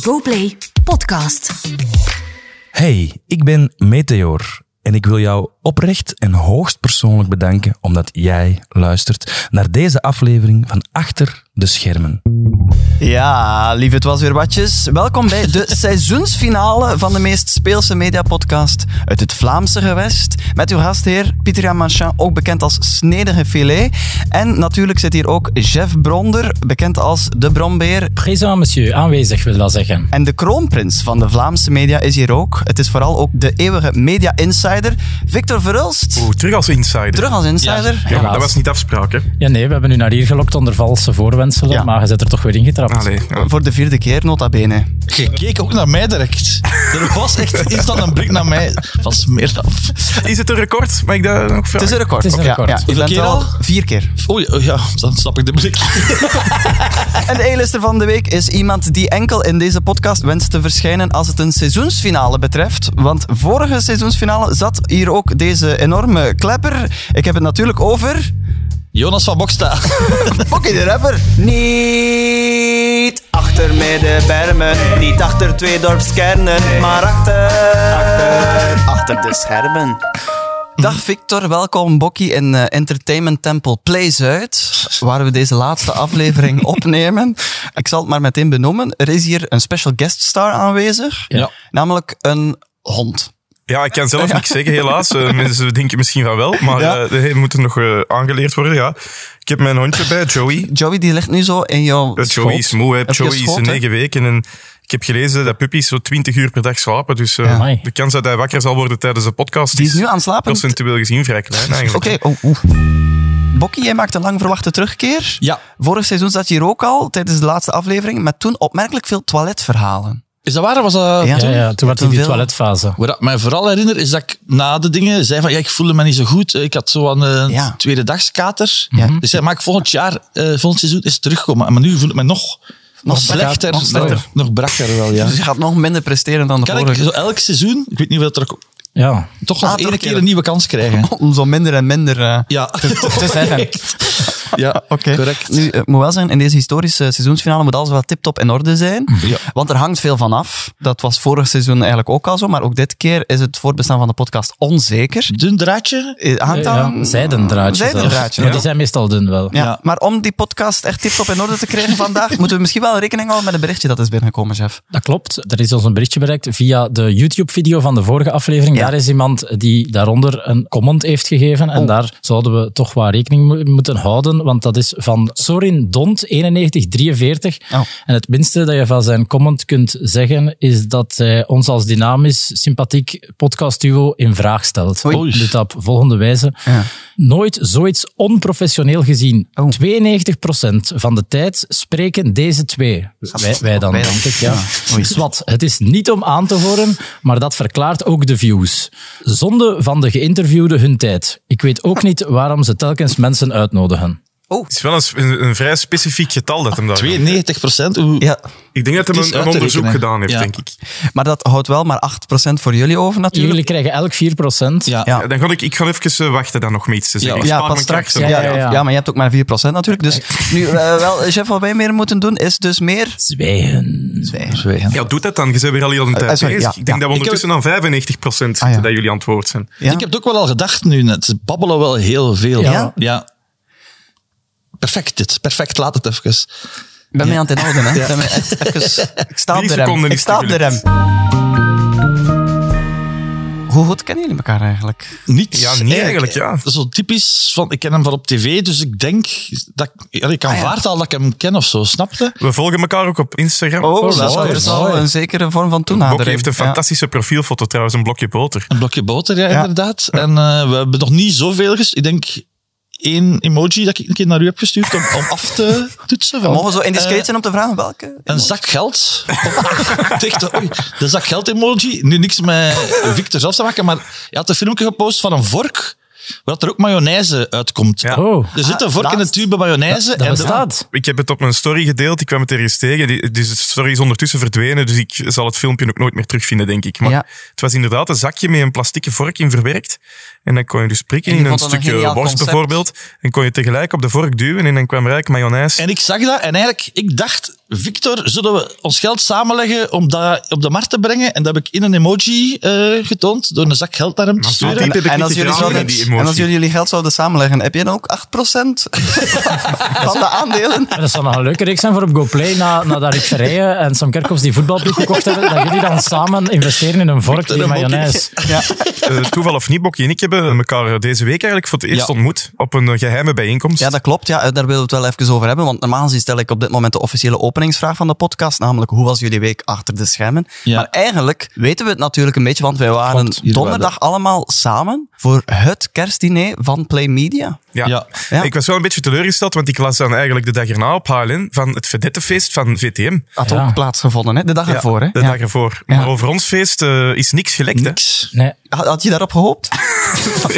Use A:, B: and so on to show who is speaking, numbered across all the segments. A: GoPlay Podcast.
B: Hey, ik ben Meteor en ik wil jou oprecht en hoogst persoonlijk bedanken omdat jij luistert naar deze aflevering van Achter de Schermen.
C: Ja, lief, het was weer watjes. Welkom bij de seizoensfinale van de meest speelse mediapodcast uit het Vlaamse gewest. Met uw gastheer Pieter Jan Marchand, ook bekend als Snedere Filet. En natuurlijk zit hier ook Jeff Bronder, bekend als de Brombeer.
D: Présent, monsieur. Aanwezig, wil dat zeggen.
C: En de kroonprins van de Vlaamse media is hier ook. Het is vooral ook de eeuwige media-insider Victor Verhulst.
E: Oeh, terug als insider.
C: Terug als insider.
E: ja, maar
D: helaas.
E: dat was niet afspraak, hè?
D: Ja, nee, we hebben u naar hier gelokt onder valse voorwendselen,
C: Ja. Ah,
D: maar je zit er toch weer ingetrapt.
E: Allee, ja.
C: Voor de vierde keer, nota bene.
F: Je keek ook naar mij direct. Er was echt instant een blik naar mij. Van smeer af.
E: Is het een record? Mag ik dat nog
C: Het is
E: vragen?
C: een record.
D: Het is een
C: Ja,
D: record.
C: Ja, je
F: Hoeveel
C: bent
F: keer
C: al
F: al?
C: vier keer.
F: Oei, oh ja, dan snap ik de blik.
C: En de A-lister van de week is iemand die enkel in deze podcast wenst te verschijnen als het een seizoensfinale betreft. Want vorige seizoensfinale zat hier ook deze enorme klepper. Ik heb het natuurlijk over...
F: Jonas van Boksta.
C: Fokkie de rapper. Niet achter middenbermen, niet achter twee dorpskernen, maar achter, achter, de schermen. Dag Victor, welkom Bokkie in eh, Entertainment Temple Play Zuid, waar we deze laatste aflevering opnemen. Ik zal het maar meteen benoemen. Er is hier een special guest star aanwezig,
D: Ja.
C: namelijk een hond.
E: Ja, ik kan zelf niks zeggen, helaas. Eh, mensen denken misschien van wel, maar
C: Ja.
E: eh die moeten nog eh, aangeleerd worden, ja. Ik heb mijn hondje bij, Joey.
C: Joey die ligt nu zo in jouw
E: Eh, Joey is
C: schoot.
E: moe, hè.
C: Heb je
E: Joey is
C: schoot, hè?
E: negen weken en ik heb gelezen dat puppies zo 20 uur per dag slapen, dus eh,
D: Amai.
E: de kans dat hij wakker zal worden tijdens de podcast
C: Die is nu aan het slapen.
E: procentueel gezien vrij klein eigenlijk.
C: Oké, oh, oeh. Bokkie, jij maakt een lang verwachte terugkeer.
F: Ja.
C: Vorig seizoen zat je hier ook al, tijdens de laatste aflevering, met toen opmerkelijk veel toiletverhalen.
F: Is dat waar? Was dat...
C: Ja.
D: Ja, ja, toen
C: Toen
D: had hij die
C: veel.
D: toiletfase.
F: Wat ik mij vooral herinner is dat ik na de dingen zei van ja, ik voelde me niet zo goed. Ik had zo'n eh
C: Ja.
F: tweededagskater.
C: Ja.
F: Dus ik zei, maar ik volgend jaar, eh, volgend seizoen is terugkomen. Maar nu voel ik me nog, nog slechter.
C: nog slechter.
F: nog brakker wel, ja.
C: Dus je gaat nog minder presteren dan de
F: Kan ik
C: vorige.
F: zo elk seizoen, ik weet niet hoeveel er
D: Ja.
F: toch nog
C: Ah,
F: één keer
C: terugkeren.
F: een nieuwe kans krijgen?
C: Om zo minder en minder... eh,
F: Ja,
D: te zeggen.
F: ja oké.
C: Oké.
F: Correct.
C: Nu, het moet wel zijn, in deze historische seizoensfinale moet alles wel tip-top in orde zijn.
F: Ja.
C: Want er hangt veel van af. Dat was vorig seizoen eigenlijk ook al zo. Maar ook dit keer is het voortbestaan van de podcast onzeker.
F: Dun draadje?
C: Eh, Hangt aan...
D: Ja, zijdendraadjes. zelfs.
C: Zijdendraadje,
D: Maar
C: ja.
D: die zijn meestal dun wel.
C: Ja,
F: Ja.
C: maar om die podcast echt tip-top in orde te krijgen vandaag, moeten we misschien wel rekening houden met een berichtje dat is binnengekomen, chef.
D: Dat klopt. Er is ons een berichtje bereikt via de YouTube-video van de vorige aflevering.
C: Ja.
D: Daar is iemand die daaronder een comment heeft gegeven.
C: Oh.
D: En daar zouden we toch wel rekening mee moeten houden. Want dat is van Sorin Dont, 9143.
C: Oh.
D: En het minste dat je van zijn comment kunt zeggen, is dat hij ons als dynamisch, sympathiek podcastduo in vraag stelt.
C: Oei.
D: Dit op volgende wijze.
C: Ja.
D: Nooit zoiets onprofessioneel gezien.
C: Oh.
D: 92% van de tijd spreken deze twee. Wij, wij dan,
C: Wij dan.
D: denk ik. Ja. Swat, het is niet om aan te horen, maar dat verklaart ook de views. Zonde van de geïnterviewden hun tijd. Ik weet ook niet waarom ze telkens mensen uitnodigen.
E: Het is wel een, s- een, een vrij specifiek getal dat hem daar...
F: 92 procent? Oeh.
C: Ja,
E: Ik denk dat hij
F: Het is
E: een, een
F: uit te
E: onderzoek
F: rekenen.
E: gedaan heeft,
F: Ja.
E: denk ik.
C: maar dat houdt wel maar 8% voor jullie over natuurlijk.
D: Jullie krijgen elk 4%.
F: Ja.
C: Ja.
E: Ja, dan ga ik, ik ga even eh, wachten dan nog met iets te zeggen.
D: Oh,
F: Ja,
E: Ik
C: ja,
E: spaar
C: pas
E: mijn
C: straks. Ja,
E: krachten.
C: ja,
D: Ja, ja, ja.
C: maar je hebt ook maar 4% natuurlijk. Dus nu, eh, wel, eh, chef, wat wij meer moeten doen, is dus meer...
D: Zwijgen.
F: Zwijgen.
E: Ja, doe dat dan. Je bent weer al heel een tijd
C: eh, sorry,
E: bezig.
C: ja,
E: ik denk
C: ja.
E: dat we ondertussen aan 95%
C: Ah, ja.
E: dat jullie antwoord zijn.
C: Ja?
F: Ik heb het ook wel al gedacht nu net. Ze babbelen wel heel veel.
C: Ja?
F: ja. Perfect dit. Perfect, laat het even.
C: Ik ben mee aan het inhouden, hè. Ik ben mee- echt even- Ik sta op
E: Drie
C: de rem.
E: seconden
C: Ik
E: is
C: sta op de rem.
E: gelukt.
C: Hoe goed kennen jullie elkaar eigenlijk?
F: Niets.
E: Ja, niet eigenlijk, ja.
F: Zo typisch van, ik ken hem van op tv, dus ik denk dat ik, ja, ik
C: Ah,
F: aanvaard al dat ik hem ken of zo, snapte?
E: We volgen elkaar ook op Instagram.
C: Oh,
E: Bokkie
C: dat is wel
D: mooi,
C: er is al
D: mooi.
C: een zekere vorm van toenadering.
E: heeft een
C: Ja.
E: fantastische profielfoto trouwens, een blokje boter.
F: Een blokje boter, ja, inderdaad. En eh, we hebben nog niet zoveel gestuurd. Ik denk één emoji dat ik een keer naar u heb gestuurd om, om af te toetsen. Van,
C: Mogen we zo indiscreet
F: eh,
C: zijn om te vragen welke?
F: Een zak geld. Ik dacht, oei, de zak geld emoji. Nu niks met Victor zelf te maken, maar je had een filmpje gepost van een vork. Waar er ook mayonaise uitkomt.
E: Ja.
D: Oh,
F: Er zit een vork in een tube mayonaise.
D: dat
F: en de-
D: bestaat.
E: Ik heb het op mijn story gedeeld, ik kwam het ergens tegen. Die- Dus de story is ondertussen verdwenen, dus ik zal het filmpje ook nooit meer terugvinden, denk ik. Maar
C: Ja.
E: het was inderdaad een zakje met een plastieke vork in verwerkt. En dan kon je dus prikken
C: En die
E: in een
C: vond dat een
E: stukje
C: geniaal
E: worst
C: concept.
E: bijvoorbeeld. En kon je tegelijk op de vork duwen en dan kwam rijk mayonaise.
F: En ik zag dat en eigenlijk, ik dacht, Victor, zullen we ons geld samenleggen om dat op de markt te brengen? En dat heb ik in een emoji eh, getoond, door een zak geld naar hem te
E: staat
F: sturen.
E: die- heb ik
C: En als,
E: niet
C: jullie
E: gedaan,
C: zouden,
E: die emotie.
C: en als jullie jullie geld zouden samenleggen, heb je dan ook 8% van de aandelen?
D: En dat zou nog een leuke reeks zijn voor op GoPlay, na, na dat Rick Verheijen en Sam Kerkhoffs die voetbalploeg gekocht hebben, dat jullie dan samen investeren in een vork die
F: een mopje.
D: mayonaise.
C: Ja.
E: Eh, toeval of niet, Bokkie en ik hebben elkaar deze week eigenlijk voor het eerst
F: Ja.
E: ontmoet. Op een eh, geheime bijeenkomst.
C: ja, dat klopt. Ja, eh, daar willen we het wel even over hebben. Want normaal gezien stel ik op dit moment de officiële openingsvraag van de podcast. Namelijk, hoe was jullie week achter de schermen?
F: Ja.
C: Maar eigenlijk weten we het natuurlijk een beetje, want wij waren
F: Klopt, jullie
C: donderdag allemaal samen voor het kerstdiner van Play Media.
E: Ja.
F: Ja.
C: Ja.
E: Ik was wel een beetje teleurgesteld, want ik las dan eigenlijk de dag erna op HLN van het vedettefeest van VTM.
C: Had
D: Ja.
C: ook plaatsgevonden, hè? de dag
E: Ja,
C: ervoor. Hè?
E: De
C: Ja.
E: dag ervoor.
C: Ja.
E: Maar over ons feest eh, is niks gelekt, hè?
F: Niks.
D: Nee,
C: Had had je daarop gehoopt?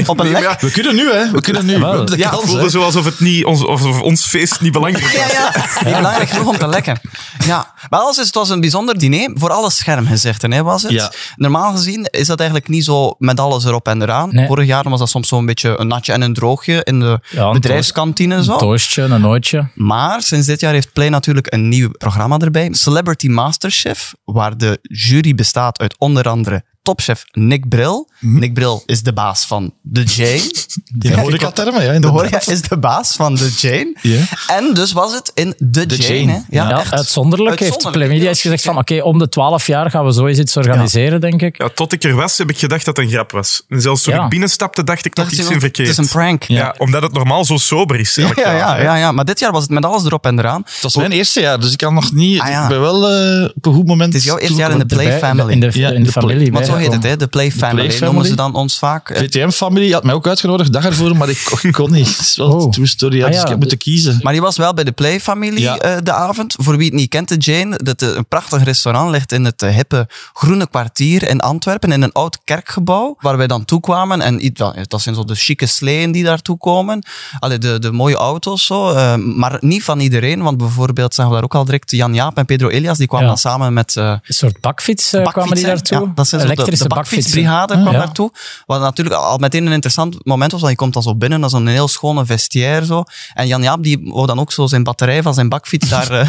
C: Op een
E: Nee, maar
C: lek?
E: ja,
F: We kunnen nu, hè. We kunnen nu. We hebben de
C: Ja,
E: het
F: kans, hè.
E: voelde zo alsof, het niet, ons, alsof ons feest niet belangrijk was.
C: Ja, ja. Niet belangrijk genoeg om te lekken. Ja. Maar alles is, het was een bijzonder diner voor alle schermgezichten, hè, was het?
F: Ja.
C: Normaal gezien is dat eigenlijk niet zo met alles erop en eraan.
D: Nee.
C: Vorig jaar was dat soms zo'n beetje een natje en een droogje in de
D: Ja, een
C: bedrijfskantine. Zo.
D: een toastje, een nootje.
C: Maar sinds dit jaar heeft Play natuurlijk een nieuw programma erbij. Celebrity Masterchef, waar de jury bestaat uit onder andere topchef Nick Bril.
D: Mhm.
C: Nick Bril is de baas van The Jane.
F: In de horecatermen, ja.
C: De
F: inderdaad.
C: horeca is de baas van The Jane.
F: Ja.
C: En dus was het in The, Jane.
F: Jane.
C: hè?
D: Ja,
C: echt.
D: uitzonderlijk heeft
C: Uitzonderlijk,
D: Playmedia
C: ja.
D: eens gezegd van oké, om de 12 jaar gaan we zoiets iets organiseren, denk ik.
E: Ja, tot ik er was, heb ik gedacht dat het een grap was. En zelfs toen
D: Ja.
E: ik binnenstapte, dacht ik dat
C: Dacht je
E: iets
C: wel,
E: in verkeerd.
C: Het is een prank.
E: Ja. omdat het normaal zo sober is.
C: Ja,
E: elk
C: ja,
E: jaar,
C: ja,
E: hè.
C: ja, ja. maar dit jaar was het met alles erop en eraan.
F: Het was mijn eerste jaar, dus ik kan nog niet...
C: Ah, ja.
F: Ik ben wel eh, op een goed moment...
C: Het is jouw eerste jaar in de Play
D: Erbij,
C: Family.
D: In de,
F: Ja,
D: in de
F: de Play-
D: familie.
C: Want zo heet het, hè? de Play Family noemen
F: Family.
C: ze dan ons vaak. Eh,
F: VTM-familie had mij ook uitgenodigd, dag ervoor, maar ik, ik kon niet. Het is wel
D: Oh.
F: een true story, ja,
D: Ah,
F: dus
D: ja.
F: ik heb moeten kiezen.
C: Maar die was wel bij de Play Family
F: Ja.
C: eh, de avond. Voor wie het niet kent, de Jane, dat eh, een prachtig restaurant ligt in het eh, hippe Groene Kwartier in Antwerpen, in een oud kerkgebouw, waar wij dan toekwamen. En iets- wel, dat zijn zo de chique sleeën die daartoe komen. Allee, de, de mooie auto's zo, eh, maar niet van iedereen, want bijvoorbeeld zagen we daar ook al direct Jan Jaap en Pedro Elias, die kwamen
D: Ja.
C: dan samen met... eh,
D: Een soort bakfiets eh, kwamen die
C: bakfietsen.
D: daartoe.
C: Ja, dat zijn zo de-
D: Elektrische
C: de,
D: bakfietsen.
C: bakfietsbrigade kwam
D: ja.
C: daartoe. Wat natuurlijk al meteen een interessant moment was, want je komt dan zo binnen, dat is een heel schone vestiaire zo. En Jan Jaap die wou dan ook zo zijn batterij van zijn bakfiets daar eh,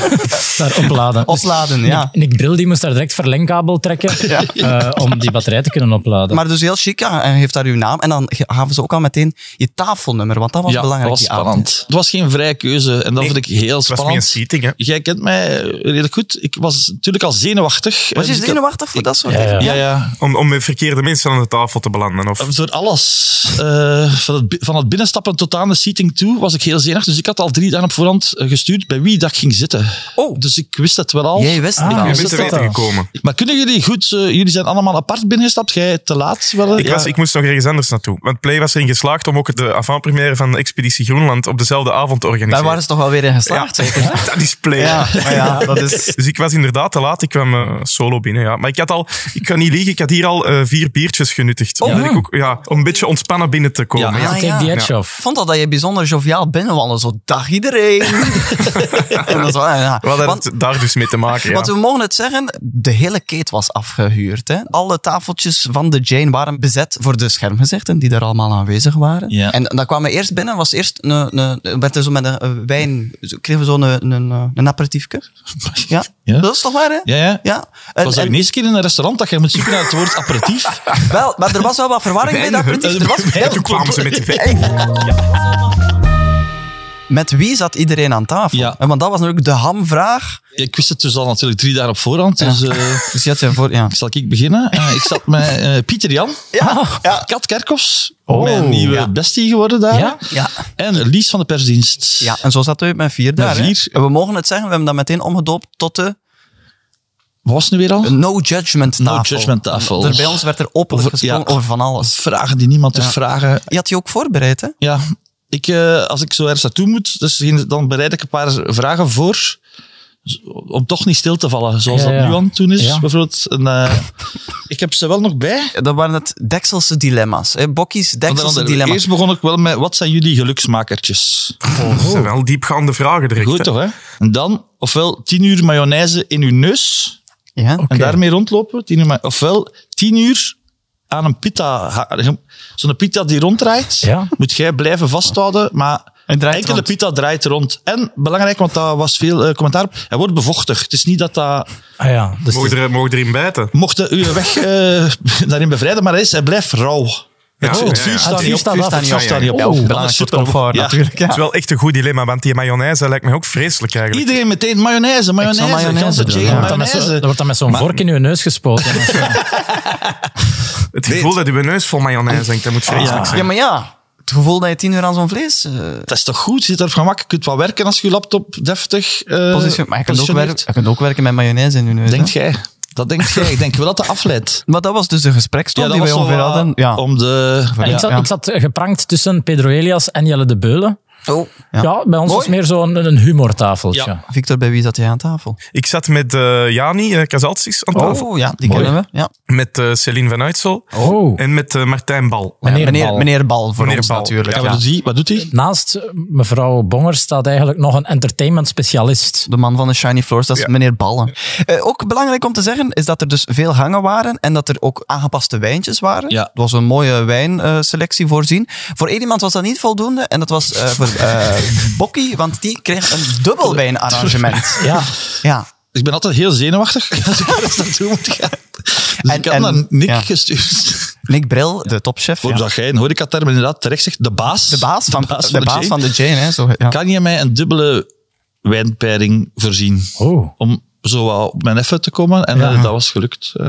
D: Daar opladen. Dus
C: opladen, ja.
D: Nick, Nick Bril die moest daar direct verlengkabel trekken eh, om die batterij te kunnen opladen.
C: Maar dus heel chic, ja, en geeft daar uw naam. En dan ge- gaven ze ook al meteen je tafelnummer, want dat was belangrijk
F: was
C: die
F: spannend.
C: avond.
F: Het was geen vrije keuze en dat vond ik heel
E: Het was meer een
F: spannend.
E: seating, hè.
F: Jij kent mij eh, redelijk goed. Ik was natuurlijk al zenuwachtig.
C: Was je
F: Eh, dus ik had-
C: zenuwachtig voor dat soort
D: Ja,
C: dingen?
D: ja.
F: Ja, ja.
E: Om, om met verkeerde mensen aan de tafel te belanden. Of...
F: Door alles. eh, van, het, bi- van het binnenstappen tot aan de seating toe was ik heel zenuwachtig. Dus ik had al drie dagen op voorhand eh, gestuurd bij wie dat ik ging zitten.
C: Oh.
F: Dus ik wist het wel al.
C: Jij wist het
D: Ah.
C: wel.
E: Je
D: is
E: bent te
D: dat
E: weten
D: dan?
E: gekomen.
F: Maar kunnen jullie goed... eh, jullie zijn allemaal apart binnengestapt. Jij te laat
D: Oh,
F: wel.
E: Ik,
F: Ja.
E: was, ik moest nog ergens anders naartoe. Want Play was erin geslaagd om ook de avant-première van Expeditie Groenland op dezelfde avond te
C: Daar
E: organiseren.
C: waren ze toch wel weer in geslaagd, zeker?
E: Ja, dat is Play.
C: Ja, maar ja, dat is...
E: Dus ik was inderdaad te laat. Ik kwam eh, solo binnen. Ja. Maar ik had al, ik kan niet liegen, ik had hier al eh, vier biertjes genuttigd. Omdat ik ook, ja, om een beetje ontspannen binnen te komen.
C: Oh, Ja.
E: Ja.
C: Ah,
D: Take the edge off.
C: Ik vond al dat je bijzonder joviaal binnenwandelde. Zo, dag iedereen. en dat is wel, ja.
E: Wat had
C: Want-
E: het daar dus mee te maken? Ja.
C: Want we mogen het zeggen, de hele keet was afgehuurd. Hè? Alle tafeltjes van de Jane waren bezet voor de schermgezichten die daar allemaal aanwezig waren.
F: Ja.
C: En dan kwamen we eerst binnen, was eerst een, een, werd er zo met een eh, wijn, zo- kregen we zo een, een, eh, een aperitiefje. Ja?
F: Ja.
C: dat is toch waar, hè?
F: Ja, ja.
C: Ja.
F: Het
C: En-
F: was de
C: en-
F: eerste keer in een restaurant dat je moet zoeken naar het woord aperitief.
C: wel, maar er was wel wat verwarring bij dat aperitief. Er was
E: En toen kwamen ze met die wijn.
C: Met wie zat iedereen aan tafel?
F: Ja.
C: En Want dat was natuurlijk de hamvraag.
F: Ik wist het dus al natuurlijk drie dagen op voorhand. Dus eh,
C: Dus je had zijn voor... Ja.
F: zal ik beginnen? Eh, ik zat met eh, Pieter Jan,
C: Ja, ja.
F: Kat Kerkhoffs,
E: Oh.
F: mijn nieuwe bestie geworden daar.
D: Ja?
C: Ja.
F: En Lies van de persdienst.
C: Ja, en zo zaten we met vier daar. hè.
F: vier.
C: En we mogen het zeggen, we hebben dat meteen omgedoopt tot de
F: Wat was het nu weer al?
C: no judgment tafel.
F: judgment tafel.
C: Er bij ons werd er openlijk
F: Over-
C: gesproken
F: ja.
C: over van alles.
F: Vragen die niemand te vragen.
C: Je had die ook voorbereid, hè?
F: Ja, ik, eh, als ik zo ergens naartoe moet, dus geen- dan bereid ik een paar vragen voor. z- Om toch niet stil te vallen, zoals
D: Ja, ja.
F: dat nu aan het doen is.
D: Ja.
F: Bijvoorbeeld, en, eh, ik heb ze wel nog bij.
C: Dat waren het dekselse dilemma's. Hè? Bokkies,
F: Want
C: dekselse
F: dan-
C: dilemma's.
F: Eerst begon ik wel met, wat zijn jullie geluksmakertjes?
E: Dat zijn wel diepgaande vragen direct.
F: Goed
E: hè.
F: toch, hè? En dan, ofwel tien uur mayonaise in uw neus
C: Ja?
F: en daarmee rondlopen. Tien uur, ma- ofwel tien uur aan een pita. ha- Zo'n pita die ronddraait,
D: Ja.
F: moet jij blijven vasthouden, maar...
E: En draait
F: Enkele
E: rond.
F: pita draait rond. En belangrijk, want daar was veel eh, commentaar op. Hij wordt bevochtig. Het is niet dat dat.
D: Ah ja, dus
E: Mogen er, mogen erin bijten?
F: Mocht de uw weg eh, daarin bevrijden, maar hij, is, hij blijft rauw. het,
E: ja, ja.
F: het vuur
E: Het
C: Ah,
F: staat
E: vuur
F: niet op.
E: staat niet op.
F: Het vuur staat niet op.
E: Ja, ja, ja.
F: Oeh,
C: Oh,
E: Belangrijk
F: dat is
E: voor het
F: super.
E: comfort
F: Ja.
E: natuurlijk, Het is wel echt een goed dilemma, want die mayonaise lijkt mij ook vreselijk eigenlijk.
F: Iedereen meteen mayonaise, mayonaise,
C: mayonaise
F: ganse
C: doen,
F: jam,
C: ja.
D: wordt dan met zo-
F: mayonaise.
D: dan wordt dan met zo'n vork in je neus gespoten.
E: Het gevoel dat je neus vol mayonaise hangt, dat moet vreselijk zijn.
C: Ah, Ja, maar ja. Het gevoel dat je tien uur aan zo'n vlees... eh
F: Dat is toch goed? Je zit er op gemak. Je kunt wat werken als je je laptop deftig eh
C: positie- maar je kunt, ook
F: positioneert.
C: werken, je kunt ook werken met mayonaise in je neus.
F: Denkt
C: hè.
F: jij? Dat denkt jij. Ik denk wel dat dat afleidt.
C: Maar dat was dus de gesprekstof die wij
F: was
C: ongeveer
F: wel wat
C: hadden. Ja.
F: Om de...
D: Maar ik, zat,
C: ja.
D: ik zat eh, geprankt tussen Pedro Elias en Jelle de Beulen.
C: Oh,
D: Ja,
C: ja.
D: bij ons
C: Mooi.
D: is meer zo'n een humortafeltje.
F: Ja.
C: Victor, bij wie zat jij aan tafel?
E: Ik zat met eh, Jani eh Casalsis aan tafel,
C: Oh, ja, die
D: Mooi.
C: kennen we. Ja.
E: met eh, Céline van Uitsel
D: Oh.
E: en met eh, Martijn Bal.
D: Meneer
C: Ja, meneer,
D: Bal.
C: meneer Bal voor
E: Meneer
C: ons
E: Bal,
C: natuurlijk.
F: Ja,
C: Ja,
F: wat doet hij? Wat doet hij?
D: Naast eh, mevrouw Bonger staat eigenlijk nog een entertainment specialist.
C: De man van de shiny floors, dat is
E: Ja.
C: meneer Ballen. Eh, ook belangrijk om te zeggen is dat er dus veel hangen waren en dat er ook aangepaste wijntjes waren.
F: Ja.
C: Er was een mooie wijnselectie voorzien. Voor één iemand was dat niet voldoende en dat was eh, voor eh Bokkie, want die kreeg een dubbel wijnarrangement.
D: Ja,
C: Ja.
F: Ik ben altijd heel zenuwachtig als ik ergens naartoe moet gaan. Dus
C: En-
F: ik had
C: en-
F: naar Nick
C: ja.
F: gestuurd.
C: Nick Bril, de topchef.
F: Waarom
C: ja.
F: zag jij een horecaterm inderdaad terecht zegt? De baas.
C: De baas van de, baas
F: Jane.
C: van de Jane. Hè, zo, ja.
F: Kan je mij een dubbele wijnpeiling voorzien?
D: oh.
F: Om zo wat op mijn effe te komen. En eh, dat was gelukt. eh,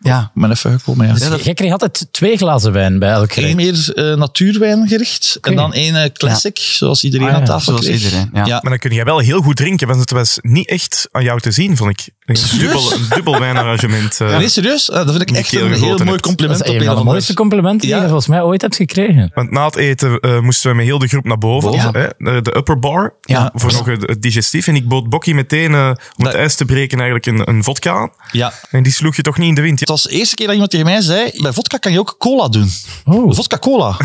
F: op
C: ja.
F: mijn effe gekomen, ja.
D: Dus jij kreeg altijd twee glazen wijn bij elk
F: Eén
D: gerecht.
F: meer eh, natuurwijngericht. En dan één eh, classic, zoals iedereen
D: Ah, ja,
F: aan tafel
C: zoals
F: kreeg.
C: iedereen, ja.
E: Maar dan kun jij wel heel goed drinken, want het was niet echt aan jou te zien, vond ik. Een dubbel, een dubbel wijnarrangement. eh.
F: Nee, serieus? Ah, dat vind ik echt
E: Michiel
F: een heel
E: Grote hebt.
F: mooi
D: Dat
F: compliment.
D: is
F: op
D: een van de
F: of
D: mooiste
F: andere-
D: complimenten die
F: Ja.
D: je volgens mij ooit hebt gekregen.
E: Want na het eten eh, moesten we met heel de groep naar boven,
C: Ja.
E: hè, naar de upper bar,
C: Ja.
E: voor nog het, het digestief. En ik bood Bokkie meteen, eh, om het
F: Nee.
E: ijs te breken, eigenlijk een, een vodka aan.
F: Ja.
E: En die sloeg je toch niet in de wind?
F: Het was de eerste keer dat iemand tegen mij zei, bij vodka kan je ook cola doen.
D: Oh.
F: Vodka-cola.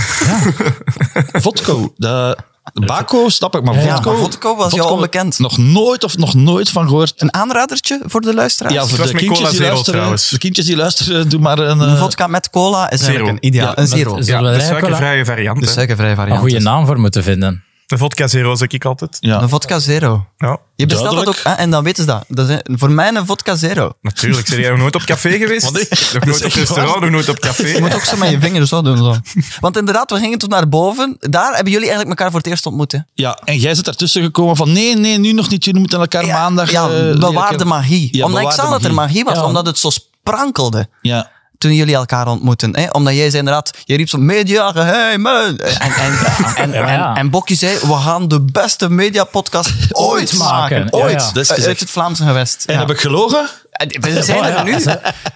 F: Vodko. De, de Baco, snap ik, maar
D: Ja,
F: vodko...
C: maar vodko was jou onbekend.
F: Nog nooit of nog nooit van gehoord.
C: Een aanradertje voor de luisteraars?
F: Ja, voor
E: was
F: de
E: met
F: kindjes,
E: cola
F: die
E: zero
F: luisteren,
E: trouwens.
F: de kindjes die luisteren, doe maar een... eh,
C: Een vodka met cola is eigenlijk een ideaal.
F: Ja,
C: een zero.
D: met-
C: Ja.
E: Ja,
D: Zullen we
E: de
D: er eigenlijk wel-
E: suikervrije variant.
C: De
E: hè.
C: suikervrije
D: Een
C: variant.
D: goede naam voor moeten vinden.
E: De vodka zero zeg ik altijd.
F: ja.
C: Een vodka zero.
E: Ja,
C: Je bestelt dat ook
F: Duidelijk.
C: hè, en dan weten ze dat. dat is, voor mij een vodka zero.
E: natuurlijk. Zijn jij nog nooit op café geweest?
F: nee,
E: nog nooit op
F: echt
E: restaurant, nog nooit op
C: Je
E: café?
C: moet ook zo met je vingers zo doen. Zo. Want inderdaad, we gingen toen naar boven. Daar hebben jullie eigenlijk elkaar voor het eerst ontmoet. hè?
F: ja, en jij zit ertussen gekomen van nee, nee, nu nog niet. Jullie moeten elkaar
C: Ja,
F: maandag...
C: Ja,
F: eh, leren
C: bewaar de
F: kennen.
C: magie.
F: Ja,
C: omdat ik
F: bewaar
C: zag
F: de
C: dat er magie was,
D: Ja.
C: omdat het zo sprankelde.
F: Ja.
C: Toen jullie elkaar ontmoetten. Hè? Omdat jij zei inderdaad, je riep zo, media, hey man. En, en, en,
D: Ja.
C: en, en Bokkie zei, we gaan de beste mediapodcast ooit maken.
D: maken. Ja, ja.
C: Ooit.
F: Dat is
C: Uit
F: gezegd.
C: het Vlaamse gewest.
F: En
C: Ja.
F: heb ik gelogen?
C: We zijn, er nu,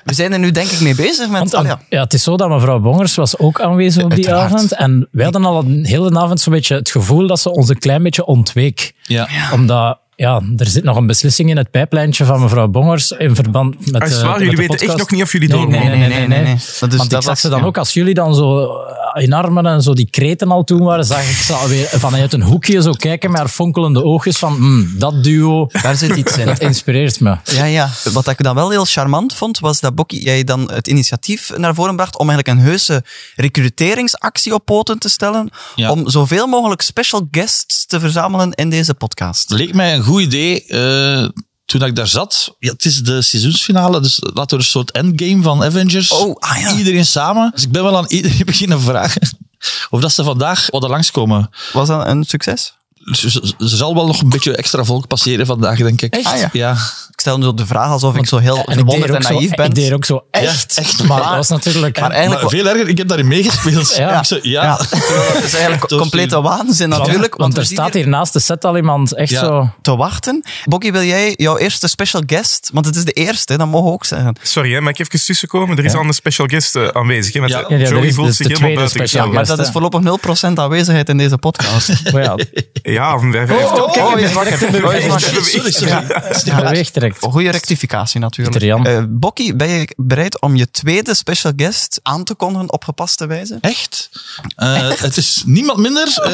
C: we zijn er nu denk ik mee bezig. Met,
D: Want,
C: Allee,
D: ja. het is zo dat mevrouw Bongers was ook aanwezig op die
F: Uiteraard.
D: avond. En wij hadden al een hele avond zo'n beetje het gevoel dat ze ons een klein beetje ontweek.
F: Ja.
D: Omdat, ja, er zit nog een beslissing in het pijplijntje van mevrouw Bongers in verband met
E: Ah, is het
D: eh,
E: waar?
D: met
E: Jullie
D: de
E: weten echt
D: podcast.
E: nog niet of jullie
D: nee,
E: door
D: nee, nee,
E: mogen.
D: nee,
C: Nee,
D: nee,
C: nee, nee. Dat is-
D: Want
C: dat
D: ik zag
C: was-
D: ze dan
C: ja.
D: ook, als jullie dan zo eh, in armen en zo die kreten al toen waren, zag ik ze alweer vanuit een hoekje zo kijken met haar fonkelende oogjes van, "Hmm, dat duo,
C: daar zit iets in.
D: dat inspireert me.
C: Ja, ja. Wat ik dan wel heel charmant vond, was dat Bokkie jij dan het initiatief naar voren bracht om eigenlijk een heuse recruteringsactie op poten te stellen.
F: Ja.
C: Om zoveel mogelijk special guests te verzamelen in deze podcast.
F: Het leek mij een goed idee eh, toen ik daar zat. Ja, het is de seizoensfinale, dus laten we een soort endgame van Avengers.
C: Oh, ah ja.
F: Iedereen samen. Dus ik ben wel aan iedereen beginnen vragen of dat ze vandaag wat er langskomen.
C: Was dat een succes?
F: Dus Er er zal wel nog een beetje extra volk passeren vandaag, denk ik.
C: Echt? Ah, ja.
F: ja.
C: Ik stel nu de vraag alsof ik zo heel
D: En ik deed,
C: verwonderd
D: er
C: en
D: ook zo,
C: naïef ben.
D: ik deed er ook zo echt.
F: Ja, echt,
D: maar
F: maar-
D: dat was natuurlijk...
C: Maar
F: Maar
C: eigenlijk...
F: veel erger, ik heb daarin meegespeeld.
D: Ja.
F: Ik zei, ja. Dus, eh,
C: ja, het is eigenlijk
F: Tof,
C: complete
F: ja.
C: waanzin natuurlijk.
D: want,
C: we
D: er
C: zien
D: staat hier naast de set al iemand echt
F: Ja.
D: zo...
C: te wachten. Bokkie, wil jij jouw eerste special guest? Want het is de eerste, dat mogen we ook zeggen.
E: Sorry, hè, maar ik even tussenkomen. Er is al een special guest eh, aanwezig. Hè, want
F: Ja.
E: eh,
D: Ja, ja, er
E: Joey
D: is dus
E: voelt
D: de-
E: zich
D: de
E: helemaal
D: tweede
E: buiten.
D: special
E: gesloten.
C: Maar dat is voorlopig 0% aanwezigheid in deze podcast.
D: Maar Oh ja,
E: ja, of een vijf.
D: Oh, oh, kijk,
C: Oh,
D: een
C: ja, wacht
D: directe
C: even.
D: beweging.
C: Oh, shit,
F: Sorry, sorry. Dat is niet
D: Ja,
F: waar.
D: weegtrekt.
C: Goede rectificatie natuurlijk.
D: Pieter Jan.
C: Eh, Bokkie, ben je bereid om je tweede special guest aan te kondigen op gepaste wijze?
F: Echt? Eh, Het is niemand minder eh,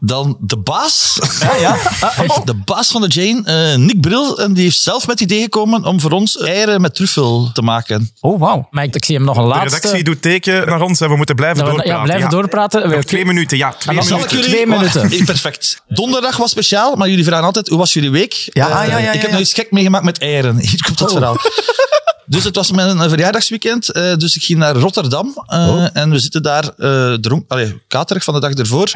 F: dan de baas. Ah, De baas van de Jane, eh, Nick Bril. En die heeft zelf met het idee gekomen om voor ons eieren met truffel te maken.
C: Oh, wauw.
D: Maar ik, ik zie hem nog een
E: De
D: laatste.
E: redactie doet teken naar ons. Hè. We moeten blijven
D: Dat we- ja,
E: doorpraten.
D: blijven doorpraten.
E: Nog
D: We-
E: twee minuten. Ja, twee
D: dan zal
E: minuten.
D: ik jullie- Twee minuten.
F: Wacht, Oh, Perfect. Donderdag was speciaal, maar jullie vragen altijd, hoe was jullie week?
C: Ja,
F: Eh,
C: ah, ja, ja,
F: ik
C: ja,
F: heb
C: ja. Oh,
F: nog iets gek meegemaakt met eieren. Hier komt dat verhaal. Dus het was mijn eh, verjaardagsweekend, eh, dus ik ging naar Rotterdam. eh, En we zitten daar eh dronk, allee, katerig van de dag ervoor.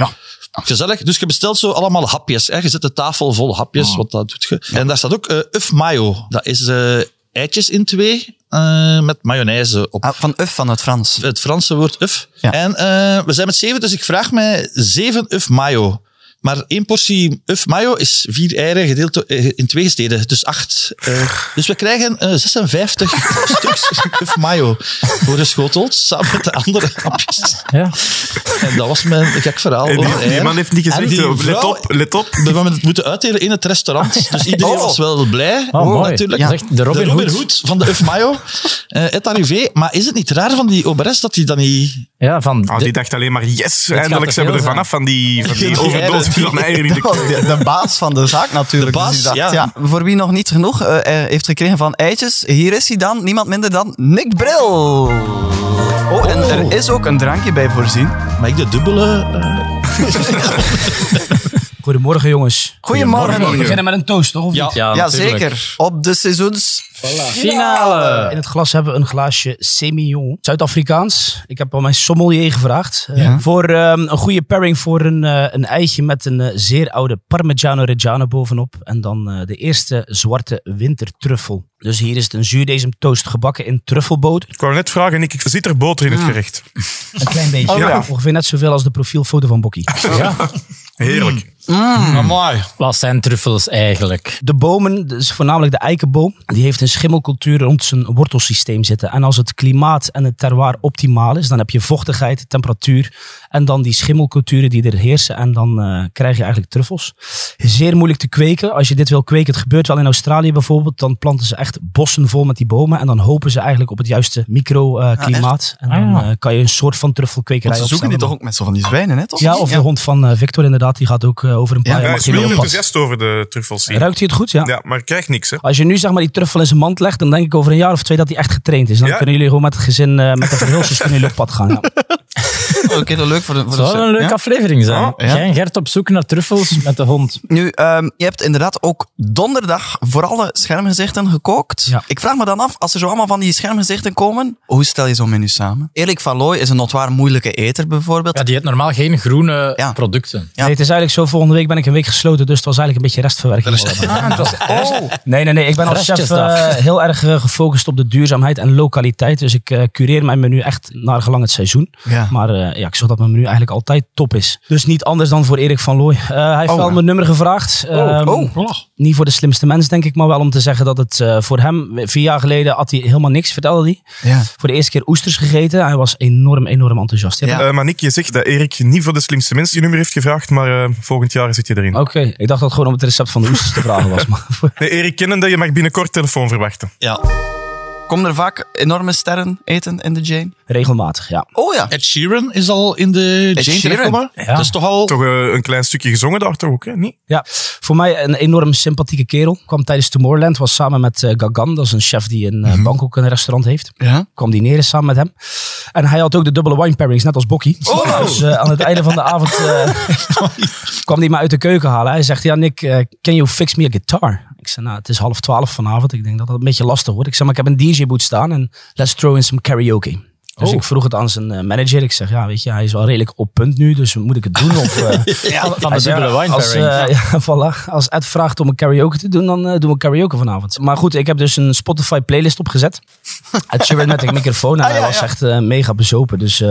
F: Gezellig. Dus je bestelt zo allemaal hapjes. Hè. Je zet de tafel vol hapjes, want dat doet je. En daar staat ook eh uf mayo. Dat is eh, eitjes in twee eh, met mayonaise op
C: Ah, van Uf van het Frans.
F: het Franse woord uf.
C: Ja.
F: En eh, we zijn met zeven, dus ik vraag mij zeven uf mayo. Maar één portie uf mayo is vier eieren gedeeld door- eh, in twee steden, dus acht. Eh, dus we krijgen eh, 56 stuks uf mayo voorgeschoteld, samen met de andere hapjes.
D: Ja.
F: En dat was mijn gek verhaal.
E: En
F: over
E: Eh,
D: Oh.
E: die, die
F: eieren.
E: man heeft niet
F: En
E: gezegd,
F: die
E: eh, let
F: vrouw-
E: op, let op.
F: we hebben het moeten uitdelen in het restaurant. Dus iedereen was wel blij.
D: Oh, mooi.
F: natuurlijk.
D: Ja. Zegt de Robin Hood.
F: van de Uf Mayo. Eh, het arrivé. Maar is het niet raar van die oberes dat hij dan niet...
D: Ja, van
E: Ah,
D: de-
E: die dacht alleen maar, yes,
D: gaat
E: eindelijk
D: er
E: zijn we er
D: veel zijn.
E: vanaf van die, van die
F: Die
E: overdosis
F: eieren.
E: van eieren in de
C: Dat was
E: keuken.
C: de, de baas van de zaak natuurlijk.
F: De baas,
C: die dacht,
F: ja.
C: Voor wie nog niet genoeg eh, eh, heeft gekregen van eitjes, hier is hij dan, niemand minder dan Nick Bril. Oh, en er is ook een drankje bij voorzien.
F: Maar ik de dubbele... eh,
B: Goedemorgen, jongens.
C: Goedemorgen.
G: We beginnen met een toast, toch? Of niet?
D: ja,
C: Ja,
D: natuurlijk.
C: zeker. Op de seizoens...
D: Finale.
G: In het glas hebben we een glaasje semillon. Zuid-Afrikaans. Ik heb al mijn sommelier gevraagd. eh, Voor ehm, een goede pairing voor een, eh, een eitje met een eh, zeer oude Parmigiano Reggiano bovenop. En dan eh, de eerste zwarte wintertruffel. Dus hier is het een zuurdesem toast gebakken in truffelboter.
E: Ik wou net vragen, Nick, zit er boter
D: Mm.
E: in het gerecht?
G: Een klein beetje.
E: Oh, ja.
G: Ongeveer net zoveel als de profielfoto van Bokkie.
E: Heerlijk.
D: Mm.
F: Amai.
D: Wat zijn truffels eigenlijk?
G: De bomen, dus voornamelijk de eikenboom, die heeft een schimmelcultuur rond zijn wortelsysteem zitten. En als het klimaat en het terroir optimaal is, dan heb je vochtigheid, temperatuur en dan die schimmelculturen die er heersen. En dan eh, krijg je eigenlijk truffels. Zeer moeilijk te kweken. Als je dit wil kweken, het gebeurt wel in Australië bijvoorbeeld, dan planten ze echt bossen vol met die bomen. En dan hopen ze eigenlijk op het juiste microklimaat. en dan
D: Ah.
G: eh, kan je een soort van truffelkwekerij
C: Want ze zoeken die
G: opstellen.
C: toch ook met zo van die zwijnen, hè? Toch?
G: Ja, of de hond van eh, Victor inderdaad, die gaat ook eh, over een paar
C: Ja,
G: jaar...
E: Hij
G: mag
E: is
G: je die
E: wel
G: oppassen.
E: enthousiast over de truffels hier.
G: Ruikt hij het goed?
E: Ja, maar krijgt niks, hè.
G: Als je nu zeg maar die truffel in zijn mand legt, dan denk ik over een jaar of twee dat hij echt getraind is. Dan
E: Ja.
G: kunnen jullie gewoon met het gezin, eh, met de verhulsers kunnen jullie op pad gaan. Ja.
C: Oké, dat leuk voor de... Voor de
D: Dat zou een
C: ja?
D: leuke aflevering zijn.
E: Ja.
D: Jij en Gert op zoek naar truffels met de hond.
C: Nu, ehm, je hebt inderdaad ook donderdag voor alle schermgezichten gekookt.
G: Ja.
C: Ik vraag me dan af, als er zo allemaal van die schermgezichten komen, hoe stel je zo'n menu samen? Erik van Looy is een notwaar moeilijke eter bijvoorbeeld.
D: Ja, die heeft normaal geen groene
C: Ja.
D: producten.
C: Ja.
G: Nee, het is eigenlijk zo, volgende week ben ik een week gesloten, dus het was eigenlijk een beetje restverwerking.
C: oh,
G: Nee, nee, nee. Ik ben als chef
D: Restjesdag.
G: eh, heel erg eh, gefocust op de duurzaamheid en lokaliteit. Dus ik eh, cureer mijn menu echt naar gelang het seizoen.
C: Ja.
G: Maar eh, ja, ik zorg dat mijn menu eigenlijk altijd top is. Dus niet anders dan voor Erik van Looy. Eh, hij heeft
C: Oh,
G: wel
C: ja.
G: mijn nummer gevraagd. Ehm,
C: oh.
G: Niet voor de slimste mens, denk ik, maar wel om te zeggen dat het eh, voor hem... Vier jaar geleden had hij helemaal niks, vertelde hij.
C: Ja.
G: voor de eerste keer oesters gegeten. Hij was enorm, enorm enthousiast. Ja.
C: Ja.
E: Eh, maar Nick, je zegt dat Erik niet voor de slimste mensen je nummer heeft gevraagd, maar eh, volgend jaar zit je erin.
G: Oké, ik dacht dat het gewoon om het recept van de oesters te vragen was. Maar voor-
E: Nee, Erik kennende, je mag binnenkort telefoon verwachten.
F: Ja.
C: Komen er vaak enorme sterren eten in de Jane?
G: regelmatig, ja.
C: Oh ja.
F: Ed Sheeran is al in de
C: Ed
F: Jane
C: Sheeran.
F: terechtgekomen.
G: Ja.
F: Dat is toch al...
E: Toch eh, een klein stukje gezongen daar toch ook, hè? Niet?
G: ja. Voor mij een enorm sympathieke kerel. Kwam tijdens Tomorrowland, was samen met eh, Gagan. Dat is een chef die in eh, Bangkok een restaurant heeft.
C: Ja.
G: Kwam dineren samen met hem. En hij had ook de dubbele wine pairings, net als Bokkie. Dus eh, aan het einde van de avond eh, kwam hij me uit de keuken halen. Hij zegt, ja Nick, eh, can you fix me a guitar? Ik zei, nou, het is half twaalf vanavond. Ik denk dat dat een beetje lastig wordt. Ik zei, maar ik heb een DJ-boot staan en let's throw in some karaoke. Dus ik vroeg het aan zijn eh, manager. Ik zeg, ja, weet je, hij is wel redelijk op punt nu, dus moet ik het doen? Of, eh,
D: Van, van de dubbele
G: hij zegt,
D: wine
G: als,
D: pairing.
G: eh, ja, voilà. Als Ed vraagt om een karaoke te doen, dan eh, doen we karaoke vanavond. Maar goed, ik heb dus een Spotify playlist opgezet. Ed Sheeran met een microfoon en
D: Ah,
G: hij was echt eh, mega bezopen. Dus eh,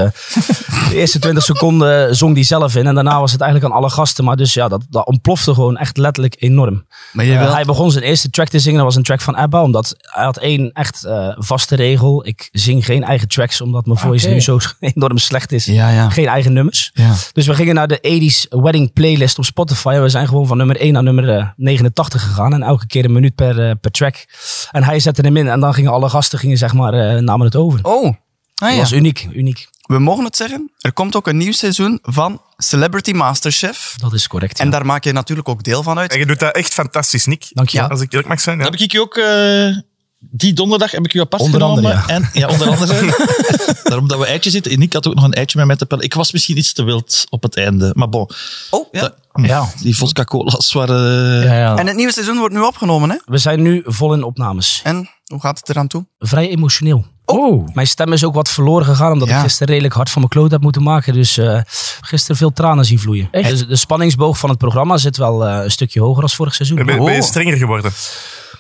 G: de eerste 20 seconden zong hij zelf in en daarna was het eigenlijk aan alle gasten. Maar dus ja, dat, dat ontplofte gewoon echt letterlijk enorm.
C: Maar je
G: Eh,
C: wilt-
G: Hij begon zijn eerste track te zingen, dat was een track van ABBA. Omdat hij had één echt eh, vaste regel. Ik zing geen eigen tracks, omdat omdat mijn voice
D: Oké.
G: nu zo enorm slecht is.
C: Ja, ja.
G: Geen eigen nummers.
C: Ja.
G: Dus we gingen naar de 80s wedding playlist op Spotify. En we zijn gewoon van nummer 1 naar nummer eh, 89 gegaan. En elke keer een minuut per, eh, per track. En hij zette hem in. En dan gingen alle gasten, gingen, zeg maar, eh, namen het over.
C: Oh, ah,
G: Dat
C: ja.
G: was uniek, uniek.
C: we mogen het zeggen. Er komt ook een nieuw seizoen van Celebrity Masterchef.
G: Dat is correct.
C: En daar maak je natuurlijk ook deel van uit.
E: En je doet dat echt fantastisch, Nick.
G: Dank je.
C: Ja.
E: Als ik eerlijk mag zijn. Ja.
F: Heb ik je ook... eh, die donderdag heb ik u apart
G: Onder
F: genomen.
G: andere,
F: En, ja, onder andere. Daarom dat we eitjes zitten. En ik had ook nog een eitje met mij te pellen. Ik was misschien iets te wild op het einde. Maar bon,
C: Oh, ja.
F: Dat- die vodka-cola's waren...
D: Ja, ja.
C: En het nieuwe seizoen wordt nu opgenomen, hè?
G: We zijn nu vol in opnames.
C: En hoe gaat het eraan toe?
G: Vrij emotioneel.
D: Oh,
G: Mijn stem is ook wat verloren gegaan, omdat
C: Ja.
G: ik gisteren redelijk hard van mijn kloot heb moeten maken. Dus eh, gisteren veel tranen zien vloeien.
D: Echt?
G: Dus de spanningsboog van het programma zit wel eh, een stukje hoger als vorig seizoen.
E: Ben, ben
C: Oh.
E: je strenger geworden?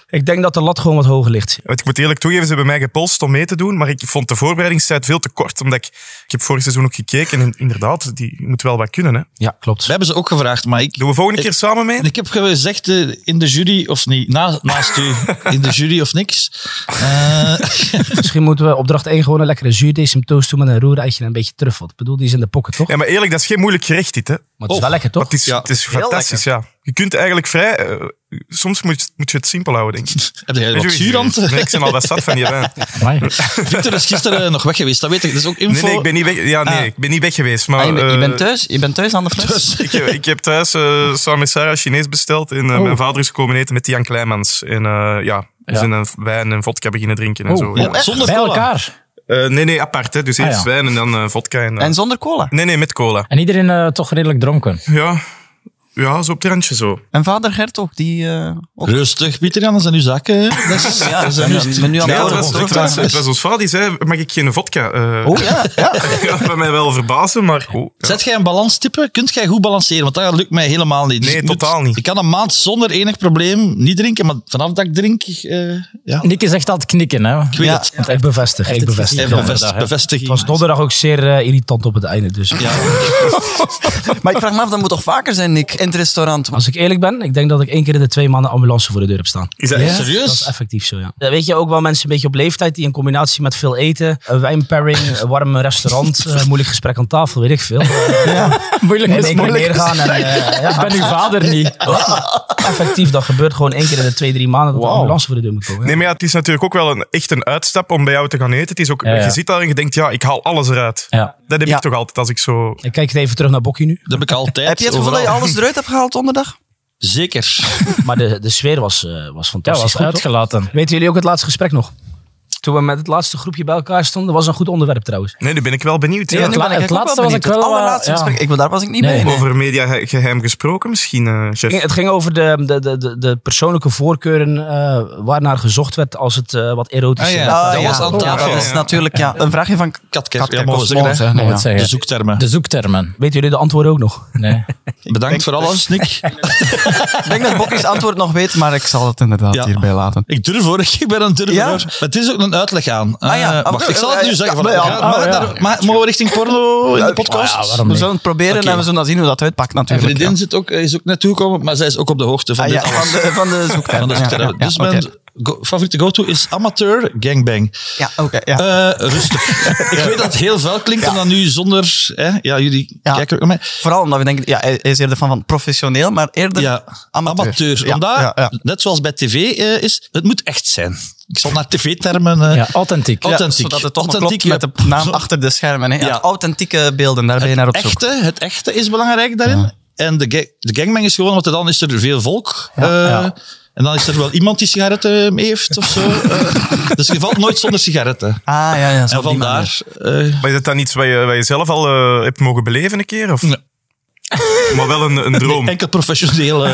G: Ik denk dat de lat gewoon wat hoger ligt.
E: Want ik moet eerlijk toegeven, ze hebben mij gepolst om mee te doen, maar ik vond de voorbereidingstijd veel te kort, omdat ik, ik heb vorig seizoen ook gekeken en inderdaad, die moet wel wat kunnen. Hè.
G: Ja, klopt.
F: We hebben ze ook gevraagd, maar ik...
E: Doen we volgende
F: Ik-
E: keer samen mee?
F: En ik heb gezegd eh, in de jury of niet, na, naast u, in de jury of niks. Eh,
G: Misschien moeten we opdracht 1 gewoon een lekkere zuurdecem toast doen met een roereitje en een beetje truffel. Ik bedoel, die is in de pocket, toch?
E: Ja, maar eerlijk, dat is geen moeilijk gerecht dit. Hè.
G: Maar het is
F: Oh,
G: wel lekker, toch?
E: Het is,
F: Ja,
E: het is
C: heel
E: fantastisch, ja. Je kunt eigenlijk vrij... eh, soms moet, moet je het simpel houden, denk ik.
F: heb jij wat
E: Sowieso.
F: zuur aan het-
E: Nee, ik ben al wat zat van die wijn.
D: amai.
F: Victor is gisteren nog weg geweest, dat weet ik. Dat is ook info.
E: Nee, nee, ik ben niet weg, ja, nee,
F: Ah.
E: ik ben niet weg geweest, maar...
C: Ah, je, bent- je
E: eh,
C: bent thuis? Je bent thuis aan de fles?
F: Dus-
E: ik, heb, ik heb thuis eh, samen met Sarah Chinees besteld en eh, mijn vader is komen eten met Jan Kleimans. En eh, ja, we
D: Ja.
E: zijn een wijn en vodka beginnen drinken en zo.
D: Oh,
F: ja, zonder
D: bij
F: cola.
D: elkaar.
E: Eh, nee, nee, apart. Hè. Dus eerst
D: ja.
E: wijn en dan eh, vodka. En, eh,
C: En zonder cola.
E: Nee, nee, met cola.
D: En iedereen eh, toch redelijk dronken.
E: Ja, ja zo op het randje zo.
C: En vader Gert ook, die... eh, ook-
F: Rustig, Pieter Jan, dat zijn uw zaken. hè. Dat is,
C: Ja, ik ben nu- ik ben nu aan
E: Nee,
C: het
E: het,
C: horen.
E: was, het, was, het was ons vader die zei, mag ik geen vodka? Eh
C: Oh ja, ja.
E: dat gaat mij wel verbazen, maar... Oh, ja.
F: Zet jij een balans typen? Kunt jij goed balanceren? Want dat lukt mij helemaal niet. Dus
E: Nee,
F: ik moet-
E: totaal niet.
F: Ik kan een maand zonder enig probleem niet drinken, maar vanaf dat ik drink, eh, ja, ik
D: Nick is echt aan het knikken, hè.
F: weet
C: Ja.
F: het.
G: Ik bevestig, ik bevestig.
F: En
G: Het
F: bevest-
D: dag, hè.
F: bevestiging.
G: was donderdag ook zeer eh, irritant op het einde. Dus
C: Maar ik vraag me af, dat moet toch vaker zijn, Nick, in het restaurant?
G: als ik eerlijk ben, ik denk dat ik één keer in de twee maanden ambulance voor de deur heb staan.
E: Is dat echt?
G: Dat is
F: Serieus?
G: effectief zo, ja. Dan Eh, weet je ook wel mensen een beetje op leeftijd die in combinatie met veel eten, een wijnpairing, een warm restaurant, eh, moeilijk gesprek aan tafel, weet ik veel.
D: Moeilijk
G: Nee,
D: is
G: nee, ik wil
D: moeilijk.
G: neergaan en eh, ja,
D: Ik ben uw vader niet.
G: effectief, dat gebeurt gewoon één keer in de twee, drie maanden dat de ambulance voor de deur moet komen. ja.
E: Nee, maar ja, het is natuurlijk ook wel een, echt een uitstap om bij jou te gaan eten. Het is ook,
D: Ja, ja.
E: Je zit daar en je denkt, ja, ik haal alles eruit.
D: Ja.
E: Dat heb
C: Ja.
E: ik toch altijd als ik zo...
G: Ik kijk het even terug naar Bokkie nu,
F: Dat heb ik altijd.
C: Heb je het gevoel dat je
F: overal.
C: alles eruit hebt gehaald donderdag?
F: Zeker.
G: maar de, de sfeer was, eh, was
D: Ja,
G: fantastisch.
D: was
G: goed, toch?
D: uitgelaten.
G: Weten jullie ook het laatste gesprek nog? Toen we met het laatste groepje bij elkaar stonden, was een goed onderwerp trouwens.
E: Nee, nu ben ik wel benieuwd.
D: Nee,
E: ja.
D: het
C: Nu
D: la-
C: ben ik
D: het
C: ook
D: laatste was
C: benieuwd.
D: ik wel,
C: Het allerlaatste
D: eh, ja.
C: gesprek. Ik, daar was ik niet
D: Nee.
C: bij.
E: Over media geheim gesproken misschien, eh, chef.
G: Het ging over de, de, de, de- de persoonlijke voorkeuren eh, waarnaar gezocht werd als het eh, wat erotischer
F: Ah, ja.
G: werd.
C: Ah,
F: Dat
C: ja,
F: was aan
C: ja,
E: tafel.
C: dat is natuurlijk ja, een vraagje van...
F: Katkerk, ja,
C: Katkerk
F: mogen
C: was
F: we zeggen,
C: ons,
F: hè.
C: hè.
D: Mag
C: Ja.
D: het zeggen.
F: De zoektermen.
D: De zoektermen.
G: Weten jullie de antwoorden ook nog?
D: Nee.
F: Bedankt voor alles, Nick.
C: Ik denk dat Bokkies antwoord nog weet, maar ik zal het inderdaad
F: Ja.
C: hierbij laten.
F: Ik durf hoor, ik ben een durver.
C: Ja?
F: hoor. Maar het is ook een uitleg aan.
C: Ah ja,
F: Eh,
C: ah,
F: wacht,
C: oké,
F: ik zal het
C: eh,
F: nu zeggen.
C: ja,
F: Van,
C: maar ja,
F: ja,
C: ah,
F: maar
C: ja.
F: daar- maar mogen we richting porno in de podcast?
D: Ah, ja, waarom
C: We
D: niet?
C: zullen het proberen en we zullen dan zien hoe dat uitpakt
F: Mijn
C: natuurlijk.
F: vriendin zit ook, eh, is ook naartoe gekomen, maar zij is ook op de hoogte van
C: Ah,
F: dit
C: ja,
F: alles.
C: van de, van de zoekterm.
F: Van de
C: Ja,
F: zoektermen.
C: ja,
F: dus
C: ja,
F: mijn
C: oké.
F: go- favoriete go-to is amateur gangbang.
C: Ja, oké. ja.
F: Eh, rustig. ik weet dat het heel vuil klinkt, en dan nu zonder... Hè, ja, jullie
C: Ja.
F: kijken ook naar mij.
C: Vooral omdat we denken, ja, hij hij is eerder van, van professioneel, maar eerder
F: Ja,
C: amateur.
F: amateur.
C: Ja,
F: Omdat,
C: ja, ja.
F: net zoals bij tv eh, is, het moet echt zijn. Ik zal naar tv-termen... eh,
D: Ja, authentiek.
F: Ja. authentiek.
C: zodat het toch nog
F: Authentiek,
C: klopt met de
F: ja.
C: naam achter de schermen. Hè? Ja,
F: Ja.
C: Authentieke beelden, daar ben je naar op zoek.
F: echte, het echte is belangrijk daarin. En de, ga- de gangbang is gewoon, want dan is er veel volk. eh, En dan is er wel iemand die sigaretten mee heeft of zo. Eh, dus je valt nooit zonder sigaretten.
C: Ah, ja, ja. zo
F: En
C: op die manier.
F: vandaar... eh
E: Maar is dat dan iets wat je, wat je zelf al eh, hebt mogen beleven een keer? Of?
F: Nee.
E: Maar wel een, een droom.
F: enkel professioneel. eh,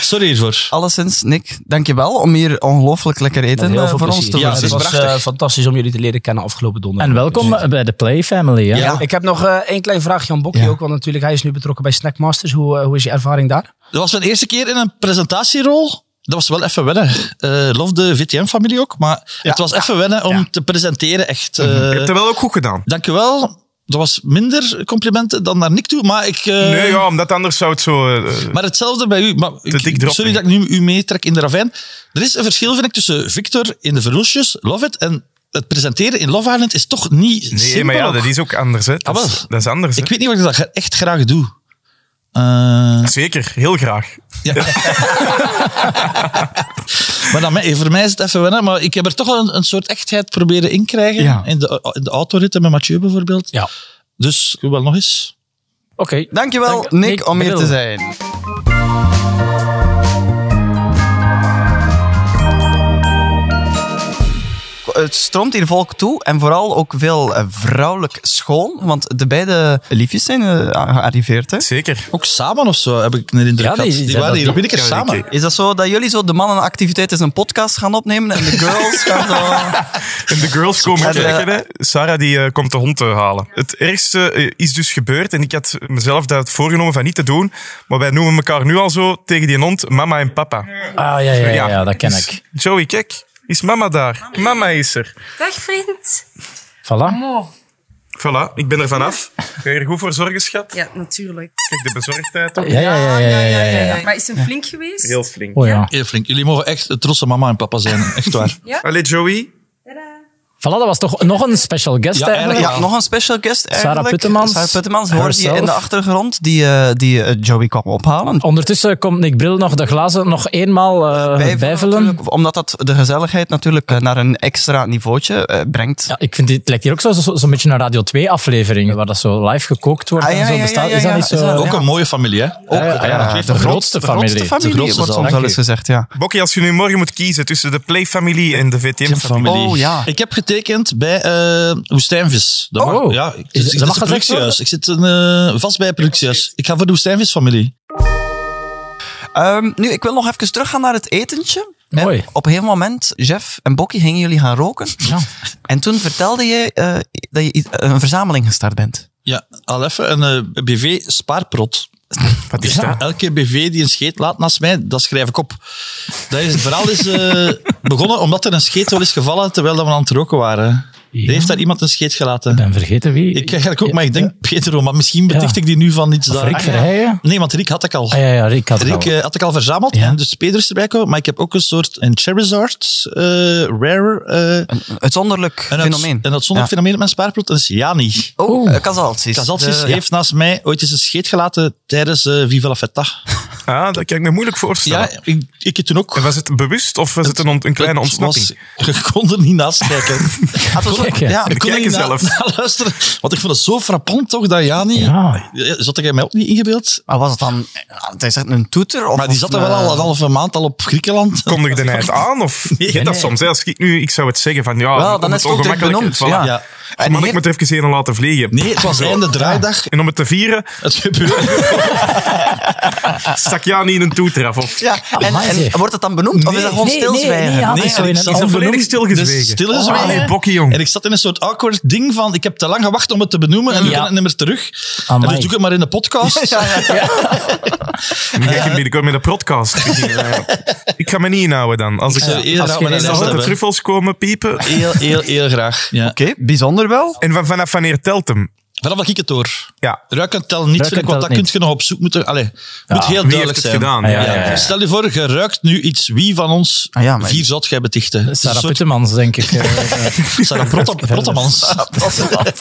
F: Sorry hiervoor.
C: Alleszins, Nick, dankjewel om hier ongelooflijk lekker eten
G: Heel
C: eh,
G: veel
C: voor ons
G: plezier.
C: te
F: Ja,
G: Het
C: maken.
F: is
G: was eh,
F: prachtig.
G: fantastisch om jullie te leren kennen afgelopen donderdag.
D: En welkom bij de Play Family. Ja.
F: Ja.
G: Ik heb nog eh, één klein vraagje aan Bokkie
C: Ja.
G: ook, want natuurlijk hij is nu betrokken bij Snackmasters. Hoe, eh, hoe is je ervaring daar?
F: Dat was mijn eerste keer in een presentatierol. Dat was wel even wennen. Eh lof de VTM-familie ook, maar het was even wennen om te presenteren echt. eh,
C: Mhm.
E: je hebt dat wel ook goed gedaan.
F: Dankjewel. Dat was minder complimenten dan naar Nick toe, maar ik... eh,
E: Nee, ja, omdat anders zou het zo... eh,
F: Maar hetzelfde bij u. Maar ik-
E: dik erop,
F: sorry
E: nee.
F: dat ik nu u meetrek in de ravijn. Er is een verschil, vind ik, tussen Victor in de verloesjes, Love It, en het presenteren in Love Island is toch niet
E: Nee,
F: simpel.
E: maar ja,
F: ook.
E: dat is ook anders. Hè. Dat, is,
F: Ah, wel.
E: dat is anders. Hè.
F: Ik weet niet wat ik dat echt graag doe. Eh,
E: Zeker, heel graag.
F: maar dan, mij- voor mij is het even wennen, maar ik heb er toch wel een, een soort echtheid proberen inkrijgen.
D: Ja.
F: In, de, in de autoritten met Mathieu bijvoorbeeld.
D: Ja.
F: Dus ik wil wel nog eens.
D: Oké.
C: Dankjewel,
D: Dank-
C: Nick,
D: Nick
C: om hier
D: Bril.
C: te zijn. Het stroomt hier volk toe en vooral ook veel eh, vrouwelijk schoon, want de beide liefjes zijn eh, gearriveerd. Hè?
E: Zeker.
F: Ook samen of zo heb ik een indruk
D: Ja, die-
F: gehad. Die,
D: die-
F: waren
D: dat-
F: hier op iedere keer
E: Ja,
F: samen.
E: oké.
C: Is dat zo dat jullie zo de mannenactiviteit eens een podcast gaan opnemen en de girls gaan zo...
E: En de girls komen
C: En, eh,
E: kijken. Hè. Sarah die, eh, komt de hond eh, halen. Het ergste eh, is dus gebeurd. En ik had mezelf dat voorgenomen van niet te doen. Maar wij noemen elkaar nu al zo tegen die hond mama en papa.
D: Ah, ja, ja, ja, ja, dat ken
E: dus-
D: ik.
E: Joey, kijk. Is mama daar? Mama is er.
H: Dag vriend.
D: Voilà.
H: Mo.
E: Voilà, ik ben er vanaf. Ga je er goed voor zorgen, schat?
H: Ja, natuurlijk.
E: Kijk, de bezorgdheid op.
D: Ja, ja, ja, ja, ja, ja, ja.
H: Maar is hem flink geweest?
E: Heel flink.
D: Oh ja.
F: Heel flink. Jullie mogen echt de trotse mama en papa zijn. Echt waar.
E: Allee, Joey.
D: Voilà, dat was toch nog een special guest
F: Ja,
D: eigenlijk.
C: Ja, nog een special guest eigenlijk.
D: Puttemans.
C: Sarah Puttemans hoor je
D: Herself.
C: in de achtergrond, die, eh, die eh, Joey kwam ophalen.
D: Ondertussen komt Nick Bril nog de glazen nog eenmaal eh,
C: Bijvelen
D: bijvelen.
C: natuurlijk, Omdat dat de gezelligheid natuurlijk eh, naar een extra niveautje eh, brengt.
D: Ja, ik vind dit het lijkt hier ook zo'n zo, zo zo'n beetje een Radio 2 aflevering, waar dat zo live gekookt wordt
C: Ah, ja,
D: en zo
C: ja,
D: bestaat.
C: ja,
D: is dat
C: ja,
D: niet
C: ja, is dat-
D: zo?
F: Ook
C: Ja.
F: een mooie familie, hè? Ook,
D: ja, ja, de
F: twee-
D: grootste
C: De
D: familie.
C: grootste familie,
F: grootste
C: wordt
F: zaal.
C: soms wel eens
D: Dank u.
C: gezegd, ja.
E: Bokkie, als je nu morgen moet kiezen tussen de Play-familie en de VTM-familie.
F: familie.
C: Oh, ja.
F: Ik heb getekend bij eh Woestijnvis. Dat
D: Oh.
F: mag- ja, ik,
D: Is- dat
F: ik- ik
D: mag
F: zit
D: gezegd
F: productiehuis.
D: worden?
F: Ik zit een, eh, vast bij productiehuis. Ik ga voor de Woestijnvis-familie.
C: Ehm, nu, ik wil nog even teruggaan naar het etentje. En
D: Mooi.
C: Op een gegeven moment, Jeff en Bokkie, gingen jullie gaan roken. En toen vertelde je eh, dat je iets- een verzameling gestart bent.
F: Ja, al even een eh, BV spaarprot.
E: Wat is dat?
F: Elke BV die een scheet laat naast mij, dat schrijf ik op. Dat is, het verhaal is eh, begonnen omdat er een scheet wel is gevallen terwijl dat we aan het roken waren. Er heeft daar iemand een scheet gelaten.
D: Ik ben vergeten wie.
F: Ik eigenlijk ook, maar ik denk Pedro, maar misschien beticht
D: Ja.
F: ik die nu van iets daar.
D: Rick Verheijen?
F: Nee, want Rick had ik al.
D: Ah, ja, ja, Rick had het
F: Rick
D: al.
F: eh, had ik al verzameld,
D: Ja.
F: en dus Pedro is erbij gekomen, maar ik heb ook een soort een Charizard, eh, rare, eh,
C: Uitzonderlijk
F: een,
C: fenomeen.
F: uits- een uitzonderlijk fenomeen op mijn spaarplot, dat is Jani.
C: Oh, eh, Casalsis.
F: Kazalsis
C: De-
F: heeft naast mij ooit eens een scheet gelaten tijdens eh, Viva la Feta.
E: Ah, dat kan ik me moeilijk voorstellen.
F: Ja, ik, ik heb toen ook...
E: En was het bewust of was het een, ont- een kleine
F: Het
E: ontsnapping?
F: was- je kon er niet naast kijken.
C: Ah, dat is ook-
D: Kijk,
C: ja,
E: De
F: Ik kon er
E: kijker
F: niet na-
E: zelf.
F: na luisteren, want ik vond het zo frappant toch, dat Jani...
D: Ja.
F: Zat ik mij ook niet ingebeeld?
C: Maar was het dan, ah, het is echt een toeter? Of,
F: Maar die
C: of
F: zat er
C: een-
F: wel al een halve maand al op Griekenland.
E: Kondigde hij het aan? Of nee, dat soms? Hè? Als ik nu, ik zou het zeggen van ja,
C: Wel,
E: om
C: dan is het ook direct
E: ongemakkelijk-
C: benoemd.
E: voilà.
C: Ja.
F: Ja.
C: En
E: Maar
C: heeft-
E: ik moet er even heen laten vliegen.
F: Nee, het was einde draaidag.
E: En om het te vieren,
F: Het gebeurde.
E: stak Jani in een toeter af. Of
C: ja, en,
D: Amai,
C: en
D: zeg.
C: wordt het dan benoemd? of is dat gewoon
D: nee,
C: stilzwijgen?
D: Nee, nee, ja,
F: Nee,
D: dat is zo in
F: ik
D: een
F: zat
D: algemeen-
E: volledig stilgezwegen.
F: Dus stilgezwegen.
E: Oh, allee, bokkie, jong.
F: En ik zat in een soort awkward ding van, ik heb te lang gewacht om het te benoemen en ik
D: Ja.
F: kan het niet meer terug.
D: Amai.
F: En dus doe ik het maar in de podcast.
E: Dan ga ik hem binnenkort met een podcast. beginnen. Ja. ik ga me niet inhouden dan. Als ik
F: zou eerder
D: als
F: aan
D: je
F: mijn
D: geen
F: les
E: als dat de
F: hebben.
E: truffels komen piepen.
F: Heel, heel, heel graag. Ja.
C: Oké, bijzonder wel.
E: En van, vanaf wanneer telt hem?
F: Vanaf dat ik het door.
E: Ja.
F: Ruik en tel niet,
D: Ruik
F: vind ik,
D: en tel
F: want dat kun
D: niet.
F: je nog op zoek moeten... Allee, moet heel
E: Wie
F: duidelijk
E: heeft het
F: zijn. Dus
E: gedaan?
D: Ah, ja, ja, ja.
F: Stel je voor, je ruikt nu iets. Wie van ons
C: Ah, ja, maar-
F: vier zat jij betichten? Het is een
D: Sarah
F: soort-
D: Puttemans, denk ik. eh, eh.
F: Sarah Protte- Prottemans.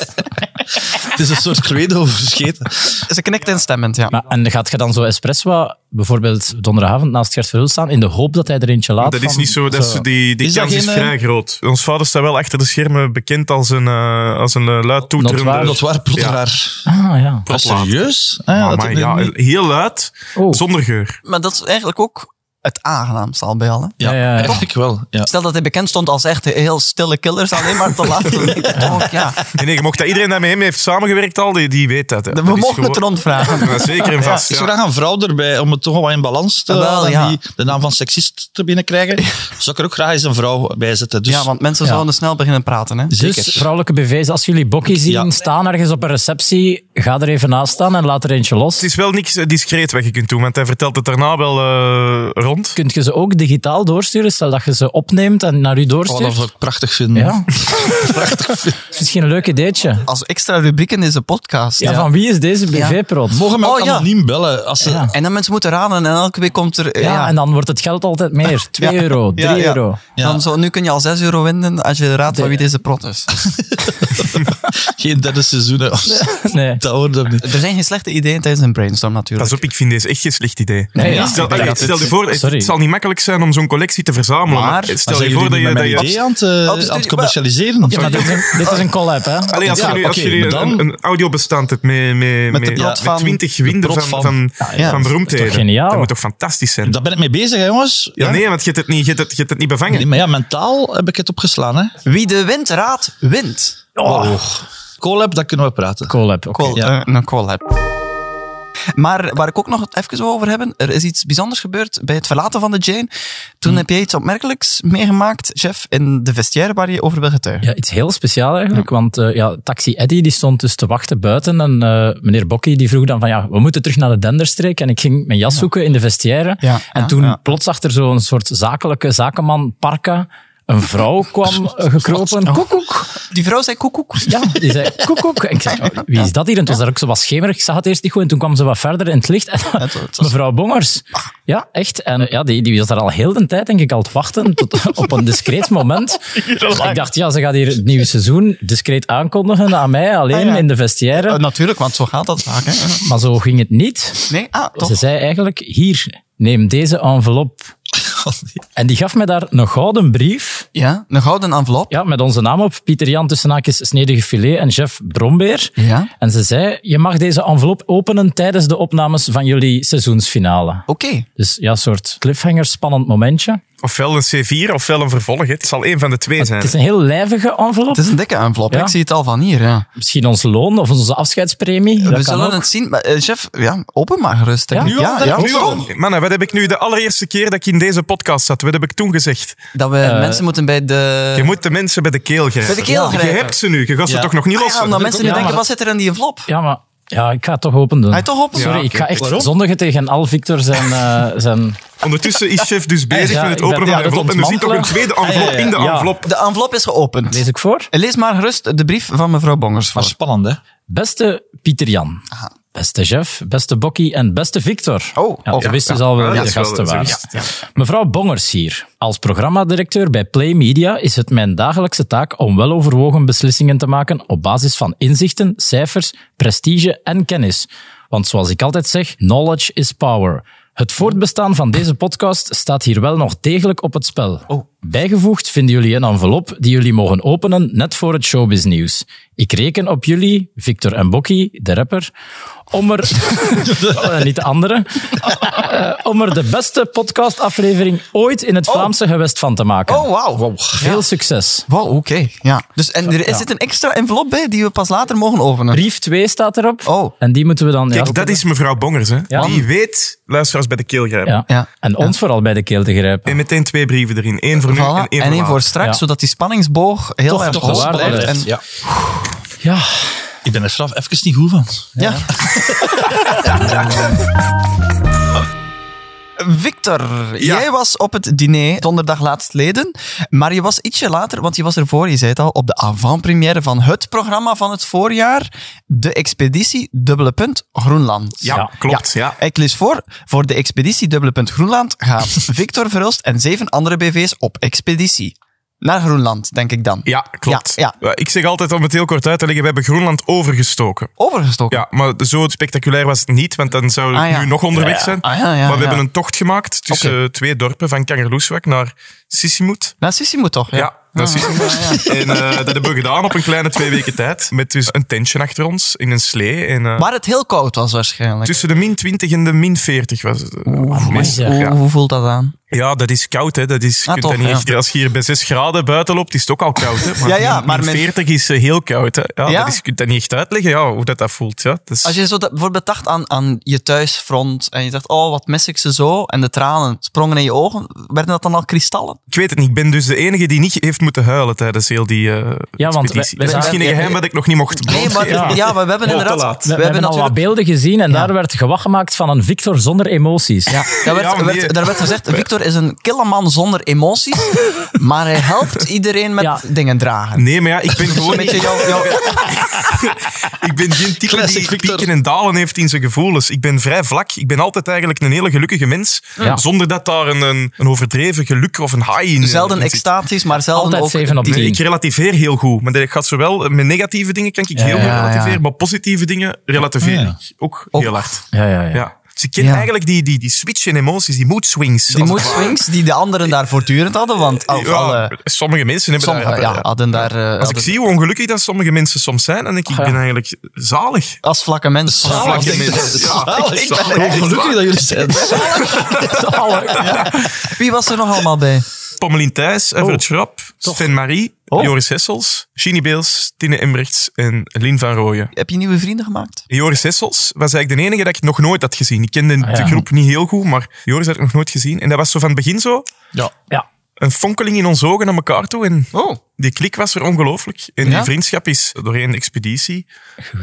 F: Het is een soort credo verscheten.
C: Ze knikt instemmend, ja.
D: Maar, en gaat je dan zo espresso bijvoorbeeld donderdagavond naast Gert Verhul staan in de hoop dat hij er eentje laat?
E: Dat is
D: van-
E: niet zo, dat is, die, die
F: Is dat
E: kans is
F: geen,
E: vrij
F: eh,
E: groot. Ons vader staat wel achter de schermen bekend als een, eh, als een eh, luid toeterende...
D: Notwaar,
F: Dat waren Protteraar.
D: Ah, ja.
F: Ah, serieus? Ah, ja, dat
E: Amai,
F: heb ik
E: ja,
F: niet-
E: heel luid,
D: Oh.
E: zonder geur.
C: Maar dat is eigenlijk ook het aangenaamste al bij al. hè.
D: Ja,
F: ja,
D: ja, ja.
F: eigenlijk wel. Ja.
C: Stel dat hij bekend stond als echt heel stille killers, alleen maar te laten. weten. Ook, ja.
E: Nee, nee, je mocht dat iedereen dat met hem heeft samengewerkt al, die, die weet dat. hè.
C: We
E: Dat is
C: mogen het
E: gewoon-
C: rondvragen.
E: Ja, Zeker en vast.
F: Ik
E: ja.
F: zou graag een vrouw erbij, om het toch wel in balans te
C: Ah, wel,
F: houden en
C: ja.
F: die de naam van seksist te binnenkrijgen. Zou ik er ook graag eens een vrouw bij zetten. Dus
C: Ja, want mensen zouden snel beginnen praten. Hè.
D: Dus vrouwelijke BV's, als jullie bokkie zien
F: Ja.
D: staan ergens op een receptie, ga er even naast staan en laat er eentje los.
E: Het is wel niks eh, discreet wat je kunt doen, want hij vertelt het daarna wel eh, rond. rond.
D: Kunt je ze ook digitaal doorsturen? Stel dat je ze opneemt en naar u
F: Oh, dat
D: doorstuurt.
F: zou ik prachtig vinden.
D: ja. Dat is misschien een leuk ideetje.
C: Als extra rubriek in deze podcast.
D: Ja, Van wie is deze BV-prot?
F: Mogen we
C: Oh,
F: ook
C: ja.
F: anoniem bellen? Als ze,
C: En dan mensen moeten raden en elke week komt er... eh,
D: Ja,
C: ja,
D: en dan wordt het geld altijd meer. 2 euro, 3
C: Ja, ja.
D: euro.
F: Ja.
C: Dan zo, nu kun je al 6 euro winnen als je raadt van wie deze prot is.
F: Geen derde seizoen. hè.
D: Nee.
F: Dat hoort hem niet.
C: er zijn geen slechte ideeën tijdens een brainstorm natuurlijk.
E: Pas op, ik vind deze echt geen slecht idee.
D: Nee, ja.
E: Stel, allee, stel je voor, het,
D: Sorry.
E: het zal niet makkelijk zijn om zo'n collectie te verzamelen.
C: Maar-
E: Maar,
F: Maar
E: stel
F: zijn
E: je voor dat
F: jullie
E: je...
F: niet
E: Dat
F: met
E: je
F: mijn idee aan het,
C: op
F: eh, aan het
C: studio-
F: commercialiseren?
D: Ja, maar dit, is een, dit is een collab, hè?
E: Allee, als
F: Ja,
E: je nu, als
F: oké,
E: je nu
F: maar dan-
E: een, een audiobestand hebt met,
C: Met
E: met,
C: de
E: met,
C: plot
E: met
C: van-
E: 20
F: de
E: winden
F: plot
E: van,
F: van-
C: ja,
E: van,
C: dat is
E: van beroemdheden.
D: toch geniaal?
E: Dat moet toch fantastisch zijn?
F: Daar ben ik mee bezig, hè, jongens.
E: ja, nee, want je hebt het niet, je hebt het, je hebt het niet bevangen.
F: Nee, Maar ja, mentaal heb ik het opgeslaan. Hè.
C: Wie de wind raadt, wint.
E: Oh.
F: Collab, daar kunnen we praten.
D: Collab, oké.
C: Cool,
F: Ja.
C: eh, een collab. Maar waar ik ook nog het even wil over hebben, er is iets bijzonders gebeurd bij het verlaten van de Jane. Toen
D: Hm.
C: heb jij iets opmerkelijks meegemaakt, Jeff, in de vestiaire waar je over wil getuigen.
D: Ja, iets heel speciaal eigenlijk, want eh, ja, taxi Eddy die stond dus te wachten buiten en eh, meneer Bokkie die vroeg dan van ja, we moeten terug naar de Denderstreek en ik ging mijn jas zoeken in de vestiaire
C: Ja,
D: en
C: ja,
D: toen
C: ja.
D: plots achter zo'n soort zakelijke zakenman Parka een vrouw kwam eh, gekropen. Koekoek.
C: Die vrouw zei koekoek.
D: Ja, die zei koekoek. En ik zei, oh, wie is dat hier? En toen was dat ook zo wat schemerig. Ik zag het eerst niet goed en toen kwam ze wat verder in het licht. En dan- mevrouw Bongers. Ja, echt. En eh, ja, die, die was daar al heel de tijd denk ik al te wachten tot, op een discreet moment. Dus ik dacht, ja, ze gaat hier het nieuwe seizoen discreet aankondigen aan mij, alleen in de
C: Eh,
D: vestiaire.
C: natuurlijk, want zo gaat dat vaak. Hè?
D: Maar zo ging het niet.
C: Nee, ah, toch?
D: Ze zei eigenlijk, hier, neem deze envelop. En die gaf mij daar een gouden brief.
C: Ja, een gouden envelop.
D: Ja, met onze naam op. Pieter Jan tussen haakjes snedige filet en chef Brombeer.
C: Ja.
D: En ze zei, je mag deze envelop openen tijdens de opnames van jullie seizoensfinale.
C: Oké.
D: Dus ja, een soort cliffhanger, spannend momentje.
E: Ofwel een C4, ofwel een vervolg. hè. Het zal één van de twee zijn.
D: Het is een heel lijvige envelop.
C: Het is een dikke envelop.
D: Ja.
C: Ik zie het al van hier. Ja.
D: Misschien ons loon of onze afscheidspremie.
C: We
D: dat kan
C: zullen
D: ook.
C: het zien. Maar, eh, chef, ja, open maar gerust. denk
D: Ja?
C: ik.
D: Nu al?
C: ja, ja,
E: Nu al.
C: toch?
E: Mannen, wat heb ik nu de allereerste keer dat ik in deze podcast zat? Wat heb ik toen gezegd?
C: Dat we
D: Eh,
C: mensen moeten bij de...
E: Je moet de mensen bij de keel grijpen.
C: Bij de keel
E: Je
C: grijpen.
E: hebt ze nu. Je gaat ze
F: Ja.
E: toch nog niet
C: Ah, ja,
E: lossen?
C: omdat mensen nu
D: Ja,
C: denken,
D: maar-
C: wat zit er in die envelop?
D: Ja, maar ja, ik ga het toch open doen.
C: Hij toch open?
D: Sorry,
E: Ja,
D: ik ga echt
F: Waarom?
D: zondigen tegen Al Victor zijn... eh, zijn...
E: Ondertussen is chef dus bezig
D: Ja,
E: met het
D: ik ben-
E: openen
D: ja, dat
E: van de envelop. En er zit toch een
D: ontmantelen.
E: tweede envelop in de
D: Ja.
E: envelop.
C: De envelop is geopend.
D: Lees ik voor?
C: Lees maar gerust de brief van mevrouw Bongers
F: Maar
C: voor.
F: spannend, hè?
E: Oh,
D: Beste Pieter Jan. Beste Jeff, beste Bokkie en beste Victor.
C: Oh,
D: ja,
C: oh,
D: ze
C: ja,
D: wisten dus al wel
E: Ja,
D: wie
E: dat
D: de
E: is wel-
D: gasten
E: dat
D: waren.
E: is- ja.
D: Mevrouw Bongers hier. Als programmadirecteur bij Play Media is het mijn dagelijkse taak om weloverwogen beslissingen te maken op basis van inzichten, cijfers, prestige en kennis. Want zoals ik altijd zeg, knowledge is power. Het voortbestaan van deze podcast staat hier wel nog degelijk op het spel. Bijgevoegd vinden jullie een envelop die jullie mogen openen net voor het showbiz nieuws. Ik reken op jullie, Victor en Bokkie, de rapper, om er... Oh, niet de andere. Eh, om er de beste podcastaflevering ooit in het Vlaamse gewest van te maken.
C: Oh, wauw.
D: Veel succes.
C: Wow, oké. Ja. Dus en er is zit een extra envelop bij die we pas later mogen openen.
D: Brief 2 staat erop.
C: Oh.
D: En die moeten we dan... ja,
E: Kijk, dat is mevrouw Bongers. Hè.
D: Ja.
E: Die weet luisteraars bij de keel grijpen.
D: Ja.
C: Ja.
D: En ons vooral bij de keel te grijpen.
E: En meteen twee brieven erin. Eén voor nu en
C: Voilà.
E: één
C: En één
E: voor
C: voor
E: later.
C: straks,
D: Ja.
C: zodat die spanningsboog heel erg
D: toch
C: hoog
D: bewaard
C: blijft.
D: blijft.
C: En,
F: Ja.
D: Ja.
F: Ik ben er straf even niet goed van.
C: ja. Victor, jij was op het diner donderdag laatstleden, maar je was ietsje later, want je was ervoor, je zei het al, op de avant-première van het programma van het voorjaar, de expeditie dubbele punt Groenland.
E: Ja, klopt. Ja.
C: Ik lees voor, voor de expeditie Dubbele Punt Groenland gaat Victor Verhulst en zeven andere BV's op expeditie. Naar Groenland, denk ik dan.
E: Ja, klopt.
C: Ja,
E: Ik zeg altijd om het heel kort uit te leggen, we hebben Groenland overgestoken.
C: Overgestoken.
E: Ja, maar zo spectaculair was het niet, want dan zou het
C: Ah, ja.
E: nu nog onderweg zijn.
C: Ah, ja, ja,
E: maar we
C: ja.
E: hebben een tocht gemaakt tussen
C: Oké.
E: eh, twee dorpen, van Kangerloesweg naar Sissimut.
C: Nou, Sissi moet toch? Ja. Ah.
E: Ja, dat is En eh, dat hebben we gedaan op een kleine twee weken tijd. Met dus een tentje achter ons in een slee. En, eh,
C: Waar het heel koud was waarschijnlijk.
E: tussen de min 20 en de min 40 was het. eh, meest-
D: ja.
C: hoe,
E: ja.
C: hoe voelt dat aan?
E: Ja, dat is koud, hè. Dat is, je
C: Ah,
E: kunt
C: toch,
E: dat niet
C: ja.
E: echt- als je hier bij 6 graden buiten loopt, is het ook al koud, hè. Maar,
C: Ja, ja, maar men-
E: 40 is eh, heel koud, hè. Ja,
C: Ja?
E: Dat is, je kunt dat niet echt uitleggen, ja, hoe dat, dat voelt, ja. Dat is-
C: Als je zo dat- bijvoorbeeld dacht aan, aan je thuisfront en je dacht, oh, wat mis ik ze zo? En de tranen sprongen in je ogen. Werden dat dan al kristallen?
E: Ik weet het niet. Ik ben dus de enige die niet heeft moeten huilen tijdens heel die eh
D: Ja, want wij- wij
E: expeditie. Dat is
D: zijn-
E: misschien een
C: ja,
E: geheim
C: ja.
E: dat ik nog niet mocht
C: Nee, maar
E: blootgeven.
C: ja, maar we hebben inderdaad...
D: We, we hebben al wat beelden gezien en daar werd gewacht gemaakt van een Victor zonder emoties.
C: Ja, daar werd,
E: Ja, maar
C: werd-
E: nee.
C: daar werd gezegd, Victor is een kille man zonder emoties, maar hij helpt iedereen met
D: Ja.
C: dingen dragen. Dus
E: Nee, maar ja, ik ben
C: Een
E: gewoon
C: beetje
E: niet...
C: jouw- jouw-
E: Ik ben geen type
F: Classic
E: die
F: Victor.
E: pieken en dalen heeft in zijn gevoelens. Ik ben vrij vlak. Ik ben altijd eigenlijk een hele gelukkige mens.
D: Ja.
E: Zonder dat daar een, een, een overdreven geluk of een high in eh,
C: zelden
E: in zit.
C: extatisch, maar zelden
D: Altijd
C: ook...
D: 7 op
E: Nee,
D: 10.
E: ik relativeer heel goed. Maar dat gaat zowel met negatieve dingen kan ik heel goed
D: ja,
E: relativeren, maar positieve dingen relativeer
F: Ah, ja.
E: ik ook,
C: Ook.
E: heel hard.
D: Ja, ja, ja.
E: Ja. Dus ik ken
C: Ja.
E: eigenlijk die, die, die switch in emoties, die mood swings.
C: Die
E: als
C: mood
E: het ware.
C: swings die de anderen daar voortdurend hadden, want of
E: Ja,
C: alle,
E: sommige mensen hebben
C: sommigen
E: daar...
C: ja, hadden daar... eh,
E: Als ik
C: hadden-
E: zie hoe ongelukkig dat sommige mensen soms zijn, dan denk ik, ik ben eigenlijk zalig.
C: als vlakke mensen.
E: Vlakke
F: denk ik.
E: mensen. Ja,
F: Zalig.
E: ik ben
F: Hoe
E: echt
F: gelukkig dat jullie zijn.
C: Wie was er nog allemaal bij?
E: Pommelien Thijs,
C: Oh,
E: Everett Schrap, Sven Marie, Joris Hessels, Gini Beels, Tine Embrechts en Lien van Rooyen.
C: Heb je nieuwe vrienden gemaakt?
E: Joris Hessels was eigenlijk de enige dat ik nog nooit had gezien. Ik kende
D: Ah, ja.
E: de groep niet heel goed, maar Joris had ik nog nooit gezien. En dat was zo van het begin zo,
D: Ja.
E: een fonkeling in onze ogen naar elkaar toe. En die klik was er ongelooflijk. En
C: Oh. Ja?
E: die vriendschap is doorheen de expeditie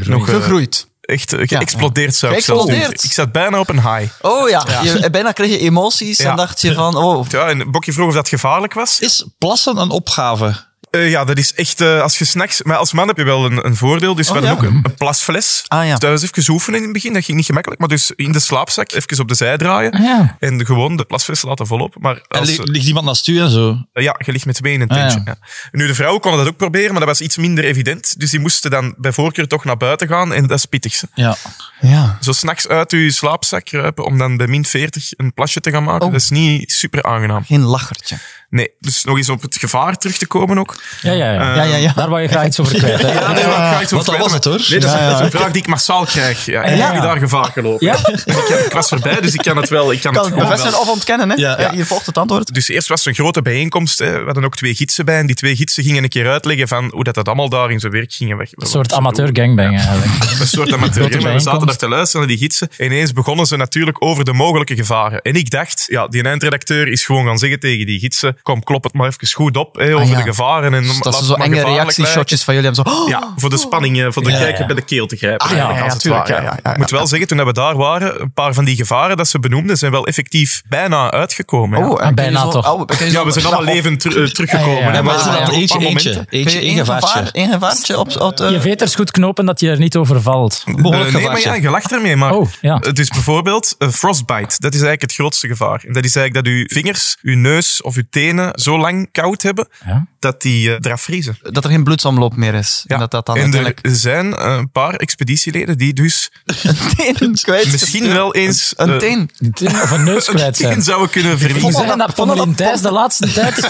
E: nog eh,
C: Gegroeid.
E: echt eh, geëxplodeerd, zou ik zelfs
C: Geëxplodeerd.
E: zeggen. Ik zat bijna op een high.
C: Oh ja, Je, bijna kreeg je emoties
E: Ja.
C: en dacht je van, oh,
E: Ja, en Bokje vroeg of dat gevaarlijk was.
F: Is plassen een opgave?
E: Eh, ja, dat is echt, eh, als je s'nachts... Maar als man heb je wel een, een voordeel.
F: Oh,
E: Dus we hadden ook een,
F: Mhm.
E: een plasfles.
C: Ah, ja.
E: Dus dat was even oefenen in het begin. Dat ging niet gemakkelijk. Maar dus in de slaapzak even op de zij draaien.
D: ja.
E: En gewoon de plasfles laten volop. Maar
F: Ah, En
E: als,
F: li- ligt iemand naast u en zo?
E: eh, ja, je ligt met twee in een
F: Ah, ja.
E: tentje. ja. Nu, de vrouwen konden dat ook proberen, maar dat was iets minder evident. Dus die moesten dan bij voorkeur toch naar buiten gaan. En dat is pittig. hè.
F: Ja.
C: ja.
E: Zo s'nachts uit je slaapzak kruipen om dan bij min 40 een plasje te gaan
F: Oh.
E: maken. Dat is niet super aangenaam.
C: Geen lachertje.
E: Nee, dus nog eens op het gevaar terug te komen ook.
D: Ja, ja, ja.
C: Ja, ja, ja.
D: Daar wou je graag iets over kwijt. Hè?
E: Ja, nee, maar ik ga iets
F: Want dat
E: over
F: was het hoor.
E: Nee, dat is, dat is een vraag die ik massaal krijg. Ja, Hebben jullie daar gevaar gelopen?
D: Ja?
E: Ik, heb, ik was erbij, dus ik kan het wel. Ik kan het
C: Kan het
E: gewoon
C: bevestigen
E: wel.
C: of ontkennen, hè?
F: Ja.
C: Ja, je volgt het antwoord.
E: Dus eerst was er een grote bijeenkomst. Hè. We hadden ook twee gidsen bij. En die twee gidsen gingen een keer uitleggen van hoe dat, dat allemaal daar in zijn werk ging.
D: Een soort amateur gangbang eigenlijk.
E: Een soort amateur. Maar we zaten daar te luisteren naar die gidsen. En ineens begonnen ze natuurlijk over de mogelijke gevaren. En ik dacht, ja, die eindredacteur is gewoon gaan zeggen tegen die gidsen: kom, klop het maar even goed op hè, over
C: ja.
E: de gevaren. En
C: Dat
E: laat
C: ze
E: het
C: zo
E: maar
C: enge
E: gevaarlijk lijken.
C: reactieshotjes van jullie hebben. Zo, oh,
E: Ja, voor de spanning, eh, voor de kijker bij de keel te grijpen.
C: Ah, ja, ja,
E: als het
C: tuurlijk,
E: ware,
C: ja, ja, ja,
E: Ik moet wel zeggen, toen we daar waren, een paar van die gevaren dat ze benoemden, zijn wel effectief bijna uitgekomen. ja.
C: oh, en
D: bijna
C: kun je zo-
D: toch.
C: oh, kun je
E: ja,
C: zo-
E: we zijn allemaal
C: nou,
E: levend ter- eh, teruggekomen.
D: Ja, ja, ja.
E: hè,
F: Maar
E: maar
F: is
E: er
F: er
E: waren
F: altijd
E: een
F: eentje,
E: paar
F: eentje,
E: momenten.
C: kun
F: eentje,
C: je
F: één
C: één gevaar,
F: gevaartje.
C: één gevaartje op... op eh,
D: Je veters goed knopen dat je er niet over valt.
F: Behoorlijk
E: Eh, nee, maar
F: gevaartje.
E: ja, je lacht ermee. Maar
D: Oh, ja.
E: het is bijvoorbeeld eh, frostbite. Dat is eigenlijk het grootste gevaar. En dat is eigenlijk dat uw vingers, uw neus of uw tenen zo lang koud hebben
D: Ja.
E: dat die eh, eraf vriezen.
C: dat er geen bloedsomloop meer is. En dat dat dan
E: en
C: uiteindelijk...
E: er zijn eh, een paar expeditieleden die dus
C: Tenen kwijt.
E: misschien wel eens
C: Een
E: eh,
C: teen.
D: Of een neus
E: een
D: kwijt zijn.
E: teen zouden kunnen
D: Die
E: verliezen.
D: zijn dat Pommelien Thijs de laatste tijd.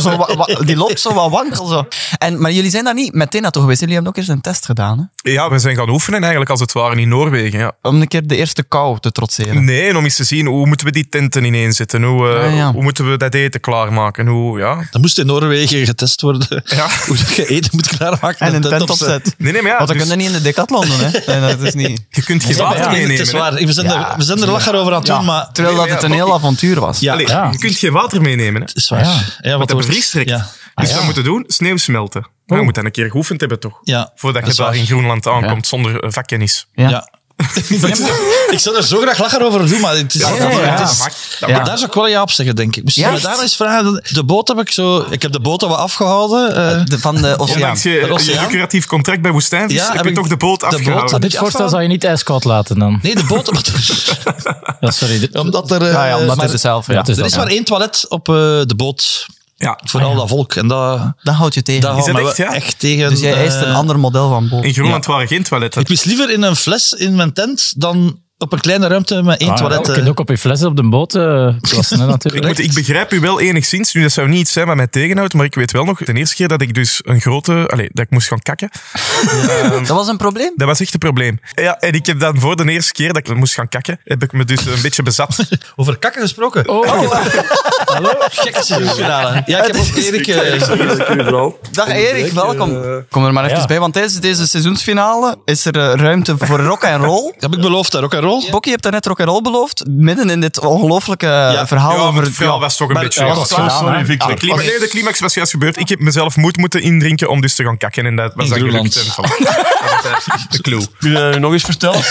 C: Zo wa- wa- die loopt zo wat wankel. Zo. En, maar jullie zijn daar niet meteen naartoe geweest. Jullie hebben ook eerst een test gedaan. Hè?
E: Ja, we zijn gaan oefenen eigenlijk als het ware in Noorwegen. Ja.
C: Om een keer de eerste kou te trotseren.
E: Nee, en om eens te zien hoe moeten we die tenten ineenzetten, hoe, eh,
C: Ah, ja.
E: hoe moeten we dat eten klaarmaken, hoe ja.
F: Dan moest in Noorwegen getest worden
E: Ja.
F: hoe dat je eten moet klaarmaken.
C: En een tent opzet.
E: Nee, nee, maar ja,
C: Want dat
E: dus
C: kunnen niet in de decathlon doen. Hè? Nee, dat is niet...
E: je kunt geen water
F: Ja,
E: meenemen.
F: het is
E: hè.
F: waar. We zijn, er, we zijn er lacher over aan het doen, maar het
C: Terwijl dat
E: Nee,
C: het
E: ja,
C: een heel
E: maar-
C: avontuur was.
F: Ja.
E: Allee, Je kunt geen water meenemen, hè.
F: is waar. Ja,
E: want
F: want
E: dat
F: wordt-
E: bevriest direct.
F: Ja, Oh.
E: Dus wat we moeten doen? Sneeuw smelten. Maar je moet dat een keer geoefend hebben, toch?
F: ja.
E: Voordat
F: dat
E: je
F: is
E: daar
F: waar.
E: in Groenland aankomt zonder eh, vakkennis.
C: Ja.
F: Ja. ik zou er zo graag lachen over doen, maar het is...
E: Ja, dat-
F: het
E: dat
F: is-
E: mag. Dat
F: Maar
E: mag.
F: daar zou ik wel ja op zeggen, denk ik. Misschien
C: Ja,
F: we
C: echt?
F: daar eens vragen. De boot heb ik zo... Ik heb de boot al wat afgehouden. eh,
C: De, van de oceaan.
E: Ondanks je,
F: dat was-
E: je
F: ja.
E: lucratief contract bij Woestijnvis
F: Ja,
E: heb
F: heb
E: je
F: ik
E: toch de boot
F: de boot-
E: afgehouden.
D: Maar dit voorstel zou je niet ijskoud laten dan.
F: nee, de boot... omdat-
D: Ja, sorry. dit-
F: omdat er... eh,
C: Ja, ja, omdat
F: maar-
C: het dezelfde.
D: Ja,
C: Ja.
D: het is
F: er
D: dat,
F: is
D: ja.
F: maar één toilet op eh, de boot.
E: Ja.
F: Voor al dat volk. En dat,
C: Dat houdt je tegen.
F: dat
E: dat
F: houdt me
E: echt,
F: wel
E: ja?
F: echt tegen...
C: dus jij eist
F: eh,
C: een ander model van boven.
E: In Groenland waren geen toiletten.
F: Ik wist liever in een fles in mijn tent dan op een kleine ruimte met één
D: Ah,
F: toilet.
D: je
F: eh,
D: kunt ook op je flessen op de boot eh, plassen, hè,
E: Ik,
D: natuurlijk.
E: moet, ik begrijp u wel enigszins. Nu, dat zou niet iets zijn wat mij tegenhoudt, maar ik weet wel nog de eerste keer dat ik dus een grote... Allee, dat ik moest gaan kakken.
C: Dat was een probleem.
E: Dat was echt een probleem. Ja, en ik heb dan voor de eerste keer dat ik moest gaan kakken, heb ik me dus een beetje bezat.
F: Over kakken gesproken.
D: Oh,
F: Hallo? Gekke seizoensfinale. Ja, ik heb ook Erik... eh,
C: Dag Erik, welkom. Kom er maar even
D: Ja.
C: bij, want tijdens deze seizoensfinale is er eh, ruimte voor rock en roll.
F: heb ik beloofd daar ook een rol?
C: Bokkie, je hebt daarnet rock en roll beloofd, midden in dit ongelooflijke eh, verhaal
E: Ja, maar
C: over...
E: het verhaal
C: ja.
E: was toch een
F: maar-
E: beetje...
F: ja,
E: ja.
F: was zo
E: sorry, Victor. De climax, nee, de climax was juist gebeurd. Ik heb mezelf moed moeten indrinken om dus te gaan kakken. En dat was
F: In
E: dan
F: Groenland.
E: gelukt. En voilà. Dat was, eh, de clue.
G: Kun je dat nu nog eens vertellen?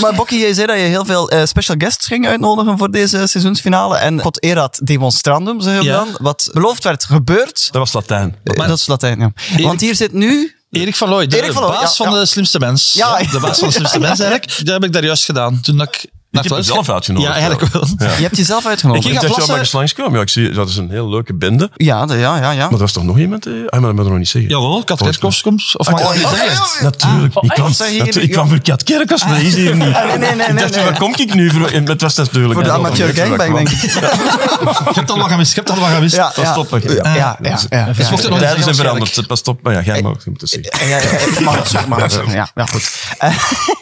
C: Maar Bokkie, jij zei dat je heel veel eh, special guests ging uitnodigen voor deze seizoensfinale. En God erat demonstrandum, zei je
F: Ja.
C: dan. Wat beloofd werd, gebeurd.
G: Dat was Latijn.
C: Eh, dat is Latijn, ja. Want hier zit nu...
F: Erik van Looy, de
C: Erik van Looy,
F: baas
C: ja,
F: van
C: ja.
F: de slimste mens.
C: Ja,
F: de baas van de slimste mens eigenlijk. Dat heb ik daar juist gedaan. Toen dat ik naar
G: Ik heb
F: het
G: mezelf
F: zelf
G: uitgenodigd.
F: Ja, eigenlijk wel.
C: Je hebt jezelf uitgenodigd.
G: Ik
F: ging
G: dacht
F: gaan
G: dat
F: plassen.
G: je maar eens langskomen. Ja, ik zie, dat is een heel leuke bende. Maar
C: Ja, de- ja, ja, ja.
G: er was toch nog iemand? eh? Ah, maar dat moet ik nog niet zeggen.
F: Jawel, Kat Kerkhoffs komt. Of mag ik dat niet zeggen?
G: Natuurlijk. ik kwam,
C: zeg je
G: dat-
C: hier-
G: ik kwam voor Kat Kerkhoffs, maar dat is hier niet.
C: nee, nee, nee,
G: ik dacht,
C: nee.
G: waar kom ik nu? Voor, en het was natuurlijk...
C: Voor de
G: Ja, dat
C: amateur
G: was-
C: gangbang, denk ik.
F: Je hebt al wat gemist. Je hebt al wat gemist.
C: Ja,
G: Dat
C: ja.
G: stop ik.
C: Ja, ja, ja. ja,
F: Dus mocht er nog
G: De
F: iets
G: tijden
F: waarschijnlijk.
G: zijn veranderd. Het was top. Maar ja, jij mag het moeten zeggen.
C: Ja, ja, ja, ik mag het zo, ik mag het zo. Ja, ja, goed.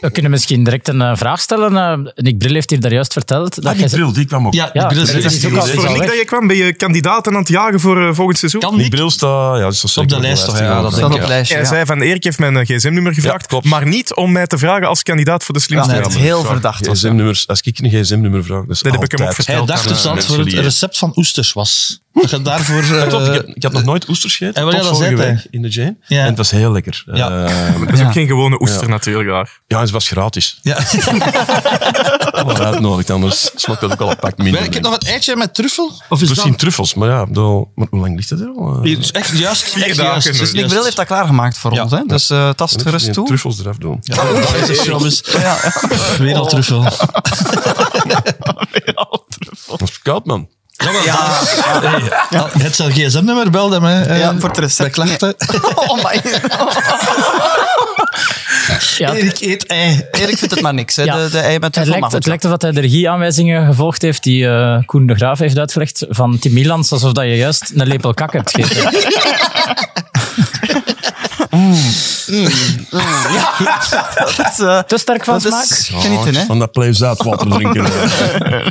D: We kunnen misschien direct een eh, vraag stellen. Eh, Nick Bril heeft hier daar juist verteld. Dat
G: Ah, die
D: jij ze-
G: bril, die kwam ook.
F: Ja,
D: Ja,
F: de grizzly
D: dat is
F: is
D: ook
F: er
D: al-
G: is
E: Voor
D: al
E: Nick
D: weg.
E: dat je kwam, ben je kandidaat aan het jagen voor eh, volgend seizoen.
F: Kan
G: Die
F: niet.
G: bril staat... Ja, dat is
F: Op de lijst toch, ja, dat
C: Staat
F: denk
C: op
F: ik.
C: het lijstje.
E: Hij
C: ja.
E: zei van Erik heeft mijn eh, gsm-nummer gevraagd,
G: klopt.
E: maar niet om mij te vragen als kandidaat voor de
C: Ja,
E: slimste.
C: het is
E: man.
C: heel verdacht. was.
G: GSM-nummers, als ik een gsm-nummer vraag, dat is
E: Dat heb ik hem
G: altijd-
E: ook verteld.
F: Hij dacht dus dat het voor het recept van oesters was. Dat je daarvoor... eh,
G: Ja, klopt. Ik, heb, ik had nog nooit oesters gegeten.
F: En wel, ja,
G: tot
F: dat
G: vorige
F: zei hij.
G: week in de Jane.
F: Ja.
G: En het was heel lekker. Eh,
F: Ja.
G: Ja,
E: Dat is ook geen gewone oester
G: Ja.
E: natuurlijk. Daar.
G: en het was gratis.
F: Ja.
G: Allemaal uitnodigd, anders smaakt dat ook al een pak minder.
F: Ik heb
G: denk
F: nog
G: ik.
F: het eitje met truffel. Of is
G: Misschien
F: dat...
G: truffels, maar ja, dat- maar hoe lang ligt dat er al? Eh,
F: Hier, is Echt juist.
E: Vier
F: echt
E: dagen
F: juist,
E: dus.
F: is
C: Nick
F: juist.
C: Bril heeft dat klaargemaakt voor
F: Ja.
C: ons, hè? dus eh, tast
G: moet je die
C: gerust toe.
G: Truffels eraf doen.
F: Dat is echt trouwens.
C: Ja.
F: Wereldtruffel.
G: Dat is koud, man.
C: Ja.
F: Ja, Het zijn gsm-nummer, bel hem. Hè. Eh,
C: Ja, voor het recept.
F: Bij klachten.
C: Oh my.
D: Ja, het-
F: Erik eet ei.
C: Erik vindt het maar niks, hè?
D: Ja.
C: De, de ei met
D: het
C: truffel
D: lijkt,
C: mag
D: het
C: ook.
D: lijkt alsof hij de regieaanwijzingen gevolgd heeft die eh, Koen de Graaf heeft uitgelegd van Tim Milans, alsof dat je juist een lepel kak hebt gegeten.
C: Dat is, eh,
D: Te sterk van
C: dat
D: smaak?
C: is genieten, hè?
G: Van dat play zaadwater drinken. eh.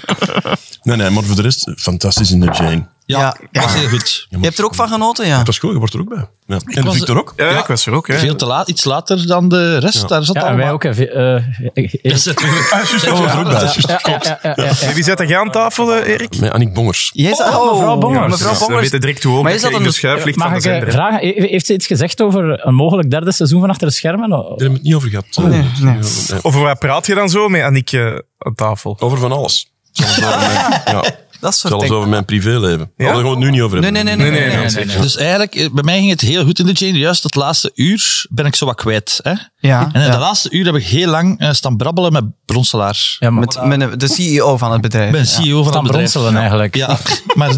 G: nee, nee, maar voor de rest, eh, fantastisch in de Jane.
F: Ja,
C: Ja, ja.
F: dat is heel goed.
C: Je hebt er ook van genoten, ja.
G: Dat is cool, je wordt er ook bij. Ja. En de
F: was-
G: Victor ook.
E: Ja, ik was er ook. Hè.
F: Veel te laat, iets later dan de rest. Daar zat
D: Ja, en
F: allemaal-
D: wij ook. hè. Ve- eh, eh,
F: Is het-
G: Ja, was er ook bij.
D: Ja, ja, ja, ja, ja.
E: Wie zat er jij aan tafel, eh, Erik?
G: Met Annick Bongers.
C: Jij zei-
D: Oh, mevrouw Bongers.
C: Ja,
E: Dus,
C: Mevrouw
E: eh, we
C: Bongers.
E: weten direct hoe hoog
C: Maar
E: dat
C: is
E: je
C: dat
E: in de
C: een-
E: schuif ligt van
D: Mag
E: de
D: ik eh,
E: zender. hè.
D: vragen, he- heeft ze iets gezegd over een mogelijk derde seizoen van Achter de Schermen?
G: Daar hebben we het niet over gehad. Eh, eh,
E: Over wat praat je dan zo met Annick eh, aan tafel?
G: Over van alles. Zelfs over mijn, ja,
C: Dat soort
G: zelfs
C: dingen.
G: over mijn privéleven.
E: Ja?
G: Ja? Daar gaan we het nu niet over
C: Nee,
G: hebben.
C: nee, nee. nee, nee, nee.
F: Dus eigenlijk, eh, bij mij ging het heel goed in de Jane. Juist dat laatste uur ben ik zo wat kwijt. Hè?
C: Ja,
F: En in
C: ja.
F: de laatste uur heb ik heel lang eh, staan brabbelen met Bronselaar.
D: Ja, maar
C: Met, met de CEO van het bedrijf.
F: Ik ben CEO van
D: Staan
F: het bedrijf.
D: bronselen eigenlijk.
F: Ja, maar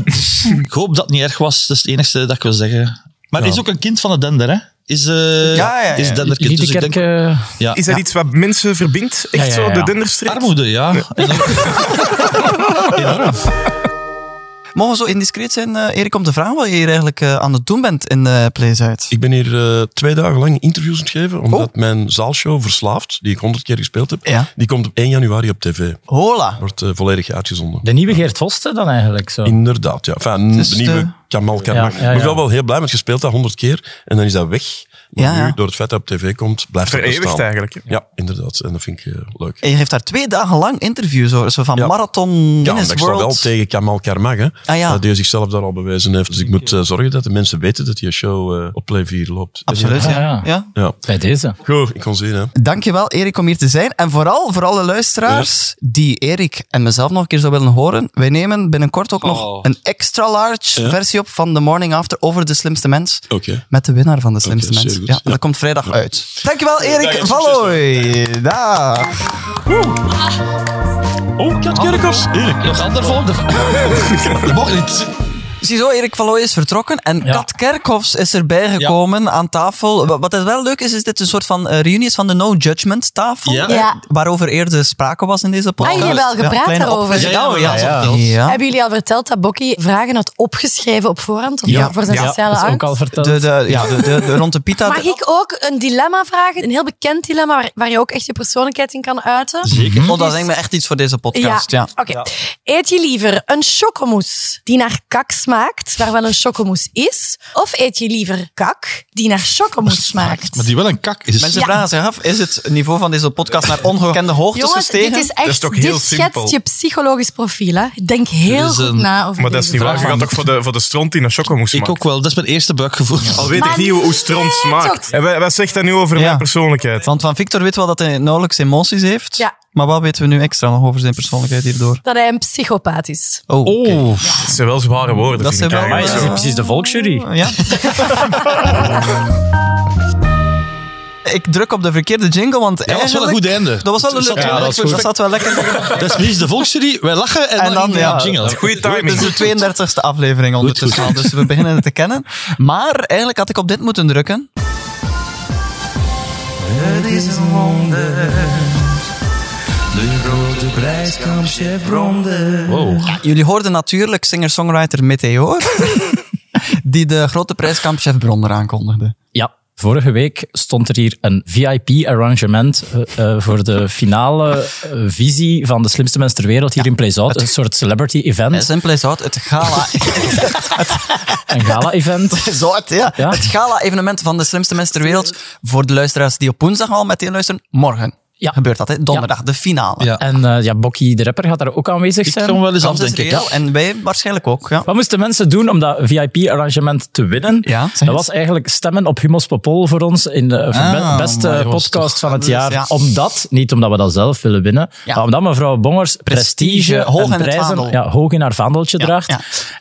F: ik hoop dat het niet erg was. Dat is het enige dat ik wil zeggen. Maar het is ook een kind van de Dender, hè? Is, eh
C: Ja, ja, ja.
F: is Denderkind.
D: Niet
F: Dus
D: de
F: ik
D: kerk...
F: denk,
D: eh,
F: ja.
E: Is dat iets wat mensen verbindt? Echt
D: Ja, ja, ja.
E: zo, de denderstreek?
F: Armoede, ja. En ook-
C: Mogen we zo indiscreet zijn, eh, Erik, om te vragen wat je hier eigenlijk eh, aan het doen bent in eh Plays Uit?
G: Ik ben hier eh, twee dagen lang interviews aan het geven, omdat mijn zaalshow Verslaafd, die ik honderd keer gespeeld heb,
C: Ja.
G: die komt op 1 januari op tv.
C: Hola.
G: Wordt eh, volledig uitgezonden.
D: De nieuwe Geert Vosten dan eigenlijk. Zo.
G: Inderdaad, ja. Enfin,
C: Dus
G: de
C: de-
G: nieuwe Kamal Karmak.
D: Ja, ja, ja.
G: Ik ben wel, wel heel blij, want je speelt dat honderd keer en dan is dat weg. Maar
C: Ja, ja.
G: nu, door het feit dat het op tv komt, blijft dat
E: Vereeuwigd
G: bestaan.
E: eigenlijk, hè?
G: Ja, inderdaad. En dat vind ik eh, leuk.
C: En je geeft daar twee dagen lang interviews over. Zo van
G: Ja.
C: marathon,
G: Ja,
C: Guinness
G: want ik sta
C: World.
G: wel tegen Kamal Karmag, hè,
C: Ah, ja.
G: dat die zichzelf daar al bewezen heeft. Dus ik moet eh, zorgen dat de mensen weten dat die show eh, op Play 4 loopt.
C: Absoluut,
D: Ah,
C: ja.
D: ja.
C: ja.
G: Ja.
D: Bij deze.
G: Goed, ik kon zien, hè.
C: Dankjewel, Erik, om hier te zijn. En vooral voor alle luisteraars die Erik en mezelf nog een keer zou willen horen. Wij nemen binnenkort ook nog een extra large
G: Oh. Ja.
C: versie op van The Morning After over de slimste mens.
G: Oké.
C: Met de winnaar van de slimste
G: zeer
C: mens.
G: goed.
C: Ja, en
G: Ja.
C: dat komt vrijdag uit. Dankjewel, Erik
G: en
C: Valloy. Dag.
G: Oh, Kat Kerkhoffs. Erik.
F: nog ander volk. Dat mocht niet.
C: Ziezo, Erik van Looy is vertrokken en
D: Ja.
C: Kat Kerkhoffs is erbij gekomen aan tafel. Wa- Wat het wel leuk is, is dit een soort van eh, reunie is van de No Judgment tafel. eh,
F: Ja.
A: Ja. Ah,
C: Waarover eerder sprake was in deze podcast.
A: jullie hebben wel gepraat
C: kleine
A: daarover.
C: opfrissing.
F: Ja, ja,
C: Oh, ja,
F: we hebben
C: ja.
F: wel
C: Ja.
A: Hebben jullie al verteld dat Bokkie vragen had opgeschreven op voorhand? Of
C: Ja.
A: voor zijn
D: Ja,
A: sociale
D: dat is ook al
A: angst?
D: verteld.
C: De, de, ja, de, de, de- rond de pita.
A: Mag ik ook een dilemma vragen? Een heel bekend dilemma waar, waar je ook echt je persoonlijkheid in kan uiten.
C: Oh, dat is denk ik echt iets voor deze podcast. Ja.
A: Oké. Eet je liever een chocomousse die naar kak smaakt, waar wel een chocomousse is? Of eet je liever kak die naar chocomousse smaakt?
F: Maar die wel een kak is.
C: Mensen
A: Ja.
C: vragen zich af, is het niveau van deze podcast naar ongekende hoogtes
A: Jongens,
C: gestegen?
A: dit is echt,
E: is toch
A: dit
E: heel simpel.
A: schetst je psychologisch profiel. Hè? Denk heel
F: Dit is
A: goed
F: een-
A: na over
E: Maar dat is
A: deze
E: niet waar. Je
A: vraag.
E: gaat toch voor de, voor de stront die naar choco moest
F: Ik ook wel. Dat is mijn eerste buikgevoel.
E: Al weet ik
A: Maar
E: niet hoe, hoe stront
A: nee,
E: smaakt.
A: toch.
E: En wat, wat zegt dat nu over
C: Ja.
E: mijn persoonlijkheid?
C: Want van Victor weten we wel dat hij nauwelijks emoties heeft.
A: Ja.
C: Maar wat weten we nu extra nog over zijn persoonlijkheid hierdoor?
A: Dat hij een psychopaat is.
C: Oh, oké.
E: Dat zijn wel zware woorden.
C: Dat zijn
E: vind ik
C: wel, eh,
D: Maar is
E: eigenlijk.
D: dit precies de
A: Mm.
D: volksjury?
C: ja. Ik druk op de verkeerde jingle, want
F: Dat was wel een goed einde.
C: Dat was wel een
F: Dat
C: leuk.
F: zat wel
C: Ja, dat,
F: lekker perfect.
C: zat wel lekker.
F: Dat is precies de volksjury. Wij lachen en,
C: En dan,
F: dan, in
C: ja.
F: de jingle.
E: Goeie
C: Dit is
E: timing.
C: de 32e aflevering ondertussen al, dus we beginnen het te kennen. Maar eigenlijk had ik op dit moeten drukken.
B: Het is een wonder. De grote prijskamp Chevronde.
D: Wow.
C: Jullie hoorden natuurlijk singer-songwriter Meteor, die de grote prijskamp Chef Bronner aankondigde.
D: Ja. Vorige week stond er hier een VIP-arrangement eh, voor de finale eh, visie van de slimste mensen ter wereld hier in Place Out. Een soort
C: En
D: celebrity-event,
C: simpel is out, het gala
D: een gala-event.
C: Zot, ja.
D: Ja.
C: Het gala-evenement van de slimste mensen ter wereld. Voor de luisteraars die op woensdag al meteen luisteren, morgen
D: Ja.
C: gebeurt dat, hè? donderdag, de finale.
F: Ja.
D: En eh, ja, Bokkie de rapper gaat daar ook aanwezig
F: Ik
D: zijn.
F: kom wel eens af,
C: Kans is
F: denk ik.
C: reëel En wij waarschijnlijk ook. Ja.
D: Wat moesten mensen doen om dat VIP-arrangement te winnen?
C: Ja, zeg
D: dat
C: eens.
D: was eigenlijk stemmen op Humus Popol voor ons in de voor
F: Ah,
D: be- beste
F: maar jongens,
D: podcast
F: toch.
D: van het
C: Dus,
D: jaar.
C: ja.
D: Omdat, niet omdat we dat zelf willen winnen,
C: Ja.
D: maar omdat mevrouw Bongers prestige,
C: Prestige, hoog in
D: en
C: het
D: prijzen
C: vaandel.
D: ja, hoog in haar vaandeltje draagt.
C: ja.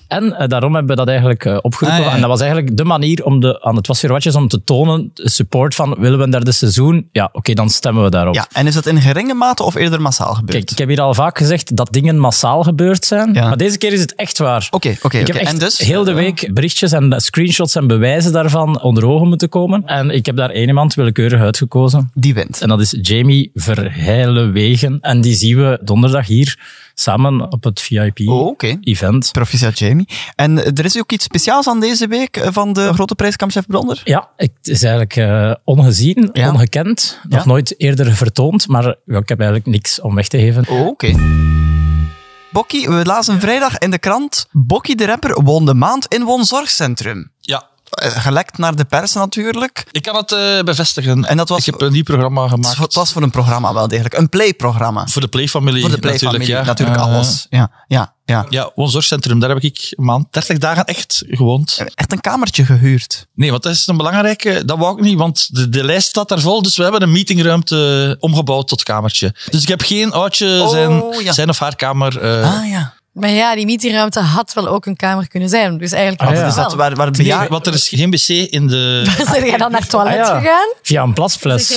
D: En eh, daarom hebben we dat eigenlijk eh, opgeroepen.
F: Ah, ja, ja.
D: En dat was eigenlijk de manier om de, aan het Was Weer Watjes om te tonen, de support van willen we een derde seizoen? Ja, oké, dan stemmen we daarop.
C: ja. En is dat in geringe mate of eerder massaal gebeurd?
D: Kijk, ik heb hier al vaak gezegd dat dingen massaal gebeurd zijn.
C: Ja.
D: Maar deze keer is het echt waar.
C: Oké, oké,
D: Ik
C: oké.
D: heb echt
C: En dus?
D: heel de week berichtjes en screenshots en bewijzen daarvan onder ogen moeten komen. En ik heb daar één iemand willekeurig uitgekozen.
C: Die wint.
D: En dat is Jamie Verheilewegen. En die zien we donderdag hier samen op het
C: Oh, oké.
D: VIP-event.
C: Proficiat Jamie. En eh, er is ook iets speciaals aan deze week eh, van de grote prijskamp Chef Bronner.
D: Ja, het is eigenlijk eh, ongezien,
C: Ja.
D: ongekend, nog
C: Ja.
D: nooit eerder vertoond, maar ja, ik heb eigenlijk niks om weg te geven.
C: Oh, oké. Bokkie, we lazen vrijdag in de krant. Bokkie de rapper won de maand in Wonzorgcentrum.
F: Ja.
C: Eh, Gelekt naar de pers natuurlijk.
F: Ik kan het eh, bevestigen.
C: En dat was-
F: Ik heb een nieuw programma
C: Het
F: gemaakt.
C: wa- het was voor een programma wel degelijk. Een play-programma.
F: Voor de Play-familie.
C: Voor de play-familie. Natuurlijk,
F: natuurlijk, ja. Eh,
C: alles. Ja, ja, ja.
F: Ja, ons zorgcentrum, daar heb ik een maand, 30 dagen echt gewoond.
C: Echt een kamertje gehuurd.
F: Nee, want dat is een belangrijke, dat wou ik niet, want de, de lijst staat daar vol, dus we hebben een meetingruimte omgebouwd tot kamertje. Dus ik heb geen oudje
C: Oh,
F: zijn,
C: ja.
F: zijn of haar kamer. eh,
C: ah ja.
A: Maar ja, die meetingruimte had wel ook een kamer kunnen zijn. Dus eigenlijk
D: Ah,
A: had
D: ja.
A: het
C: Dus dat
A: wel.
C: waar, waar het
F: nee,
C: bejaar-
F: want er is geen wc in de...
A: Zijn jij dan naar het toilet
D: Ah, ja.
A: gegaan?
D: Via een plasfles.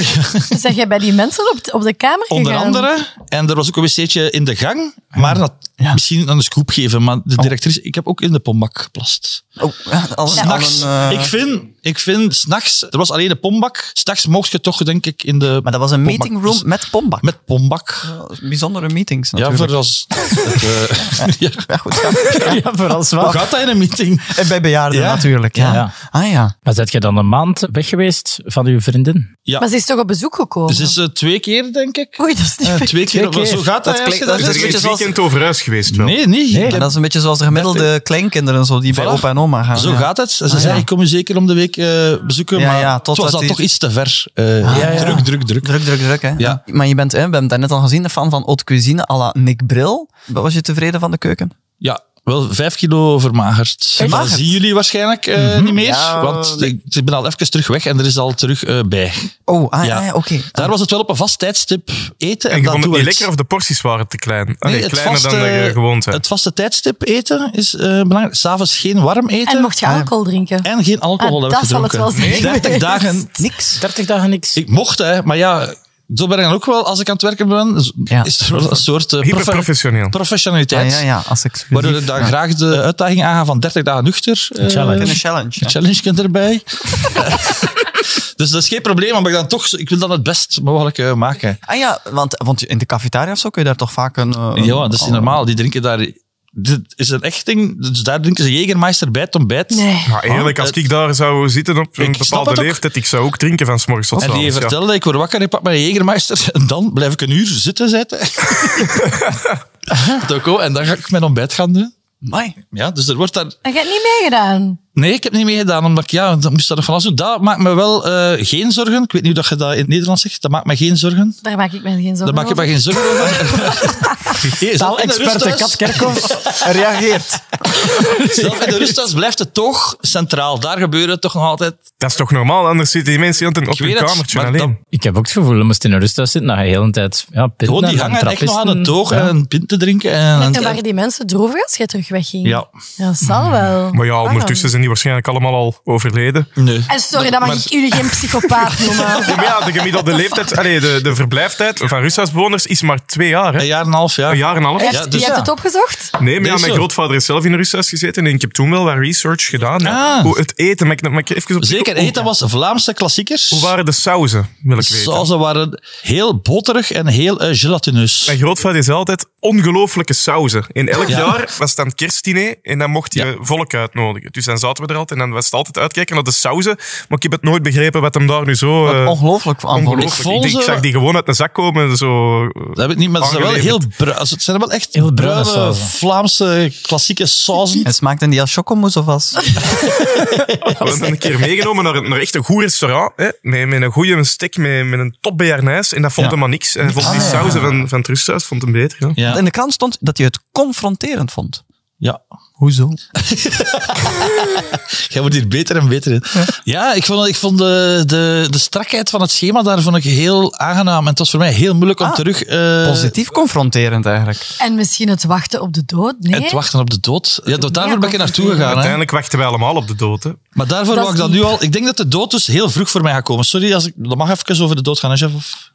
A: Zijn jij bij die mensen op, op de kamer gegaan?
F: Onder andere. En er was ook een wc'tje in de gang. Maar dat,
C: Ja.
F: misschien een scoop geven. Maar de directrice... Ik heb ook in de pombak geplast.
C: Oh, ja, al een, al
F: S'nachts.
C: een, eh,
F: Ik vind... Ik vind... S'nachts... Er was alleen de pombak. S'nachts mocht je toch, denk ik, in de...
C: maar dat was een
F: pombak. Dus-
C: meetingroom Ah, met Pombak.
F: Met pombak.
C: Bijzondere meetings
F: Ja,
C: natuurlijk.
F: voor als... het, eh, ja.
C: Ja, goed, ja.
D: ja, vooral
F: Hoe
D: zwaar.
F: gaat dat in een meeting?
C: En bij bejaarden
F: Ja.
C: natuurlijk. Ja.
D: Ja.
C: Ah ja.
D: Maar zet je dan een maand weg geweest van uw vriendin?
A: Maar ze is toch op bezoek gekomen?
F: Dus is eh, twee keer, denk ik.
A: Oei, dat is niet
F: Eh,
A: fair.
F: twee keer.
D: Twee keer.
F: Zo
C: Dat
F: gaat dat, als je
C: klinkt- dat is
E: Is er
C: een
E: geen
C: beetje zoals-
E: weekend over huis geweest wel?
F: Nee, niet.
C: En dat is een beetje zoals de gemiddelde kleinkinderen zo, die bij
F: Voilà.
C: opa en oma gaan.
F: Zo
C: ja.
F: gaat het. Ze zei, ik kom je zeker om de week eh, bezoeken,
C: Ja,
F: maar
C: ja,
F: het was
C: totdat
F: dan
C: die- Ah,
F: toch iets te ver. Eh, Druk, druk, druk.
C: Druk, druk, druk. Hè?
F: Ja.
C: Maar je bent, hè, we hebben daarnet al gezien, de fan van Haute Cuisine à la Nick Bril. Wat Was je tevreden van de keuken?
F: Ja, wel vijf kilo vermagerd. Dat
C: Vermagerd? Mhm.
F: zien jullie waarschijnlijk eh, niet meer,
C: Ja,
F: want
C: nee.
F: ik, ik ben al even terug weg en er is al terug eh, bij.
C: Oh, ah,
F: Ja.
C: ja. ja, oké.
F: Daar was het wel op een vast tijdstip eten. En,
E: En je
F: dat
E: vond het
F: doen we
E: niet lekker of de porties waren te klein? Ah,
F: Nee,
E: nee,
F: het
E: kleiner dan
F: vaste-
E: dat je gewoond hebt.
F: Het vaste tijdstip eten is eh, belangrijk. S'avonds geen warm eten.
A: En
D: Ah,
A: mocht je alcohol drinken?
F: En geen alcohol
A: Ah,
F: heb ik
A: dat zal het
F: gedronken.
A: wel zijn
F: 30
A: geweest.
F: dagen.
C: Niks.
D: 30 dagen niks.
F: Ik mocht, hè, maar ja, Zo ben ik dan ook wel, als ik aan het werken ben, z- is er wel een soort eh,
E: Hyperprofessioneel.
F: professionaliteit.
C: Ah, ja, ja, als exclusief,
F: Waardoor ik dan
C: ja.
F: graag de uitdaging aangaan van 30 dagen nuchter. eh,
C: challenge. Een challenge, ja.
F: Een challenge kunt erbij. dus dat is geen probleem, maar ik, dan toch, ik wil dan het best mogelijk eh, maken.
C: Ah ja, want, want in de cafetaria of zo kun je daar toch vaak een... eh,
F: ja, dat is niet
C: een-
F: normaal. Die drinken daar... Dit is een echt ding. Dus daar drinken ze Jägermeister bij het ontbijt.
A: Nee.
E: Maar eerlijk, als ik daar zou zitten op een
F: Oh, Ik snap het
E: bepaalde
F: ook.
E: leeftijd, ik zou ook drinken van 's morgens tot
F: En die
E: avonds, ja.
F: vertelde, ik word wakker, ik pak mijn Jägermeister. En dan blijf ik een uur zitten zitten. Toko, en dan ga ik mijn ontbijt gaan doen.
C: Amai.
F: Ja, dus er wordt daar...
A: En je hebt niet meegedaan.
F: Nee, ik heb niet meegedaan, omdat ik... Ja, dat moest dat nog van alles doen. Dat maakt me wel eh, geen zorgen. Ik weet niet hoe dat je dat in het Nederlands zegt. Dat maakt me geen zorgen.
A: Daar maak ik me geen zorgen
F: Daar maak ik me
A: over.
F: geen zorgen over. Hier, zelf in de
G: Taalexperte
F: rusthuis-
G: Kat Kerkhoff.
C: Reageert.
F: Zelf in de rusthuis blijft het toch centraal. Daar gebeurt het toch nog altijd.
E: Dat is toch normaal? Anders zitten die mensen altijd op
F: Ik weet
E: hun
F: het,
E: kamertje
F: maar
E: alleen.
D: Ik heb ook het gevoel, je moest in een rusthuis zitten, dat je de hele tijd ja, pinten
F: Gewoon die
D: en
F: hangen echt nog aan
D: trappisten-
F: het toog
D: Ja.
F: en pint te drinken. En,
A: En waren die mensen droevig als jij terug wegging?
F: Ja.
A: Ja, Dat
D: Hmm.
A: zal wel.
E: Maar ja,
A: Waarom?
E: ondertussen zijn die waarschijnlijk allemaal al overleden.
F: Nee.
A: En sorry, dat mag
F: Maar-
A: ik jullie geen psychopaat noemen.
E: Ja, maar ja, de gemiddelde leeftijd, allee, de, de verblijftijd van Rusthuisbewoners is maar twee jaar. Hè?
F: Een jaar en een half, ja.
E: Een jaar en een half.
A: Echt?
F: Ja,
A: je
F: dus
A: hebt
F: ja.
A: het opgezocht?
E: Nee, maar ja,
F: Deze.
E: mijn grootvader is zelf in een rusthuis gezeten en ik heb toen wel wat research gedaan. ja.
F: Ah.
E: Hoe het eten, maar ik, maar ik even op
F: Zeker,
E: hoe,
F: eten dat was Vlaamse klassiekers.
E: hoe waren de sauzen, wil ik
F: De
E: weten.
F: sauzen waren heel boterig en heel eh, gelatineus.
E: Mijn grootvader is altijd ongelooflijke sauzen. In elk
F: Ja.
E: jaar was het dan het kerstdiner en dan mocht je
F: Ja.
E: volk uitnodigen. Dus dan zaten we er altijd en dan was het altijd uitkijken naar de sauzen. Maar ik heb het nooit begrepen wat hem daar nu zo... eh,
C: Ongelooflijk aan voor-
E: Ongelooflijk.
F: Ik
E: Ik,
F: vond
E: denk,
F: ze-
E: ik zag die gewoon uit een zak komen. Zo.
F: Dat heb ik niet, maar ze zijn wel heel
E: Aangeleverd.
F: bru- ze zijn wel echt
G: Heel bruine
F: bruine
G: sauzen.
F: Vlaamse klassieke sauzen.
C: En smaakten die als chocomousse of als...
E: We hebben een keer meegenomen naar, een- naar echt een goed restaurant. Hè, met, met een goede stek, met, met een top bejaarnijs. En dat vond
F: Ja.
E: hem maar niks. En vond die
C: Ah, ja.
E: sauzen van, van het rusthuis vond hem beter. Ja.
F: Ja.
C: In de krant stond dat je het confronterend vond.
F: ja.
C: Hoezo?
F: Jij wordt hier beter en beter in. Ja, ik vond, ik vond de, de, de strakheid van het schema daar vond ik heel aangenaam. En het was voor mij heel moeilijk om
C: Ah,
F: terug... eh,
C: Positief confronterend eigenlijk.
A: En misschien het wachten op de dood? Nee.
F: Het wachten op de dood. Ja, dat- daarvoor ben ik naartoe gegaan. Hè.
E: Uiteindelijk wachten wij allemaal op de dood. Hè.
F: Maar daarvoor
A: Dat
F: wou ik
A: is
F: dat nu
A: diep.
F: al... Ik denk dat de dood dus heel vroeg voor mij gaat komen. Sorry, als ik, dat mag even over de dood gaan, hè, chef? Of-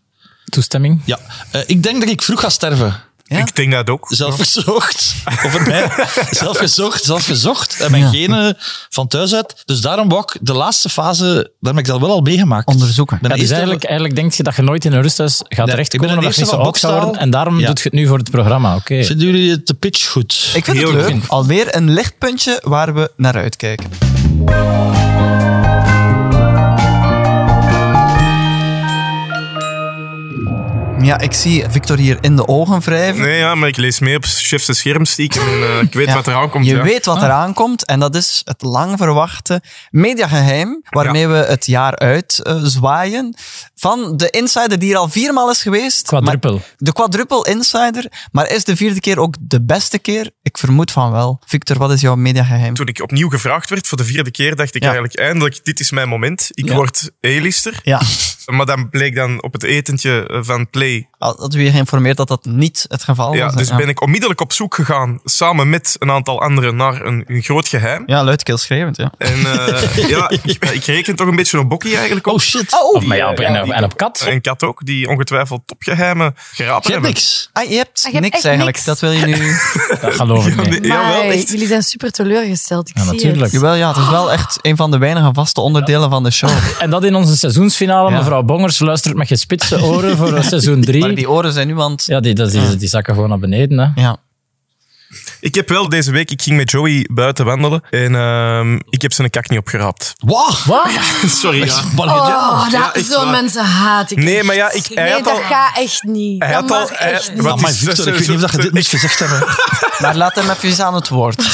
D: Toestemming?
F: Ja. Eh, ik denk dat ik vroeg ga sterven.
E: Ik denk dat ook.
F: Zelfgezocht. Over mij. Zelfgezocht, zelfgezocht. En mijn genen van thuis uit. Dus daarom wou ik de laatste fase... Daar heb ik dat wel al meegemaakt.
C: Onderzoeken.
F: Ben
D: Ja, dus
F: eerst-
D: eigenlijk, eigenlijk denk je dat je nooit in een rusthuis gaat
F: Nee,
D: terechtkomen
F: ik ben een
D: omdat je niet zo
F: eerste
D: oud
F: van
D: zou worden.
F: Bokstel.
D: En daarom
F: Ja.
D: doet je het nu voor het programma, oké.
F: Vinden jullie de pitch goed?
C: Ik vind
E: Heel
C: het leuk.
E: goed.
C: Alweer een lichtpuntje waar we naar uitkijken. Ja, ik zie Victor hier in de ogen wrijven.
E: Nee, ja, maar ik lees mee op chef's scherm stiekem. En, eh, ik weet
C: Ja.
E: wat eraan komt.
C: Je
E: ja. Ah.
C: weet wat eraan komt en dat is het lang verwachte mediageheim waarmee we het jaar uit eh, zwaaien. Van de insider die er al viermaal is geweest.
D: Quadruple.
C: maar- De quadruple insider. Maar is de vierde keer ook de beste keer? Ik vermoed van wel. Victor, wat is jouw mediageheim?
E: Toen ik opnieuw gevraagd werd voor de vierde keer, dacht ik
C: Ja.
E: eigenlijk eindelijk, dit is mijn moment. Ik
C: Ja.
E: word A-lister.
C: Ja,
E: Maar dan bleek dan op het etentje eh, van Play
C: dat we je geïnformeerd dat dat niet het
F: Oh,
C: geval
E: Ja,
C: was.
E: dus
C: ja.
E: ben ik onmiddellijk op zoek gegaan, samen met een aantal anderen, naar een, een groot geheim.
C: Ja, luidkeels schreeuwend, ja.
E: En eh, ja, ik, ik reken toch een beetje op Bokkie eigenlijk. Op.
F: Oh shit.
D: Of maar ja, op, en, op, en op
F: Oh,
D: kat.
E: En Kat ook, die ongetwijfeld topgeheimen gerapen
F: Jij hebt
E: hebben.
F: niks.
C: Ah, je hebt
A: Ah, je hebt
C: niks
A: echt
C: eigenlijk.
A: niks.
C: Dat wil je nu...
D: Dat geloof ik niet.
E: Nee, jawel,
A: Maar
E: echt.
A: jullie zijn super teleurgesteld. Ik
D: Ja,
A: zie
D: natuurlijk.
A: het.
C: Jawel, ja, het is wel echt een van de weinige vaste onderdelen van de show.
D: En dat in onze seizoensfinale.
C: Ja.
D: Mevrouw Bongers luistert met gespitste oren voor eh, seizoen
C: Maar
D: 3.
C: die oren zijn nu aan het...
D: Ja, die, dat is- die, die zakken gewoon naar beneden. Hè.
C: Ja.
E: Ik heb wel deze week, ik ging met Joey buiten wandelen en ehm, ik heb zijn kak niet opgeraapt.
F: Wow.
D: Wat?
E: Sorry, ja.
A: Oh, dat,
E: echt
A: zo'n
E: waar.
A: mensen haat ik
E: Nee,
A: echt.
E: maar ja, ik- hij
A: nee,
E: had
A: dat
E: al-
A: gaat echt niet.
E: Hij
A: Dat
E: had al...
A: mag
E: hij-
A: echt niet.
E: wat
F: Amai,
E: is- eh,
F: Victor, ik
E: dat is-
F: weet niet of dat je dit moest gezegd hebben.
C: Maar laat hem even aan het woord.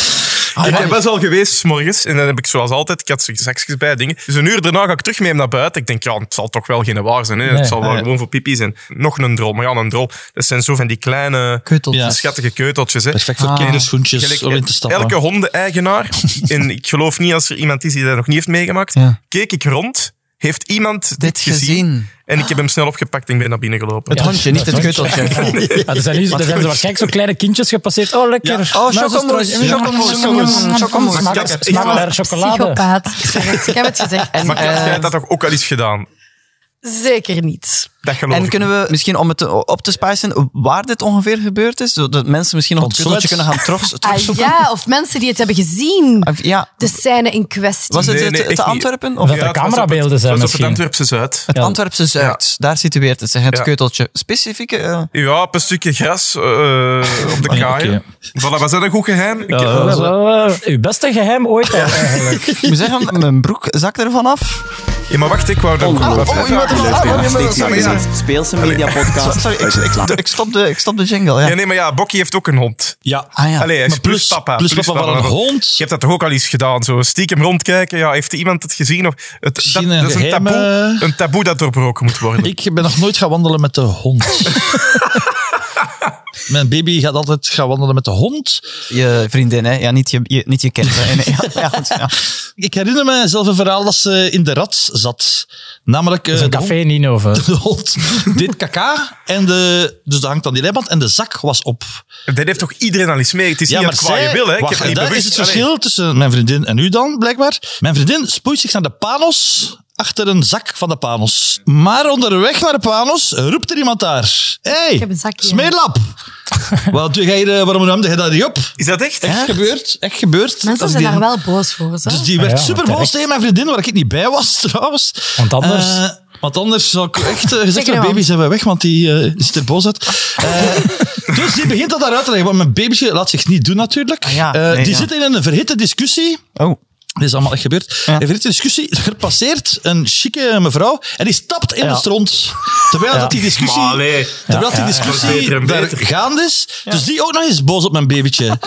C: Ah,
E: Ik ben- was al geweest 's morgens en dan heb ik zoals altijd, ik had zo zakjes bij dingen. Dus een uur daarna ga ik terug mee naar buiten. Ik denk, ja, het zal toch wel geen waar zijn. Hè?
D: Nee.
E: Het zal wel gewoon voor pipi zijn. Nog een drol, maar ja, een drol. Dat zijn zo van die kleine,
C: Keuteltjes.
F: Ja.
E: schattige keuteltjes. Hè?
F: Perfect voor
C: Ah.
F: kinderschoentjes
E: Gelijk
F: om in te stappen.
E: Elke hondeneigenaar, en ik geloof niet als er iemand is die dat nog niet heeft meegemaakt,
C: Ja.
E: keek ik rond. Heeft iemand dit,
C: Dit gezien.
E: En ik heb hem snel opgepakt en ik ben naar binnen gelopen.
C: Het hondje, niet het keuteltje.
D: Ah, er zijn, nu, er zijn zo waarschijnlijk zo kleine kindjes gepasseerd. Oh, lekker.
C: Oh,
D: Muizenstrooi.
C: chocomousse. Chocomousse. Chocomousse.
E: Maar
C: Chocomousse.
E: ik heb-
D: Smaak
E: ik-
D: naar chocolade.
A: Psychopaat. Ik zeg het, ik heb het gezegd.
C: Eh,
A: eh,
E: Maar Kat, jij hebt dat toch ook al eens gedaan?
A: Zeker niet.
E: Dat geloof
C: En
E: ik
C: kunnen we misschien, om het te- op te spijzen, waar dit ongeveer gebeurd is? Zodat mensen misschien nog het
F: Ontslots.
C: kuddetje kunnen gaan terug,
A: Ah
C: terugzoeken?
A: ja, of mensen die het hebben gezien.
D: Ah,
C: Of- ja.
A: De scène in kwestie.
C: Was het
E: Nee,
C: het-
E: nee,
C: het
E: echt niet.
C: Antwerpen?
D: Of
C: Of
D: dat
E: Ja,
D: er
E: het was op
D: camerabeelden
E: het-
D: zijn
E: Het was op het
D: misschien.
E: Antwerpse Zuid.
C: het Antwerpse Zuid? Daar situeert het zich, het
E: Ja.
C: keuteltje. Specifieke... eh,
E: Ja, op een stukje gras eh, op de kaaien.
D: oké.
E: Voilà, was dat een goed geheim? Ik-
D: Ja, dat is wel, eh, uw beste geheim ooit al, eigenlijk.
C: ik moet zeggen, mijn broek zakt ervan af.
E: Ja, maar wacht, ik wou dat
C: oh, oh, je bent er al- oh, je bent er al- sorry, ja.
I: Speelse media podcast.
C: Sorry, ik, ik, stop, ik, stop de, ik stop de jingle.
E: Ja,
C: Ja.
E: nee, maar ja, Bokkie heeft ook een hond.
F: Ja.
C: Ah ja.
E: Allee, hij is
F: Maar plus,
E: papa.
F: plus papa van een hond.
E: Je hebt dat toch ook al eens gedaan? Zo stiekem rondkijken. Ja, heeft iemand het gezien? Of, het, dat,
F: Misschien een
E: dat is een
F: geheime-
E: taboe, een taboe dat doorbroken moet worden.
F: Ik ben nog nooit gaan wandelen met de hond. Mijn baby gaat altijd gaan wandelen met de hond.
C: Je vriendin, hè? Ja, niet je, je, niet je kind. hè. Nee, nee, ja, ja, goed, ja.
F: Ik herinner me zelf een verhaal dat ze in de rat zat. Namelijk eh,
D: Een
F: de,
D: café
F: hond,
D: niet over.
F: de hond deed kaka. En de, dus dat hangt aan die leiband. En de zak was op.
E: Dat heeft toch iedereen al eens mee? Het is niet het qua je wil, hè? Ik
F: wacht,
E: heb het niet
F: en dat
E: bewust.
F: is het verschil tussen mijn vriendin en u dan, blijkbaar. Mijn vriendin spoeit zich naar de panos achter een zak van de panos. Maar onderweg naar de panos roept er iemand daar. Hé,
A: heb
F: hey,
A: een zakje.
F: smeerlap! Wat doe jij hier, eh, waarom ruimde jij dat niet op?
E: Allee, Is dat echt?
F: Echt gebeurd, echt gebeurd. Dat
A: Mensen
F: is
A: zijn
F: die-
A: daar wel boos voor. Zo.
F: Dus die werd
D: ja,
F: super
D: terecht.
F: boos tegen mijn vriendin, waar ik niet bij was trouwens.
D: Want anders-
F: Eh, want anders zou ik echt eh, gezegd
A: Zeker
F: hebben,
A: wel.
F: baby, zijn we weg, want die eh, ziet er boos uit. Eh, dus die begint dat daaruit te leggen, want mijn babytje laat zich niet doen natuurlijk.
C: Ah ja,
F: Eh,
C: nee,
F: die
C: ja.
F: zitten in een verhitte discussie.
C: Oh.
F: Dit is allemaal echt gebeurd.
C: Ja.
F: Een verhitte discussie. Er passeert een chique mevrouw en die stapt in
D: Ja.
F: het stront. Terwijl dat die discussie...
E: Maar allee.
F: Terwijl die discussie
E: Beter en
F: daar
E: beter.
F: gaande is. Dus die ook nog eens boos op mijn babytje.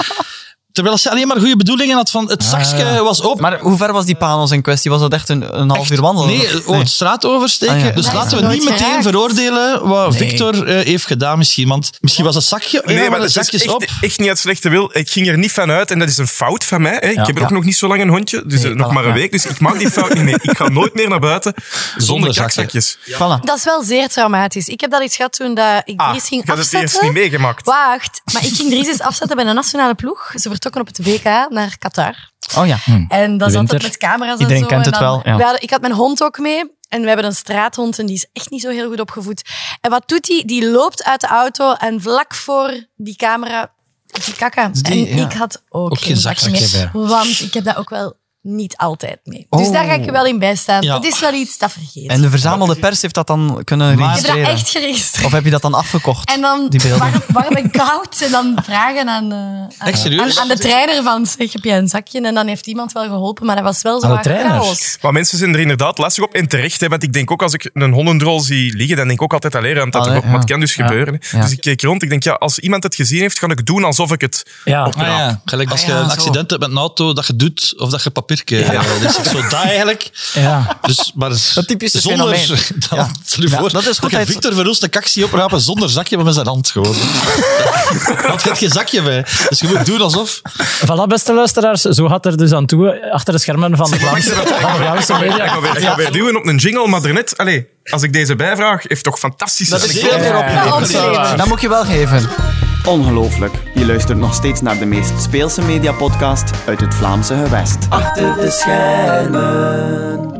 F: Terwijl ze alleen maar goede bedoelingen had van het zakje was open.
C: Maar hoe ver was die panos in kwestie? Was dat echt een, een half uur wandelen?
F: Nee, oh,
C: Of-
F: over het straat oversteken.
C: Ah, ja.
F: Dus
A: Maar
F: laten
A: is
F: we
A: het
F: niet
A: nooit
F: meteen
A: geraakt?
F: veroordelen wat Victor eh, heeft gedaan misschien. Want misschien was het zakje...
E: Nee, maar
F: de
E: dat is dus
F: zakjes
E: echt,
F: op.
E: echt niet uit slechte wil. Ik ging er niet van uit en dat is een fout van mij. Hè. Ik
D: Ja.
E: heb ook nog niet zo lang een hondje, dus eh, nog
C: voilà,
E: maar een
C: ja.
E: week. Dus ik maak die fout niet meer. Ik ga nooit meer naar buiten zonder
F: Zonder zakken.
E: kakzakjes.
C: Voilà.
A: Dat is wel zeer traumatisch. Ik heb dat iets gehad toen dat ik
E: Ah,
A: Dries ging
E: ik had het
A: afzetten.
E: eerst niet meegemaakt.
A: Wacht, maar ik ging Dries eens afzetten bij de nationale ploeg. Ze vertrokken op het WK naar Qatar.
C: Oh ja.
A: En dat zat
D: Winter.
A: het met camera's
C: Iedereen
A: en zo.
C: kent
A: En
C: het
A: dan-
C: wel, ja.
A: we hadden- ik had mijn hond ook mee. En we hebben een straathond en die is echt niet zo heel goed opgevoed. En wat doet die? Die loopt uit de auto en vlak voor die camera die kakka.
C: Dus die,
A: en
C: ja.
A: ik had ook,
F: Ook geen zakje
A: mee. Want ik heb dat ook wel niet altijd mee. Dus daar ga ik je wel in bijstaan.
F: Ja.
A: Dat is wel iets dat vergeet.
C: Oh. En de verzamelde pers heeft dat dan kunnen
A: ik heb dat
C: registreren?
A: echt geregistreerd.
C: Of heb je dat dan afgekocht?
A: En dan
C: Die beelden.
A: warm, warm en koud. En dan vragen aan, eh, aan,
F: Echt serieus?
A: aan, aan de trainer van, zeg, heb je een zakje? En dan heeft iemand wel geholpen, maar dat was wel zo
D: Aan de trainer?
A: chaos.
E: Maar mensen zijn er inderdaad lastig op. En terecht, hè, want ik denk ook als ik een hondendrol zie liggen, dan denk ik ook altijd alleen ruimt dat
C: Allee,
E: erop. Maar het
C: ja.
E: kan dus gebeuren. hè.
C: Ja.
E: Dus ik keek rond. Ik denk, ja, als iemand het gezien heeft, ga ik doen alsof ik het
D: Ja.
F: Ah ja, gelijk als
C: Ah
F: je
C: ja,
F: een
C: zo.
F: accident hebt met een auto, dat je doet of dat je papiertje... eh, Dus zo dat eigenlijk.
D: Ja.
F: Dus, maar
C: Dat typische
F: zonder,
C: fenomeen.
F: Dan,
C: Ja.
F: stel je
C: Ja,
F: voor
C: dat is goed,
F: je
C: hij-
F: Victor Verhulst een kaksie oprapen zonder zakje, maar met zijn hand gewoon. Want je hebt geen zakje bij. Dus je moet doen alsof...
D: Voilà, beste luisteraars. Zo had er dus aan toe, eh, achter de schermen van de Vlaamse, van de Vlaamse media.
E: Ik ga weer, ik ga weer duwen op een jingle, maar daarnet... Allee, als ik deze bijvraag, heeft toch fantastisch...
C: Dat is veel
E: Ja.
C: meer op
D: Ja,
A: dat
C: je
A: is wel waar.
C: Dat moet je wel geven.
I: Ongelooflijk. Je luistert nog steeds naar de meest speelse media podcast uit het Vlaamse gewest. Achter de schermen.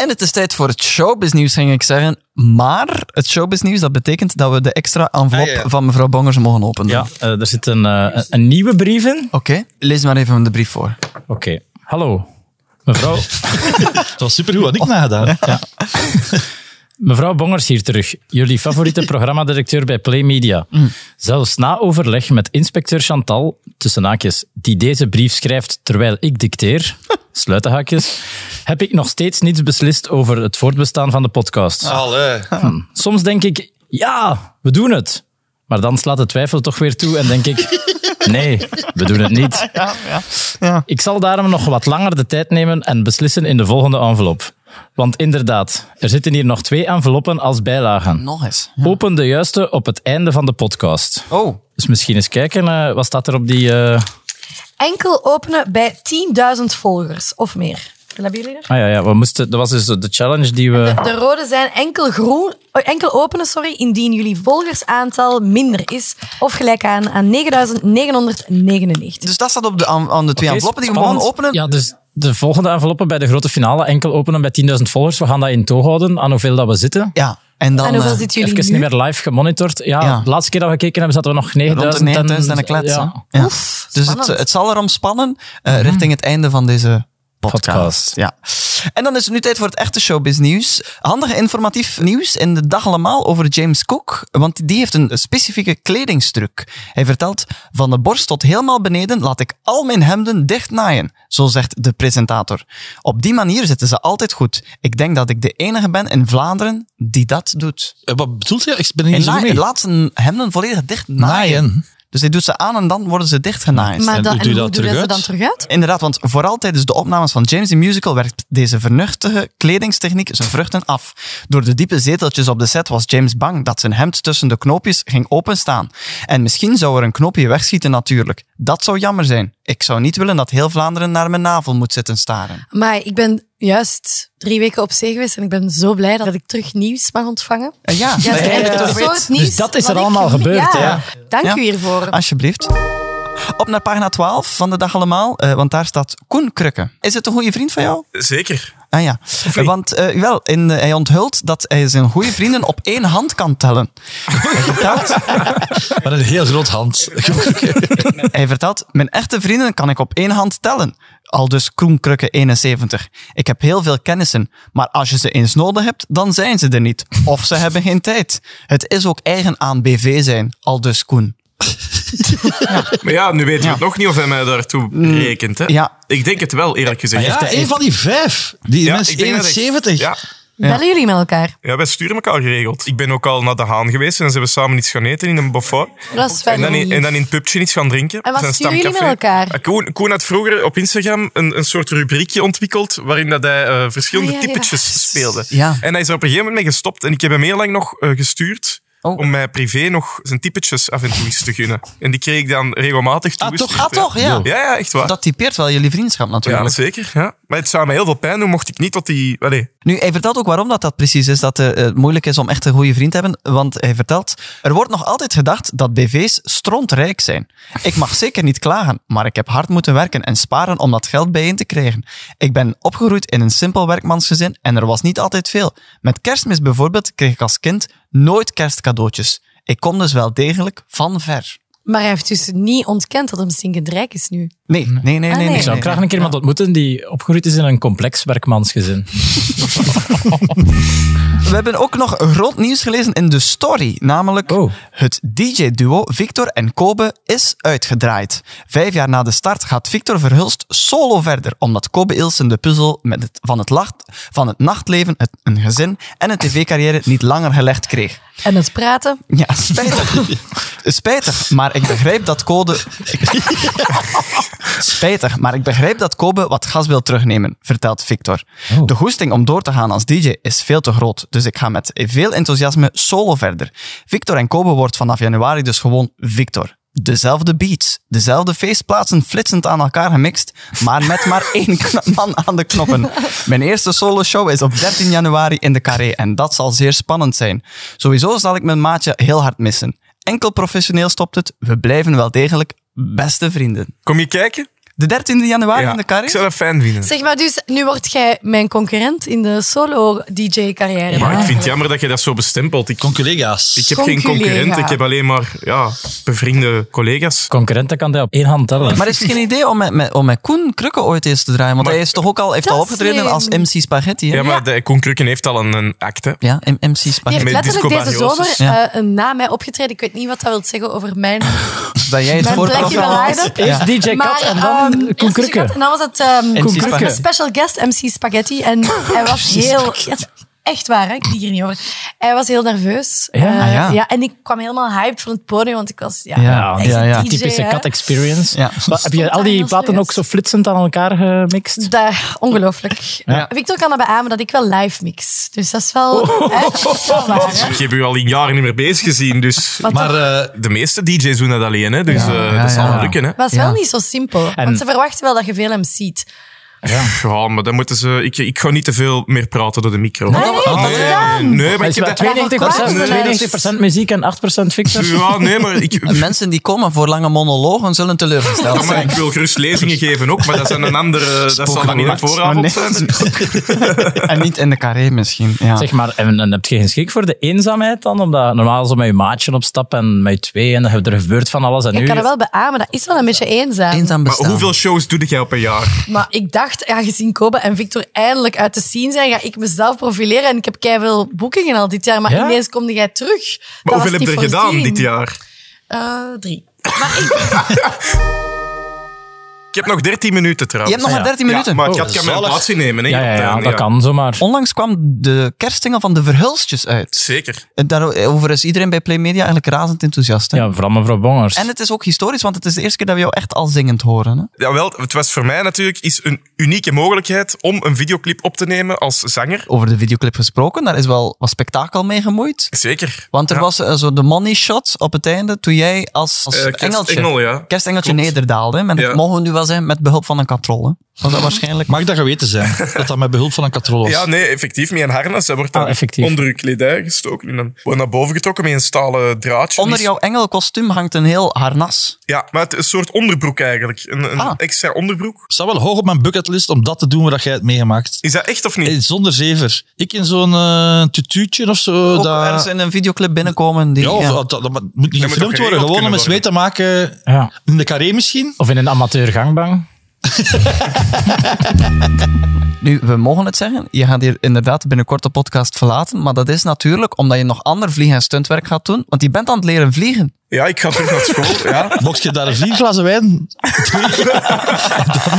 C: En het is tijd voor het showbiznieuws, ging ik zeggen. Maar het showbiznieuws, dat betekent dat we de extra envelop
F: Ah, ja.
C: van mevrouw Bongers mogen openen.
D: Ja, eh, er zit een, eh, een- een nieuwe brief in.
C: Oké, lees maar even de brief voor.
D: Oké. Hallo. Mevrouw,
F: Dat was supergoed,
C: Oh.
F: had ik nagedaan. Ja.
D: mevrouw Bongers hier terug. Jullie favoriete programmadirecteur bij Play Media. Zelfs na overleg met inspecteur Chantal, tussen haakjes, die deze brief schrijft terwijl ik dicteer, sluit de haakjes, heb ik nog steeds niets beslist over het voortbestaan van de podcast. Hm.
F: Allee.
D: Soms denk ik, ja, we doen het. Maar dan slaat de twijfel toch weer toe en denk ik, nee, we doen het niet. Ik zal daarom nog wat langer de tijd nemen en beslissen in de volgende envelop. Want inderdaad, er zitten hier nog twee enveloppen als bijlagen.
C: Nog eens.
D: Open de juiste op het einde van de podcast.
C: Oh,
D: Dus misschien eens kijken, eh, wat staat er op die... eh,
A: Enkel openen bij 10.000 volgers of meer. Hebben jullie er?
D: Ah ja, ja we moesten, dat was dus de challenge die we...
A: De rode zijn enkel, groen, eh, enkel openen sorry, indien jullie volgersaantal minder is of gelijk aan, aan 9.999.
C: dus dat staat op de, aan, aan de twee enveloppen die we mogen
D: Spannend.
C: openen.
D: Ja, dus de volgende enveloppen bij de grote finale enkel openen met 10.000 volgers. We gaan dat in toog houden aan hoeveel dat we zitten.
C: Ja, en dan...
A: En hoeveel
C: eh,
A: zitten jullie
D: Even
A: nu?
D: niet meer live gemonitord. Ja,
C: Ja.
D: de laatste keer dat we gekeken hebben zaten we nog 9.000.
C: Rond de 9000 en een
D: ja,
C: klets. hè? Ja. Dus het,
A: spannend.
C: het zal erom spannen eh, richting het einde van deze podcast.
D: Podcast.
C: Ja. En dan is het nu tijd voor het echte showbiz nieuws. Handig informatief nieuws in de dag allemaal over James Cook. Want die heeft een specifieke kledingstruc. Hij vertelt, van de borst tot helemaal beneden laat ik al mijn hemden dichtnaaien. Zo zegt de presentator. Op die manier zitten ze altijd goed. Ik denk dat ik de enige ben in Vlaanderen die dat doet.
F: Eh, Wat bedoelt je? Ik ben
C: Hij
F: niet zo
C: naai-
F: mee.
C: hij laat zijn hemden volledig dicht naaien.
F: Naaien.
C: Dus hij doet ze aan en dan worden ze dichtgenaaid.
A: Maar
F: En
A: dan,
F: doet
A: en
F: u
A: hoe
F: dat
A: doen
F: terug
A: dat ze
F: uit?
A: dan terug uit?
C: Inderdaad, want vooral tijdens de opnames van James the Musical werkt deze vernuftige kledingstechniek zijn vruchten af. Door de diepe zeteltjes op de set was James bang dat zijn hemd tussen de knoopjes ging openstaan. En misschien zou er een knoopje wegschieten natuurlijk. Dat zou jammer zijn. Ik zou niet willen dat heel Vlaanderen naar mijn navel moet zitten staren.
A: Maar ik ben juist drie weken op zee geweest en ik ben zo blij dat ik terug nieuws mag ontvangen.
C: Eh, ja,
A: Ja,
C: eh,
A: en het soort nieuws.
D: Dus dat is
A: wat
D: er
A: ik
D: allemaal
A: gemist-
D: gebeurd,
A: Ja.
D: hè?
A: Ah, Dank
C: Ja.
A: u hiervoor.
C: Alsjeblieft. Op naar pagina 12 van de dag allemaal, eh, want daar staat Koen Krukke. Is het een goede vriend van jou?
E: Zeker.
C: Ah ja, want eh, wel, in, eh, hij onthult dat hij zijn goede vrienden op één hand kan tellen. Hij vertelt,
F: Maar een heel groot hand.
C: hij vertelt, mijn echte vrienden kan ik op één hand tellen. Al dus Kroenkrukke 71. Ik heb heel veel kennissen, maar als je ze eens nodig hebt, dan zijn ze er niet. Of ze hebben geen tijd. Het is ook eigen aan BV zijn, al dus Koen.
E: Maar ja, nu weten we het nog niet of hij mij daartoe rekent. Hè?
C: Ja.
E: Ik denk het wel, eerlijk gezegd.
F: Ja, een van die vijf. Die
E: Ja,
F: mensen
E: ik denk dat ik-
F: 71.
E: Ja.
A: Bellen jullie met elkaar?
E: ja, wij sturen elkaar geregeld. Ik ben ook al naar de Haan geweest en dan zijn we samen iets gaan eten in een buffet.
A: Dat is wel
E: En dan, in,
A: lief.
E: en dan in het pubje iets gaan drinken.
A: En wat
E: Zijn
A: sturen jullie
E: stamcafé.
A: met elkaar?
E: Eh, Koen, Koen had vroeger op Instagram een, een soort rubriekje ontwikkeld waarin dat hij eh, verschillende
A: Ah, ja, ja.
E: typetjes speelde.
C: Ja.
E: En hij is er op een gegeven moment mee gestopt. En ik heb hem heel lang nog eh, gestuurd
C: Oh.
E: om mij privé nog zijn typetjes af en toe eens te gunnen. En die kreeg ik dan regelmatig toe.
C: toch? Ah, toch, ja.
E: Ja, ja, echt waar.
C: Dat typeert wel jullie vriendschap
E: ja,
C: natuurlijk.
E: zeker. Ja. Maar het zou mij heel veel pijn doen mocht ik niet tot die... Allee,
C: Nu, hij vertelt ook waarom dat, dat precies is, dat eh, het moeilijk is om echt een goede vriend te hebben. Want hij vertelt, er wordt nog altijd gedacht dat BV's strontrijk zijn. Ik mag zeker niet klagen, maar ik heb hard moeten werken en sparen om dat geld bijeen te krijgen. Ik ben opgegroeid in een simpel werkmansgezin en er was niet altijd veel. Met kerstmis bijvoorbeeld kreeg ik als kind nooit kerstcadeautjes. Ik kom dus wel degelijk van ver.
A: Maar hij heeft dus niet ontkend dat hem stinkend rijk is nu.
C: Nee, nee, nee, nee.
A: Ah,
C: nee,
A: nee.
D: Ik zou
C: nee,
D: graag
C: nee.
D: een keer iemand ontmoeten die opgegroeid is in een complex werkmansgezin.
C: We hebben ook nog groot nieuws gelezen in de story, namelijk
D: Oh.
C: het DJ-duo Victor en Kobe is uitgedraaid. Vijf jaar na de start gaat Victor Verhulst solo verder, omdat Kobe Ilsen de puzzel met het, van, het lacht, van het nachtleven, het, een gezin en een tv-carrière niet langer gelegd kreeg.
A: En het praten.
C: Ja, spijtig. spijtig, maar ik begrijp dat Code... spijtig, maar ik begrijp dat Kobe wat gas wil terugnemen, vertelt Victor. De goesting om door te gaan als DJ is veel te groot, dus ik ga met veel enthousiasme solo verder. Victor en Kobe wordt vanaf januari dus gewoon Victor. Dezelfde beats, dezelfde feestplaatsen flitsend aan elkaar gemixt, maar met maar één kn- man aan de knoppen. Mijn eerste solo-show is op 13 januari in de Carré en dat zal zeer spannend zijn. Sowieso zal ik mijn maatje heel hard missen. Enkel professioneel stopt het, we blijven wel degelijk beste vrienden.
E: kom je kijken?
C: De 13e januari Ah, in de
E: Ja, ik zou
C: Carré?
E: dat fijn vinden.
A: Zeg maar dus, nu word jij mijn concurrent in de solo-dj-carrière.
E: Maar ik vind het jammer dat je dat zo bestempelt. Ik,
F: Con collega's.
E: ik heb geen
A: Conculega.
E: concurrent, ik heb alleen maar ja, bevriende collega's.
D: Concurrenten kan hij op één hand tellen.
C: Maar is het geen idee om met, met, om met Koen Krukke ooit eens te draaien? Want hij is toch ook al, heeft al
A: Dat is
C: opgetreden
A: slim.
C: als MC Spaghetti, hè?
E: Ja, maar de Koen Krukken heeft al een, een acte.
C: Ja, M- MC
A: Die
C: Spaghetti.
A: heeft
E: Met
A: letterlijk
E: Disco
A: deze zomer
E: Barrios.
A: eh, na mij opgetreden. Ik weet niet wat dat wil zeggen over mijn,
C: Dat jij
A: mijn plekje
C: het
A: bij
C: voorprogramma was.
A: Leiden.
D: Eerst DJ Kat en dan
A: ehm,
D: Koen
A: eerst DJ
D: Krukke.
A: Kat En dan was het ehm,
C: MC Spaghetti.
A: een special guest MC Spaghetti. En hij was heel... ja, Echt waar, hè? ik lieg hier niet over. Hij was heel nerveus.
D: Ja.
A: Eh,
C: Ah, ja.
A: en ik kwam helemaal hyped van het podium, want ik was ja,
D: Ja,
A: echt
D: ja,
A: een
C: ja.
A: DJ,
D: typische
A: hè.
D: kat experience.
C: Ja.
D: Maar heb je al
A: daar
D: die
A: heel
D: platen
A: serieus.
D: ook zo flitsend aan elkaar gemixt?
A: Daar, eh, ongelooflijk. Victor kan dat beamen dat ik wel live mix. Dus dat is wel, hè, dat is wel waar. Hè?
E: Ik heb u al in jaren niet meer bezig gezien, dus...
F: Maar eh,
E: De meeste DJ's doen dat alleen, hè? dus eh, dat zal wel lukken. Hè?
A: Maar het is
C: Ja.
A: wel niet zo simpel.
D: En-
A: Want ze verwachten wel dat je veel hem ziet.
E: Ja. maar dan moeten ze... Ik, ik ga niet te veel meer praten door de micro.
D: Ah, nee, wat
E: nee,
D: gedaan?
E: nee, maar
D: Hij is
E: ik heb
D: wel
E: dat-
D: 92
E: Nee.
D: 92% muziek en 8% fictie.
E: Ja, nee, maar ik...
C: Mensen die komen voor lange monologen zullen teleurgesteld
E: Ja, maar
C: zijn.
E: ik wil gerust lezingen geven ook, maar dat, zijn een andere, dat zal dan niet de vooravond
C: Oh,
E: zijn.
C: en niet in de carré misschien. Ja.
D: Zeg maar, en, en heb je geen schrik voor de eenzaamheid dan? Omdat normaal zo met je maatje op stap en met je twee en er gebeurt van alles. En
A: Ik
D: nu
A: kan het wel beamen, dat is wel een beetje eenzaam.
C: Eenzaam
E: Maar
C: bestaan.
E: hoeveel shows doe jij op een jaar?
A: Maar ik dacht, ja, gezien Kobe en Victor eindelijk uit de scene zijn, ga ik mezelf profileren. En ik heb veel boekingen al dit jaar, maar
D: Ja?
A: ineens komde jij terug.
E: Maar
A: Dat was
E: hoeveel heb
A: niet
E: je er gedaan
A: voorzien.
E: dit jaar?
A: Eh, drie.
E: Ik heb nog 13 minuten
C: Je
E: trouwens.
C: hebt nog maar 13 minuten.
E: Ah,
C: Oh,
E: Ja, maar ik kan mijn
F: zalig.
E: plaats innemen. Hè,
D: Ja, ja, ja,
E: Jantijn,
D: dat kan zomaar.
C: Onlangs kwam de kerstsingel van de Verhulstjes uit.
E: Zeker.
C: En daarover is iedereen bij Playmedia eigenlijk razend enthousiast. hè?
D: Ja, vooral mevrouw Bongers.
C: En het is ook historisch, want het is de eerste keer dat we jou echt al zingend horen. Hè?
E: Jawel, het was voor mij natuurlijk is een unieke mogelijkheid om een videoclip op te nemen als zanger.
C: Over de videoclip gesproken, daar is wel wat spektakel mee gemoeid.
E: Zeker.
C: Want er
E: Ja.
C: was eh, zo de money shot op het einde, toen jij als, als
E: Eh,
C: engeltje,
E: Kerstengel, ja.
C: kerstengeltje
E: Klopt.
C: nederdaalde. hè. Met,
E: Ja.
C: Dat mogen we nu wel zijn met behulp van een katrol. hè. Was dat waarschijnlijk?
F: Mag dat geweten zijn? Dat dat met behulp van een katrol was.
E: Ja, nee, effectief. Met een harnas. Hij wordt dan
D: Ah, effectief.
E: onder uw kledij gestoken. En dan wordt naar boven getrokken met een stalen draadje.
C: Onder
E: Die-
C: jouw engelkostuum hangt een heel harnas.
E: Ja, maar het is een soort onderbroek eigenlijk. Een, een
C: Ah.
E: extra onderbroek.
F: staat wel hoog op mijn bucketlist om dat te doen wat jij hebt meegemaakt.
E: Is dat echt of niet?
F: Eh, Zonder zever. Ik in zo'n eh tutuutje of zo.
C: Ook
F: dat-
C: ergens in een videoclip binnenkomen. Die,
F: ja, of-
C: ja.
F: dat, dat- dat moet
E: Dat
F: niet
E: moet ook
F: gefilmd worden.
E: geregeld
F: Gewoon om
E: kunnen
F: eens mee te maken
D: Ja.
F: in de carré misschien.
D: Of in een amateur gangbang.
C: Nu, we mogen het zeggen. Je gaat hier inderdaad binnenkort de podcast verlaten. Maar dat is natuurlijk omdat je nog ander vliegen en stuntwerk gaat doen. Want je bent aan het leren vliegen.
E: Ja, ik ga terug naar school. ja.
F: Mocht je daar vier glazen wijn Dan moet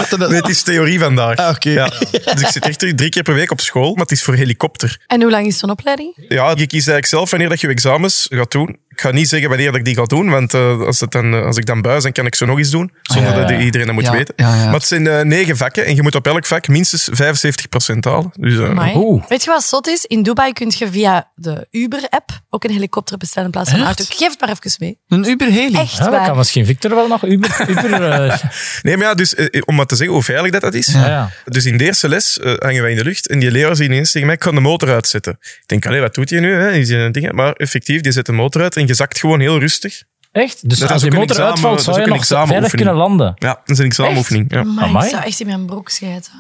F: je dat-
E: Nee, het is theorie vandaag.
F: Ah, oké.
E: Ja. Dus ik zit echt drie keer per week op school, maar het is voor helikopter.
A: En hoe lang is zo'n opleiding?
E: Ja, je kiest eigenlijk zelf wanneer dat je je examens gaat doen. Ik ga niet zeggen wanneer dat ik die ga doen, want eh, als, het dan, eh, als ik dan buis, dan kan ik ze nog eens doen. Zonder
D: Ah, ja, ja.
E: dat iedereen dat moet
C: Ja,
E: weten.
C: ja, ja.
E: Maar het zijn eh, negen vakken en je moet op elk vak minstens 75% halen. Dus, eh,
A: Amai.
D: Oeh.
A: Weet je wat zot is? In Dubai kun je via de Uber-app ook een helikopter bestellen in plaats van een auto. Geef het maar even mee.
C: Een Uber Heli.
A: Echt
D: Ja, dat
A: waar.
D: kan misschien Victor wel nog. Uber, Uber, eh,
E: Nee, maar ja, dus eh, om maar te zeggen hoe veilig dat, dat is.
D: ja. ja.
E: Dus in de eerste les eh, hangen wij in de lucht en die leraar ziet ineens tegen mij, ik ga de motor uitzetten. Ik denk, allee, wat doet hij nu? Hè? Is hij een ding? Maar effectief, die zet de motor uit en je zakt gewoon heel rustig.
D: Echt? Dus
E: Dat
D: als
E: is
D: die
E: ook een
D: motor
E: examen-
D: uitvalt,
E: dat
D: zou
E: is
D: je
E: ook een
D: nog veilig
E: examenoefening.
D: kunnen landen.
E: Ja, dat is een examenoefening. Ja.
A: Maar
D: Amai.
A: ik zou echt in mijn broek schijten.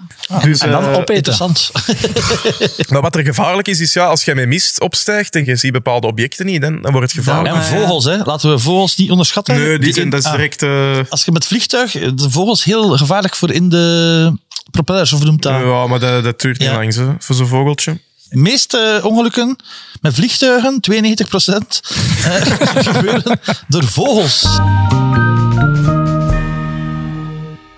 E: Dus,
D: Ah. En dan
E: eh,
D: opeten.
F: Interessant.
E: Maar wat er gevaarlijk is, is ja, als jij met mist opstijgt en je ziet bepaalde objecten niet, dan, dan wordt het gevaarlijk.
F: En vogels, hè. Laten we vogels niet onderschatten.
E: nee, die
F: Die
E: zijn,
F: in-
E: dat is
F: ah.
E: direct... eh,
F: Als je met vliegtuig... De vogels heel gevaarlijk voor in de propellers, of noemt dat?
E: ja, maar dat, dat duurt niet
F: Ja.
E: lang, zo, voor zo'n vogeltje.
F: De meeste ongelukken met vliegtuigen, 92 eh, gebeuren door vogels.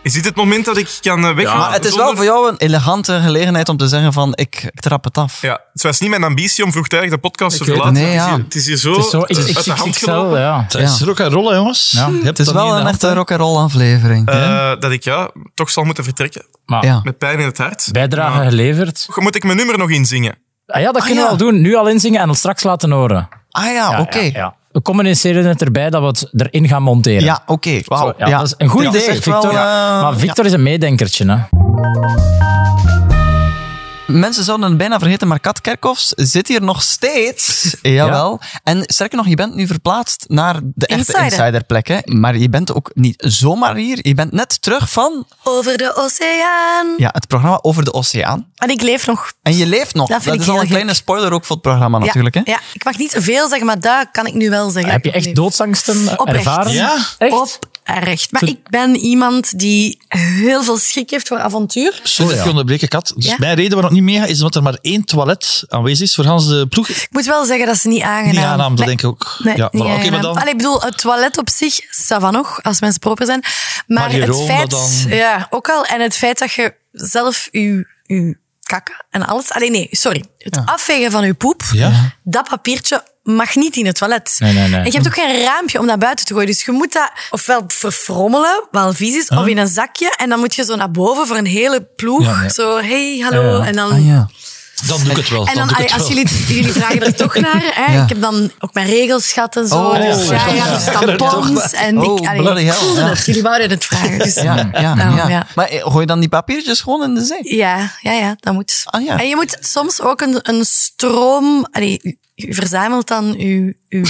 E: Is dit het moment dat ik kan eh, weggaan?
C: maar het is wel
E: zonder-
C: voor jou een elegante gelegenheid om te zeggen van ik, ik trap het af.
E: Ja, het was niet mijn ambitie om vroegtijdig de podcast te
D: Ik weet
E: verlaten.
C: het. Nee,
E: Het is
C: ja.
E: hier- Het is hier zo,
D: Het is zo
E: uit de hand gelopen.
D: XXXL, ja.
F: Dat is
C: Ja.
F: rock en rollen, jongens.
D: Ja.
F: Je hebt
C: Het is
F: dat niet
C: wel
F: in
C: een
F: de
C: echte
F: hand, hè.
C: rock'n'roll aflevering.
E: Eh, dat ik ja, toch zal moeten vertrekken.
D: Maar
C: Ja.
E: Met pijn in het hart.
D: bijdrage geleverd.
E: Ja. Moet ik mijn nummer nog inzingen?
D: Ah ja, dat kunnen
C: ja.
D: we al doen. Nu al inzingen en dan straks laten horen.
C: Ah ja,
D: Ja,
C: oké.
D: ja,
C: Ja,
D: ja. We communiceren het erbij dat we het erin gaan monteren.
C: oké. Wauw.
D: Zo, ja, Dat is een goed
C: Dat is
D: idee,
C: echt
D: Victor.
C: wel, eh,
D: maar Victor is een meedenkertje. Hè.
C: Mensen zouden het bijna vergeten, maar Kat Kerkhoffs zit hier nog steeds. Jawel. En sterker nog, je bent nu verplaatst naar de echte
A: Insider.
C: insiderplek. Hè? Maar je bent ook niet zomaar hier. Je bent net terug van
A: Over de oceaan.
C: ja, het programma Over de Oceaan.
A: En ik leef nog.
C: En je leeft nog.
A: Dat
C: Dat,
A: vind ik
C: is al
A: heel
C: een
A: gek.
C: kleine spoiler ook voor het programma natuurlijk. Hè?
A: Ja, ik mag niet te veel zeggen, maar dat kan ik nu wel zeggen.
D: Heb je echt doodsangsten eh,
A: Oprecht.
D: ervaren?
F: Ja.
D: Echt?
A: Oprecht. Maar ik ben iemand die heel veel schik heeft voor avontuur.
C: Oh,
F: Sorry, ik onderbreken, Kat. Dus
A: Ja.
F: mijn reden waarom ik niet meega is omdat er maar één toilet aanwezig is voor Hans de ploeg.
A: Ik moet wel zeggen, dat is niet aangenaam.
F: Niet aangenaam, dat
A: Ah, Nee.
F: denk ik ook.
A: Nee, eh,
F: ja,
A: niet
F: voilà. Oké, maar
A: aangenaam.
F: dan...
A: Allee, ik bedoel, het toilet op zich, ça va nog, als mensen proper zijn. Maar,
F: Maar je
A: het
F: room,
A: feit...
F: dat dan-
A: Ja, ook al. En het feit dat je zelf je, je kakken en alles... Allee, nee, sorry. Het afvegen van je poep,
F: Ja.
A: dat papiertje mag niet in het toilet.
D: Nee, nee, nee.
A: En je hebt ook geen raampje om naar buiten te gooien. Dus je moet dat ofwel verfrommelen, wel vies is, of in een zakje. En dan moet je zo naar boven voor een hele ploeg.
F: Ja, nee.
A: Zo, hey, hallo. En dan...
C: Ah, ja.
F: Dan doe ik het wel.
A: En
F: dan
A: dan,
F: doe
A: allee,
F: ik het
A: als
F: wel.
A: jullie, jullie vragen er toch naar. Hè?
F: Ja.
A: Ik heb dan ook mijn regels gehad en zo.
F: Oh,
A: dus ja,
F: ja.
A: ja, dus tampons. En ik,
C: Oh,
A: allee,
C: bloody
A: ik
C: hell,
A: voelde
C: ja.
A: het. Jullie wouden het vragen. Dus,
C: Ja, ja,
A: daarom,
C: ja.
A: ja.
C: Maar eh, gooi je dan die papiertjes gewoon in de zee?
A: Ja, ja, ja, dat moet.
C: Ah, ja.
A: En je moet soms ook een, een stroom. Allee, u- u verzamelt dan uw, uw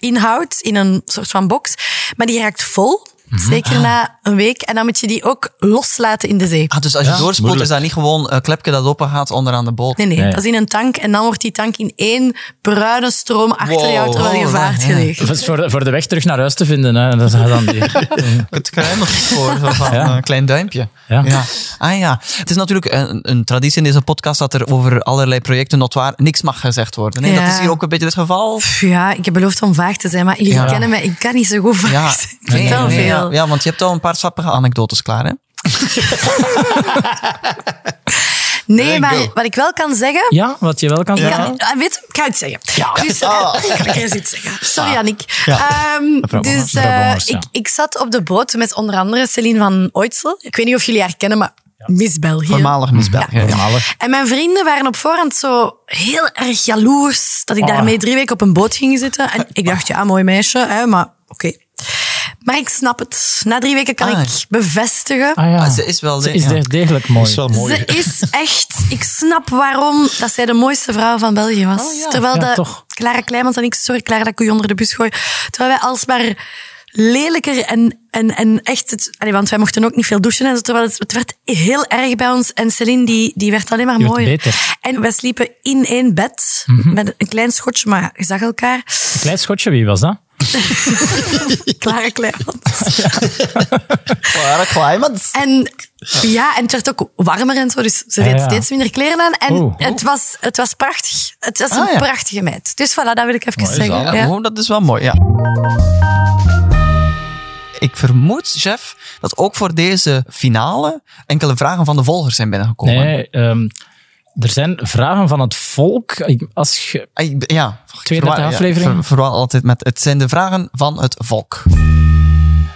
A: toiletinhoud in een soort van box. Maar die raakt vol.
C: Mhm.
A: Zeker na een week. En dan moet je die ook loslaten in de zee.
C: Ah, dus als je doorspoelt, is dat niet gewoon een klepje dat open gaat onderaan de boot?
A: Nee, nee, dat is in een tank. En dan wordt die tank in één bruine stroom achter
C: Wow.
A: jou terwijl je
C: Oh,
A: vaart
C: ja.
A: gelegd.
D: Dat is voor, de- voor de weg terug naar huis te vinden. Hè. Dat is dan die...
C: Het kruimel voor zo van eh,
D: Ja.
C: een klein duimpje.
D: Ja.
C: Ah ja, het is natuurlijk een, een traditie in deze podcast dat er over allerlei projecten notwaar niks mag gezegd worden. Nee,
A: Ja.
C: Dat is hier ook een beetje het geval.
A: Pff, Ja, ik heb beloofd om vaag te zijn, maar jullie
C: Ja.
A: kennen mij. Ik kan niet zo goed vaag
C: Ja,
A: zijn. Ik vertel
C: nee,
A: veel.
C: ja, ja, want je hebt al een paar sappige anekdotes klaar, hè?
A: Nee, maar wat ik wel kan zeggen...
D: Ja, wat je wel kan
A: Ik,
D: zeggen.
A: kan, ah, weet, je, ik ga het zeggen. Dus, eh,
C: Ah.
A: ik ga eerst iets zeggen. Sorry, Annick.
D: Ja.
A: Ehm,
D: Mevrouw Bongers.
A: dus eh,
D: Mevrouw Bongers, ja.
A: ik, ik zat op de boot met onder andere Celine van Ooitsel. Ik weet niet of jullie haar kennen, maar Miss België.
C: Voormalig Miss België.
A: En mijn vrienden waren op voorhand zo heel erg jaloers dat ik daarmee drie weken op een boot ging zitten. En ik dacht, ja, mooi meisje, hè, maar oké. Maar ik snap het. Na drie weken kan
C: Ah.
A: ik bevestigen.
D: Ah, ja.
C: Ah, ze is wel...
D: Ze is
C: ja.
D: de- degelijk mooi.
A: Ze is echt... Ik snap waarom dat zij de mooiste vrouw van België was. Terwijl
D: Oh Ja,
A: de
D: toch.
A: Clara Kleimans en ik... Sorry, Clara, dat ik u onder de bus gooi. Terwijl wij alsmaar lelijker en, en, en echt... Het, allee, want wij mochten ook niet veel douchen. En zo, terwijl het, het werd heel erg bij ons. En Celine, die, die werd alleen maar
D: Die werd
A: mooier.
D: beter. Mhm.
A: En wij sliepen in één bed. Met een klein schotje, maar je zag elkaar.
D: Een klein schotje, wie was dat?
A: Clara Kleimans.
C: Clara Climans.
A: En ja, en het werd ook warmer en zo, dus ze
D: Ja,
A: deed
D: Ah, ja. Oh.
A: steeds minder kleren aan. En
D: Oeh.
A: het, was, het was prachtig. Het was
C: Ah,
A: een
C: ja.
A: prachtige meid. Dus voilà, dat wil ik even zeggen.
C: Ja,
A: Ja.
C: oh, dat is wel mooi, ja. Ik vermoed, chef, dat ook voor deze finale enkele vragen van de volgers zijn binnengekomen.
D: Nee, ehm, er zijn vragen van het volk. Ik- Als je,
C: Ah, ik- Ja,
D: Tweede
C: Verwaar- ja,
D: aflevering.
C: ver- verwaar altijd met het zijn de vragen van het volk.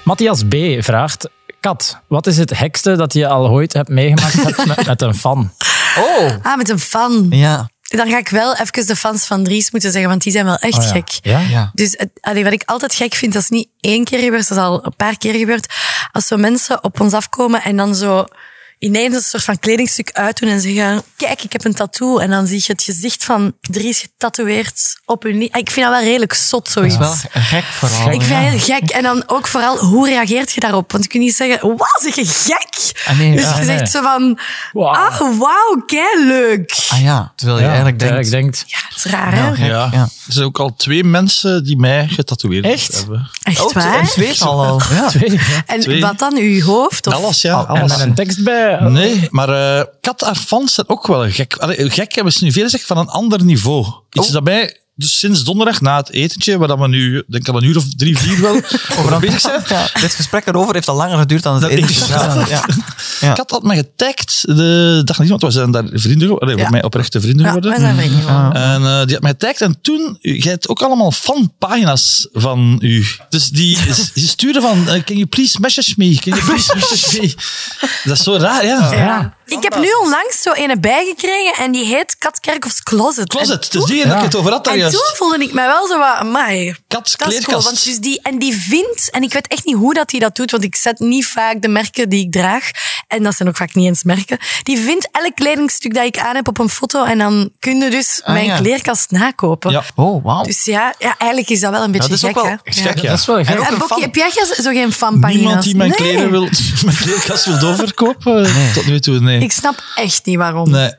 D: Matthias B. vraagt... Kat, wat is het hekste dat je al ooit hebt meegemaakt met- met, met een fan?
C: Oh,
A: Ah, met een fan.
C: ja.
A: Dan ga ik wel even de fans van Dries moeten zeggen, want die zijn wel echt
D: Oh ja.
A: gek.
D: Ja?
C: ja.
A: Dus het- allee, wat ik altijd gek vind, dat is niet één keer gebeurd, dat is al een paar keer gebeurd. Als zo mensen op ons afkomen en dan zo ineens een soort van kledingstuk uitdoen en zeggen, kijk, ik heb een tattoo. En dan zie je het gezicht van Dries getatoeëerd op hun... li- Ik vind dat wel redelijk zot, zoiets.
C: Dat is wel een gek vooral.
A: Ik vind
C: ja.
A: het heel gek. En dan ook vooral, hoe reageert je daarop? Want je kunt niet zeggen, wauw, zeg je gek?
C: Ah, nee,
A: dus
C: ja,
A: je
D: nee.
A: zegt zo van,
D: Wauw.
A: ah, wauw, kei leuk.
C: Ah ja, terwijl je eigenlijk denkt...
D: ik denk...
A: Ja, dat is raar, hè?
F: Ja.
C: Ja.
F: Er zijn ook al twee mensen die mij getatoeëerd
D: Echt?
F: hebben.
A: Echt
C: Oh, en
A: waar?
C: zweet al al. Ja.
A: En
F: twee.
A: wat dan, uw hoofd? Of?
F: Alles, ja.
D: En
F: Alles.
D: dan een tekst bij.
F: Nee, maar eh Kat haar fans zijn ook wel gek. Allee, gek hebben ze nu veel gezegd van een ander niveau. Iets dat mij dus sinds donderdag na het etentje, waar dat we nu, denk ik al een uur of drie, vier wel over bezig zijn.
C: Ja, dit gesprek erover heeft al langer geduurd dan het
F: ik-
C: eerste. Ja, ja. Ja.
F: Kat had mij getagd de dag niet, want we zijn daar vrienden geworden. Allee,
A: Ja.
F: Voor mij oprechte
A: Ja,
F: vrienden geworden.
A: wij zijn vrienden geworden.
F: En eh, die had mij getagd. En toen, jij hebt ook allemaal fanpagina's van u. Dus die, die stuurde van, eh, can you please message me? Can you please message me? Dat is zo raar,
A: Ah.
F: ja.
D: Ja.
A: Ik heb nu onlangs zo een bijgekregen en die heet Kat Kerkhoffs Closet.
F: Closet, het
A: En
F: is die dat ik het over had daar
A: en
F: juist.
A: toen voelde ik mij wel zo wat, amai,
F: Kat,
A: dat is cool.
F: kleerkast.
A: Want dus die, en die vindt, en ik weet echt niet hoe dat hij dat doet, want ik zet niet vaak de merken die ik draag, en dat zijn ook vaak niet eens merken, die vindt elk kledingstuk dat ik aan heb op een foto en dan kun je dus
C: Ah,
A: mijn
C: ja.
A: kleerkast nakopen.
F: Ja.
C: Oh, wauw.
A: Dus ja, ja, eigenlijk is dat wel een beetje
C: dat is ook
A: gek,
C: wel
A: hè?
C: gek,
A: Ja.
F: ja.
D: Dat is wel gek.
C: ook
A: En
C: een
A: Bokkie,
C: fan.
A: heb jij ge- zo geen fanpagina's?
F: Niemand die mijn
A: Nee.
F: kleren wil, mijn kleerkast wil doorverkopen? eh, Tot nu toe, nee.
A: Ik snap echt niet waarom.
F: Nee.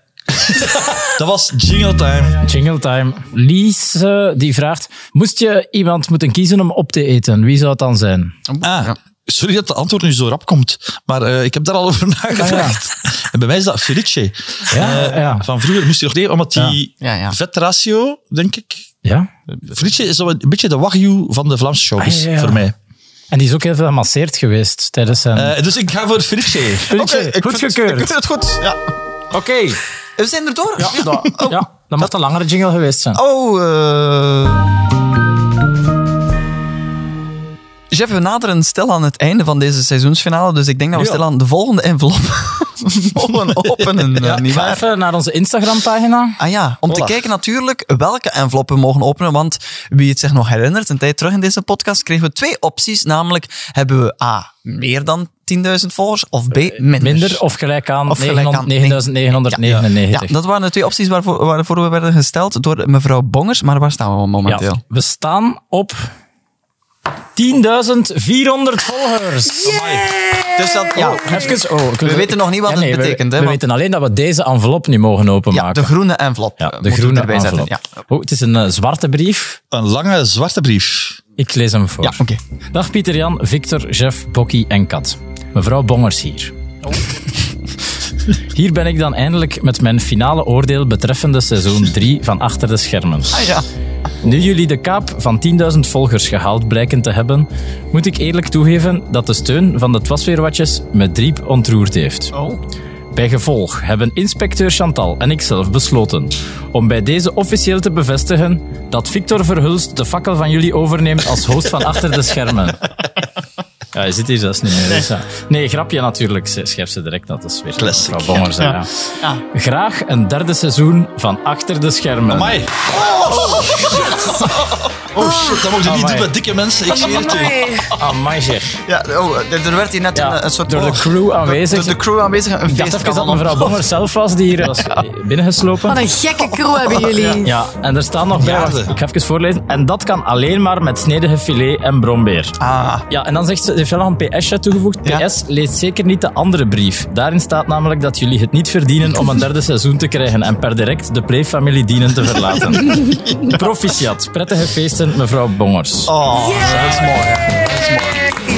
F: dat was jingle time.
D: Jingle time. Lies eh, die vraagt: Moest je iemand moeten kiezen om op te eten? Wie zou het dan zijn?
F: Ah, sorry dat de antwoord nu zo rap komt, maar eh, ik heb daar al over nagedacht.
A: Ah,
F: En bij mij is dat Felice.
D: Ja,
F: Eh,
D: ja.
F: Van vroeger moest je nog leren, omdat die
C: Ja, ja.
F: vetratio, denk ik...
D: ja.
F: Felice is zo een beetje de wagyu van de Vlaamse showbiz,
D: Ah, ja, ja.
F: voor mij.
D: En die is ook heel veel gemasseerd geweest tijdens zijn.
F: Eh, dus ik ga voor Felice.
D: goedgekeurd.
C: vind het goed. Ja. Oké. We zijn er door. Ja.
D: Ja, dat moet een langere jingle
C: Oh, eh.
D: geweest zijn.
C: Oh, eh. Jeff, we naderen stil aan het einde van deze seizoensfinale, dus ik denk dat we
D: Ja.
C: stil aan de volgende envelop mogen openen. eh, niet
D: Ga
C: waar?
D: even naar onze Instagram-pagina.
C: Ah ja, om
D: Voilà.
C: te kijken natuurlijk welke enveloppen we mogen openen. Want wie het zich nog herinnert, een tijd terug in deze podcast kregen we twee opties. Namelijk hebben we A, meer dan 10.000 volgers of B, minder.
D: Eh, Minder of gelijk aan
C: Of gelijk aan
D: 9999.
C: Ja, dat waren de twee opties waarvoor, waarvoor we werden gesteld door mevrouw Bongers. Maar waar staan we momenteel?
D: Ja, we staan op 10.400 volgers.
C: Dus dat, ja,
D: Even, oh, ik wil-
C: we weten nog niet wat
D: Ja,
C: het
D: nee, we-
C: betekent.
D: We,
C: hè, want
D: weten alleen dat we deze envelop nu mogen openmaken.
C: de groene envelop.
D: Ja, de
C: moeten we
D: groene
C: erbij zetten,
D: envelop. Oh, het is een eh, zwarte brief.
F: Een lange zwarte brief.
D: Ik lees hem voor. Dag Pieter Jan, Victor, Jeff, Bokkie en Kat. Mevrouw Bongers hier. Hier ben ik dan eindelijk met mijn finale oordeel betreffende seizoen 3 van Achter de Schermen. Nu jullie de kaap van 10.000 volgers gehaald blijken te hebben, moet ik eerlijk toegeven dat de steun van de Twasweerwatjes me diep ontroerd heeft. Bij gevolg hebben inspecteur Chantal en ikzelf besloten om bij deze officieel te bevestigen dat Victor Verhulst de fakkel van jullie overneemt als host van Achter de Schermen. Ja, je zit hier zelfs niet meer. dus ja. Nee, grapje natuurlijk. Ze- Schrijf ze direct dat is weer.
F: Classic.
D: mevrouw Bongers, hè,
F: Ja.
D: ja. Graag een derde seizoen van Achter de Schermen.
F: Amai. Oh shit, dat mogen ze niet
D: Amai.
F: doen met dikke mensen. Ik zweer het u.
D: Amai zeg.
C: Ja, oh, er er werd hier net een, een soort...
D: Door de
C: oh,
D: crew aanwezig.
C: door de crew aanwezig een
D: Ik dacht
C: feest
D: even dat
C: kan
D: mevrouw Bongers zelf was die hier was binnengeslopen.
A: Wat een gekke crew hebben jullie.
D: Ja, en er staan nog bij, wacht, ik ga even voorlezen. En dat kan alleen maar met snedige filet en brombeer.
C: Ah,
D: Ja, en dan zegt ze, ze heeft wel nog een PS'je toegevoegd. PS, lees zeker niet de andere brief. Daarin staat namelijk dat jullie het niet verdienen om een derde seizoen te krijgen en per direct de Playfamilie dienen te verlaten. Proficiat, prettige feesten, mevrouw Bongers.
C: oh dat is mooi. hè.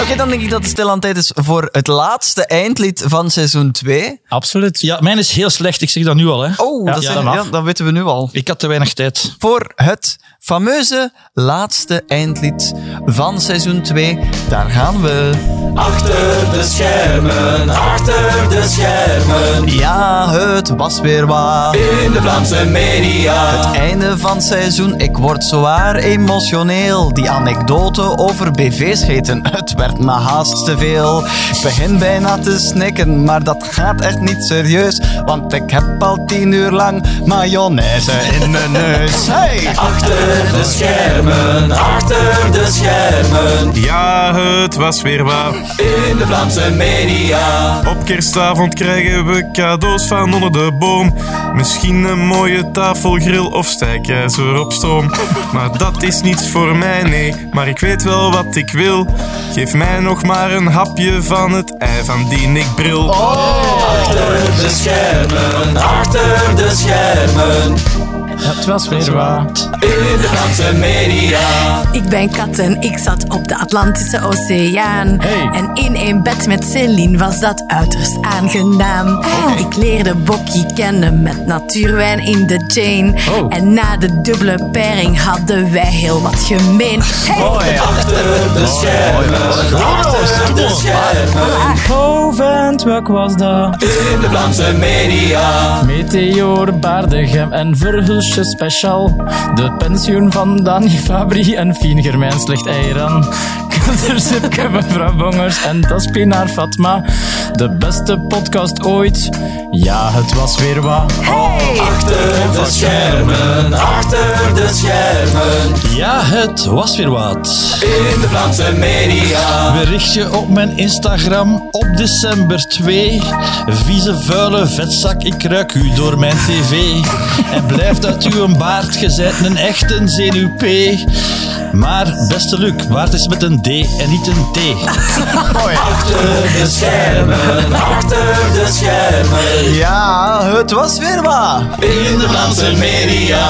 C: Oké, dan denk ik dat het stilaan tijd is voor het laatste eindlied van seizoen 2.
D: Absoluut.
F: Ja, mijn is heel slecht. Ik zeg dat nu al, hè.
C: Oh, dat,
D: ja,
C: zijn-
D: dat
C: ja,
D: mag.
C: dat weten we nu al.
F: Ik had te weinig tijd.
C: Voor het fameuze laatste eindlied van seizoen 2. Daar gaan we.
I: Achter de schermen, achter de schermen.
C: Ja, het was weer waar.
I: In de Vlaamse media.
C: Het einde van seizoen, ik word zwaar emotioneel. Die anekdote over BV-scheten, het werd me haast te veel. Ik begin bijna te snikken, maar dat gaat echt niet serieus. Want ik heb al tien uur lang mayonaise in mijn neus. Hey!
I: Achter de schermen, achter de schermen.
E: Ja, het was weer waar.
I: In de Vlaamse media.
E: Op kerstavond krijgen we cadeaus van onder de boom. Misschien een mooie tafelgril of stijkijzer op stroom. Maar dat is niets voor mij, nee. Maar ik weet wel wat ik wil. Geef mij nog maar een hapje van het ei van die Nick Bril.
I: Achter de schermen, achter de schermen.
D: Het was weer wat.
I: In de Vlaamse media.
A: Ik ben Kat en ik zat op de Atlantische Oceaan.
D: Hey.
A: En in een bed met Celine was dat uiterst aangenaam. Ik leerde Bokkie kennen met natuurwijn in de chain.
D: Oh.
A: En na de dubbele pairing hadden wij heel wat gemeen. Hey.
I: Achter de schermen, Oh, achter de schermen.
D: Goventwak was dat.
I: In de Vlaamse media.
D: Meteor, Baardegem en Verhulsje speciaal. De pensioen van Dani Fabri en Fien Germijn slecht eieren. Kulder Sipke, mevrouw Bongers en Taspinaar Fatma. De beste podcast ooit. Ja, het was weer wat.
I: Achter de schermen, achter de schermen.
F: Ja, het was weer wat.
I: In de Vlaamse media.
F: Berichtje op mijn Instagram op december 2. Vieze vuile vetzak, ik ruik u door mijn tv. En blijft uit uw baard gezet, een echte zenuwp. Maar beste Luc, baard is met een D en niet een T.
I: Achter de schermen, achter de schermen.
C: Ja, het was weer waar.
I: In de Vlaamse media.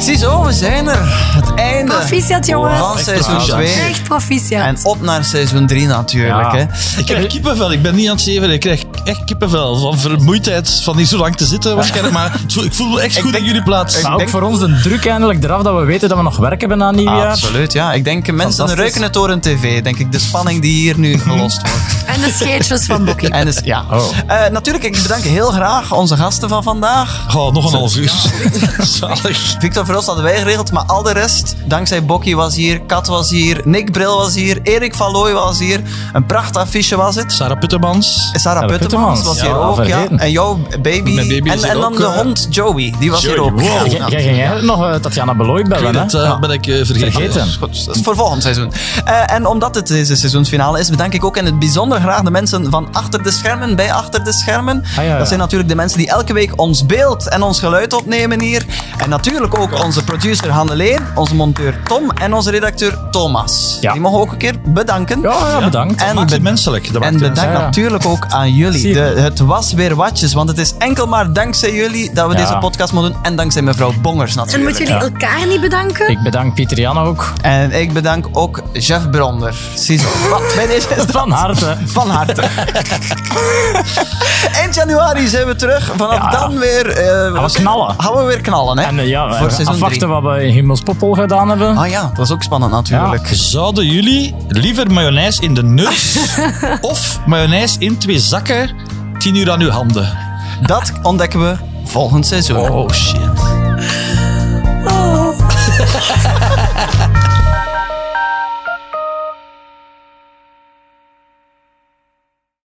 C: Ziezo, we zijn er. Het einde
A: Proficiat
C: van
A: jongens.
C: seizoen 2.
A: Echt proficiat.
C: En op naar seizoen 3 natuurlijk.
D: Ja.
C: Hè.
F: Ik heb kippenvel, ik ben niet aan het zeven. Ik krijg echt kippenvel van vermoeidheid van hier zo lang te zitten waarschijnlijk. Maar het voel- ik voel me echt goed in jullie plaats.
D: Maar ook voor ons de druk eindelijk eraf dat we weten dat we nog werk hebben aan nieuwjaar.
C: Absoluut, ja. Ik denk mensen
D: Fantastisch.
C: ruiken het door een tv. Denk ik de spanning die hier nu gelost wordt.
A: En de scheetjes van Bokkie.
C: En dus, ja.
F: Oh.
C: Eh, natuurlijk, ik bedank heel graag onze gasten van vandaag.
F: Oh, nog een half uur. Zalig.
C: Victor Verhulst hadden wij geregeld, maar al de rest, dankzij Bokkie was hier, Kat was hier, Nick Bril was hier, Erik van Looy was hier. Een prachtig was het.
F: Sarah Puttemans.
C: Sarah Puttemans was
D: Ja,
C: hier ook, ja.
D: vergeten.
C: En jouw baby.
F: Mijn baby is
C: en
F: hier
C: en dan
F: ook,
C: de
F: eh,
C: hond Joey, die was hier
F: Joey,
C: ook.
F: wow.
C: Ja,
D: Jij
C: ja.
D: jij ging eigenlijk nog eh, Tatjana Beloy bellen, hè?
F: Dat eh, ben ik eh, vergeten.
D: Vergeten.
F: Goed, dat
C: Dat is voor volgend seizoen. Eh, en omdat het deze seizoensfinale is, bedank ik ook in het bijzonder graag de mensen van achter de schermen, bij achter de schermen.
D: ja, ja.
C: Dat zijn natuurlijk de mensen die elke week ons beeld en ons geluid opnemen hier. En natuurlijk ook onze producer Handeleen, onze monteur Tom en onze redacteur Thomas.
D: Ja.
C: Die mogen we ook een keer bedanken.
D: Ja, ja, bedankt.
C: En
F: maakt
C: be-
F: het menselijk. Dat
C: en
F: maakt het
C: bedankt
D: Ja, ja.
C: natuurlijk ook aan jullie.
D: Zie je.
C: De- het was weer watjes, want het is enkel maar dankzij jullie dat we
D: Ja.
C: deze podcast mogen doen. En dankzij mevrouw Bongers
A: En
C: natuurlijk.
A: moeten jullie elkaar niet bedanken?
D: Ik bedank Pieter Jan ook.
C: En ik bedank ook Jeff Bronder. Ziezo. Wat, Bij deze is dat
D: Van harte.
C: van harte. Eind januari zijn we terug. Vanaf
D: Ja.
C: dan weer... eh,
D: Gaan we knallen.
C: Gaan we weer knallen, hè?
D: En eh, ja,
C: Voor
D: eh,
C: seizoen
D: afwachten
C: drie.
D: wat we in Himmelspopol gedaan hebben.
C: Ah ja, dat is ook spannend natuurlijk.
F: menselijk. Zouden jullie liever mayonaise in de neus of mayonaise in twee zakken 10 uur aan uw handen?
C: Dat ontdekken we volgend seizoen.
F: Oh shit.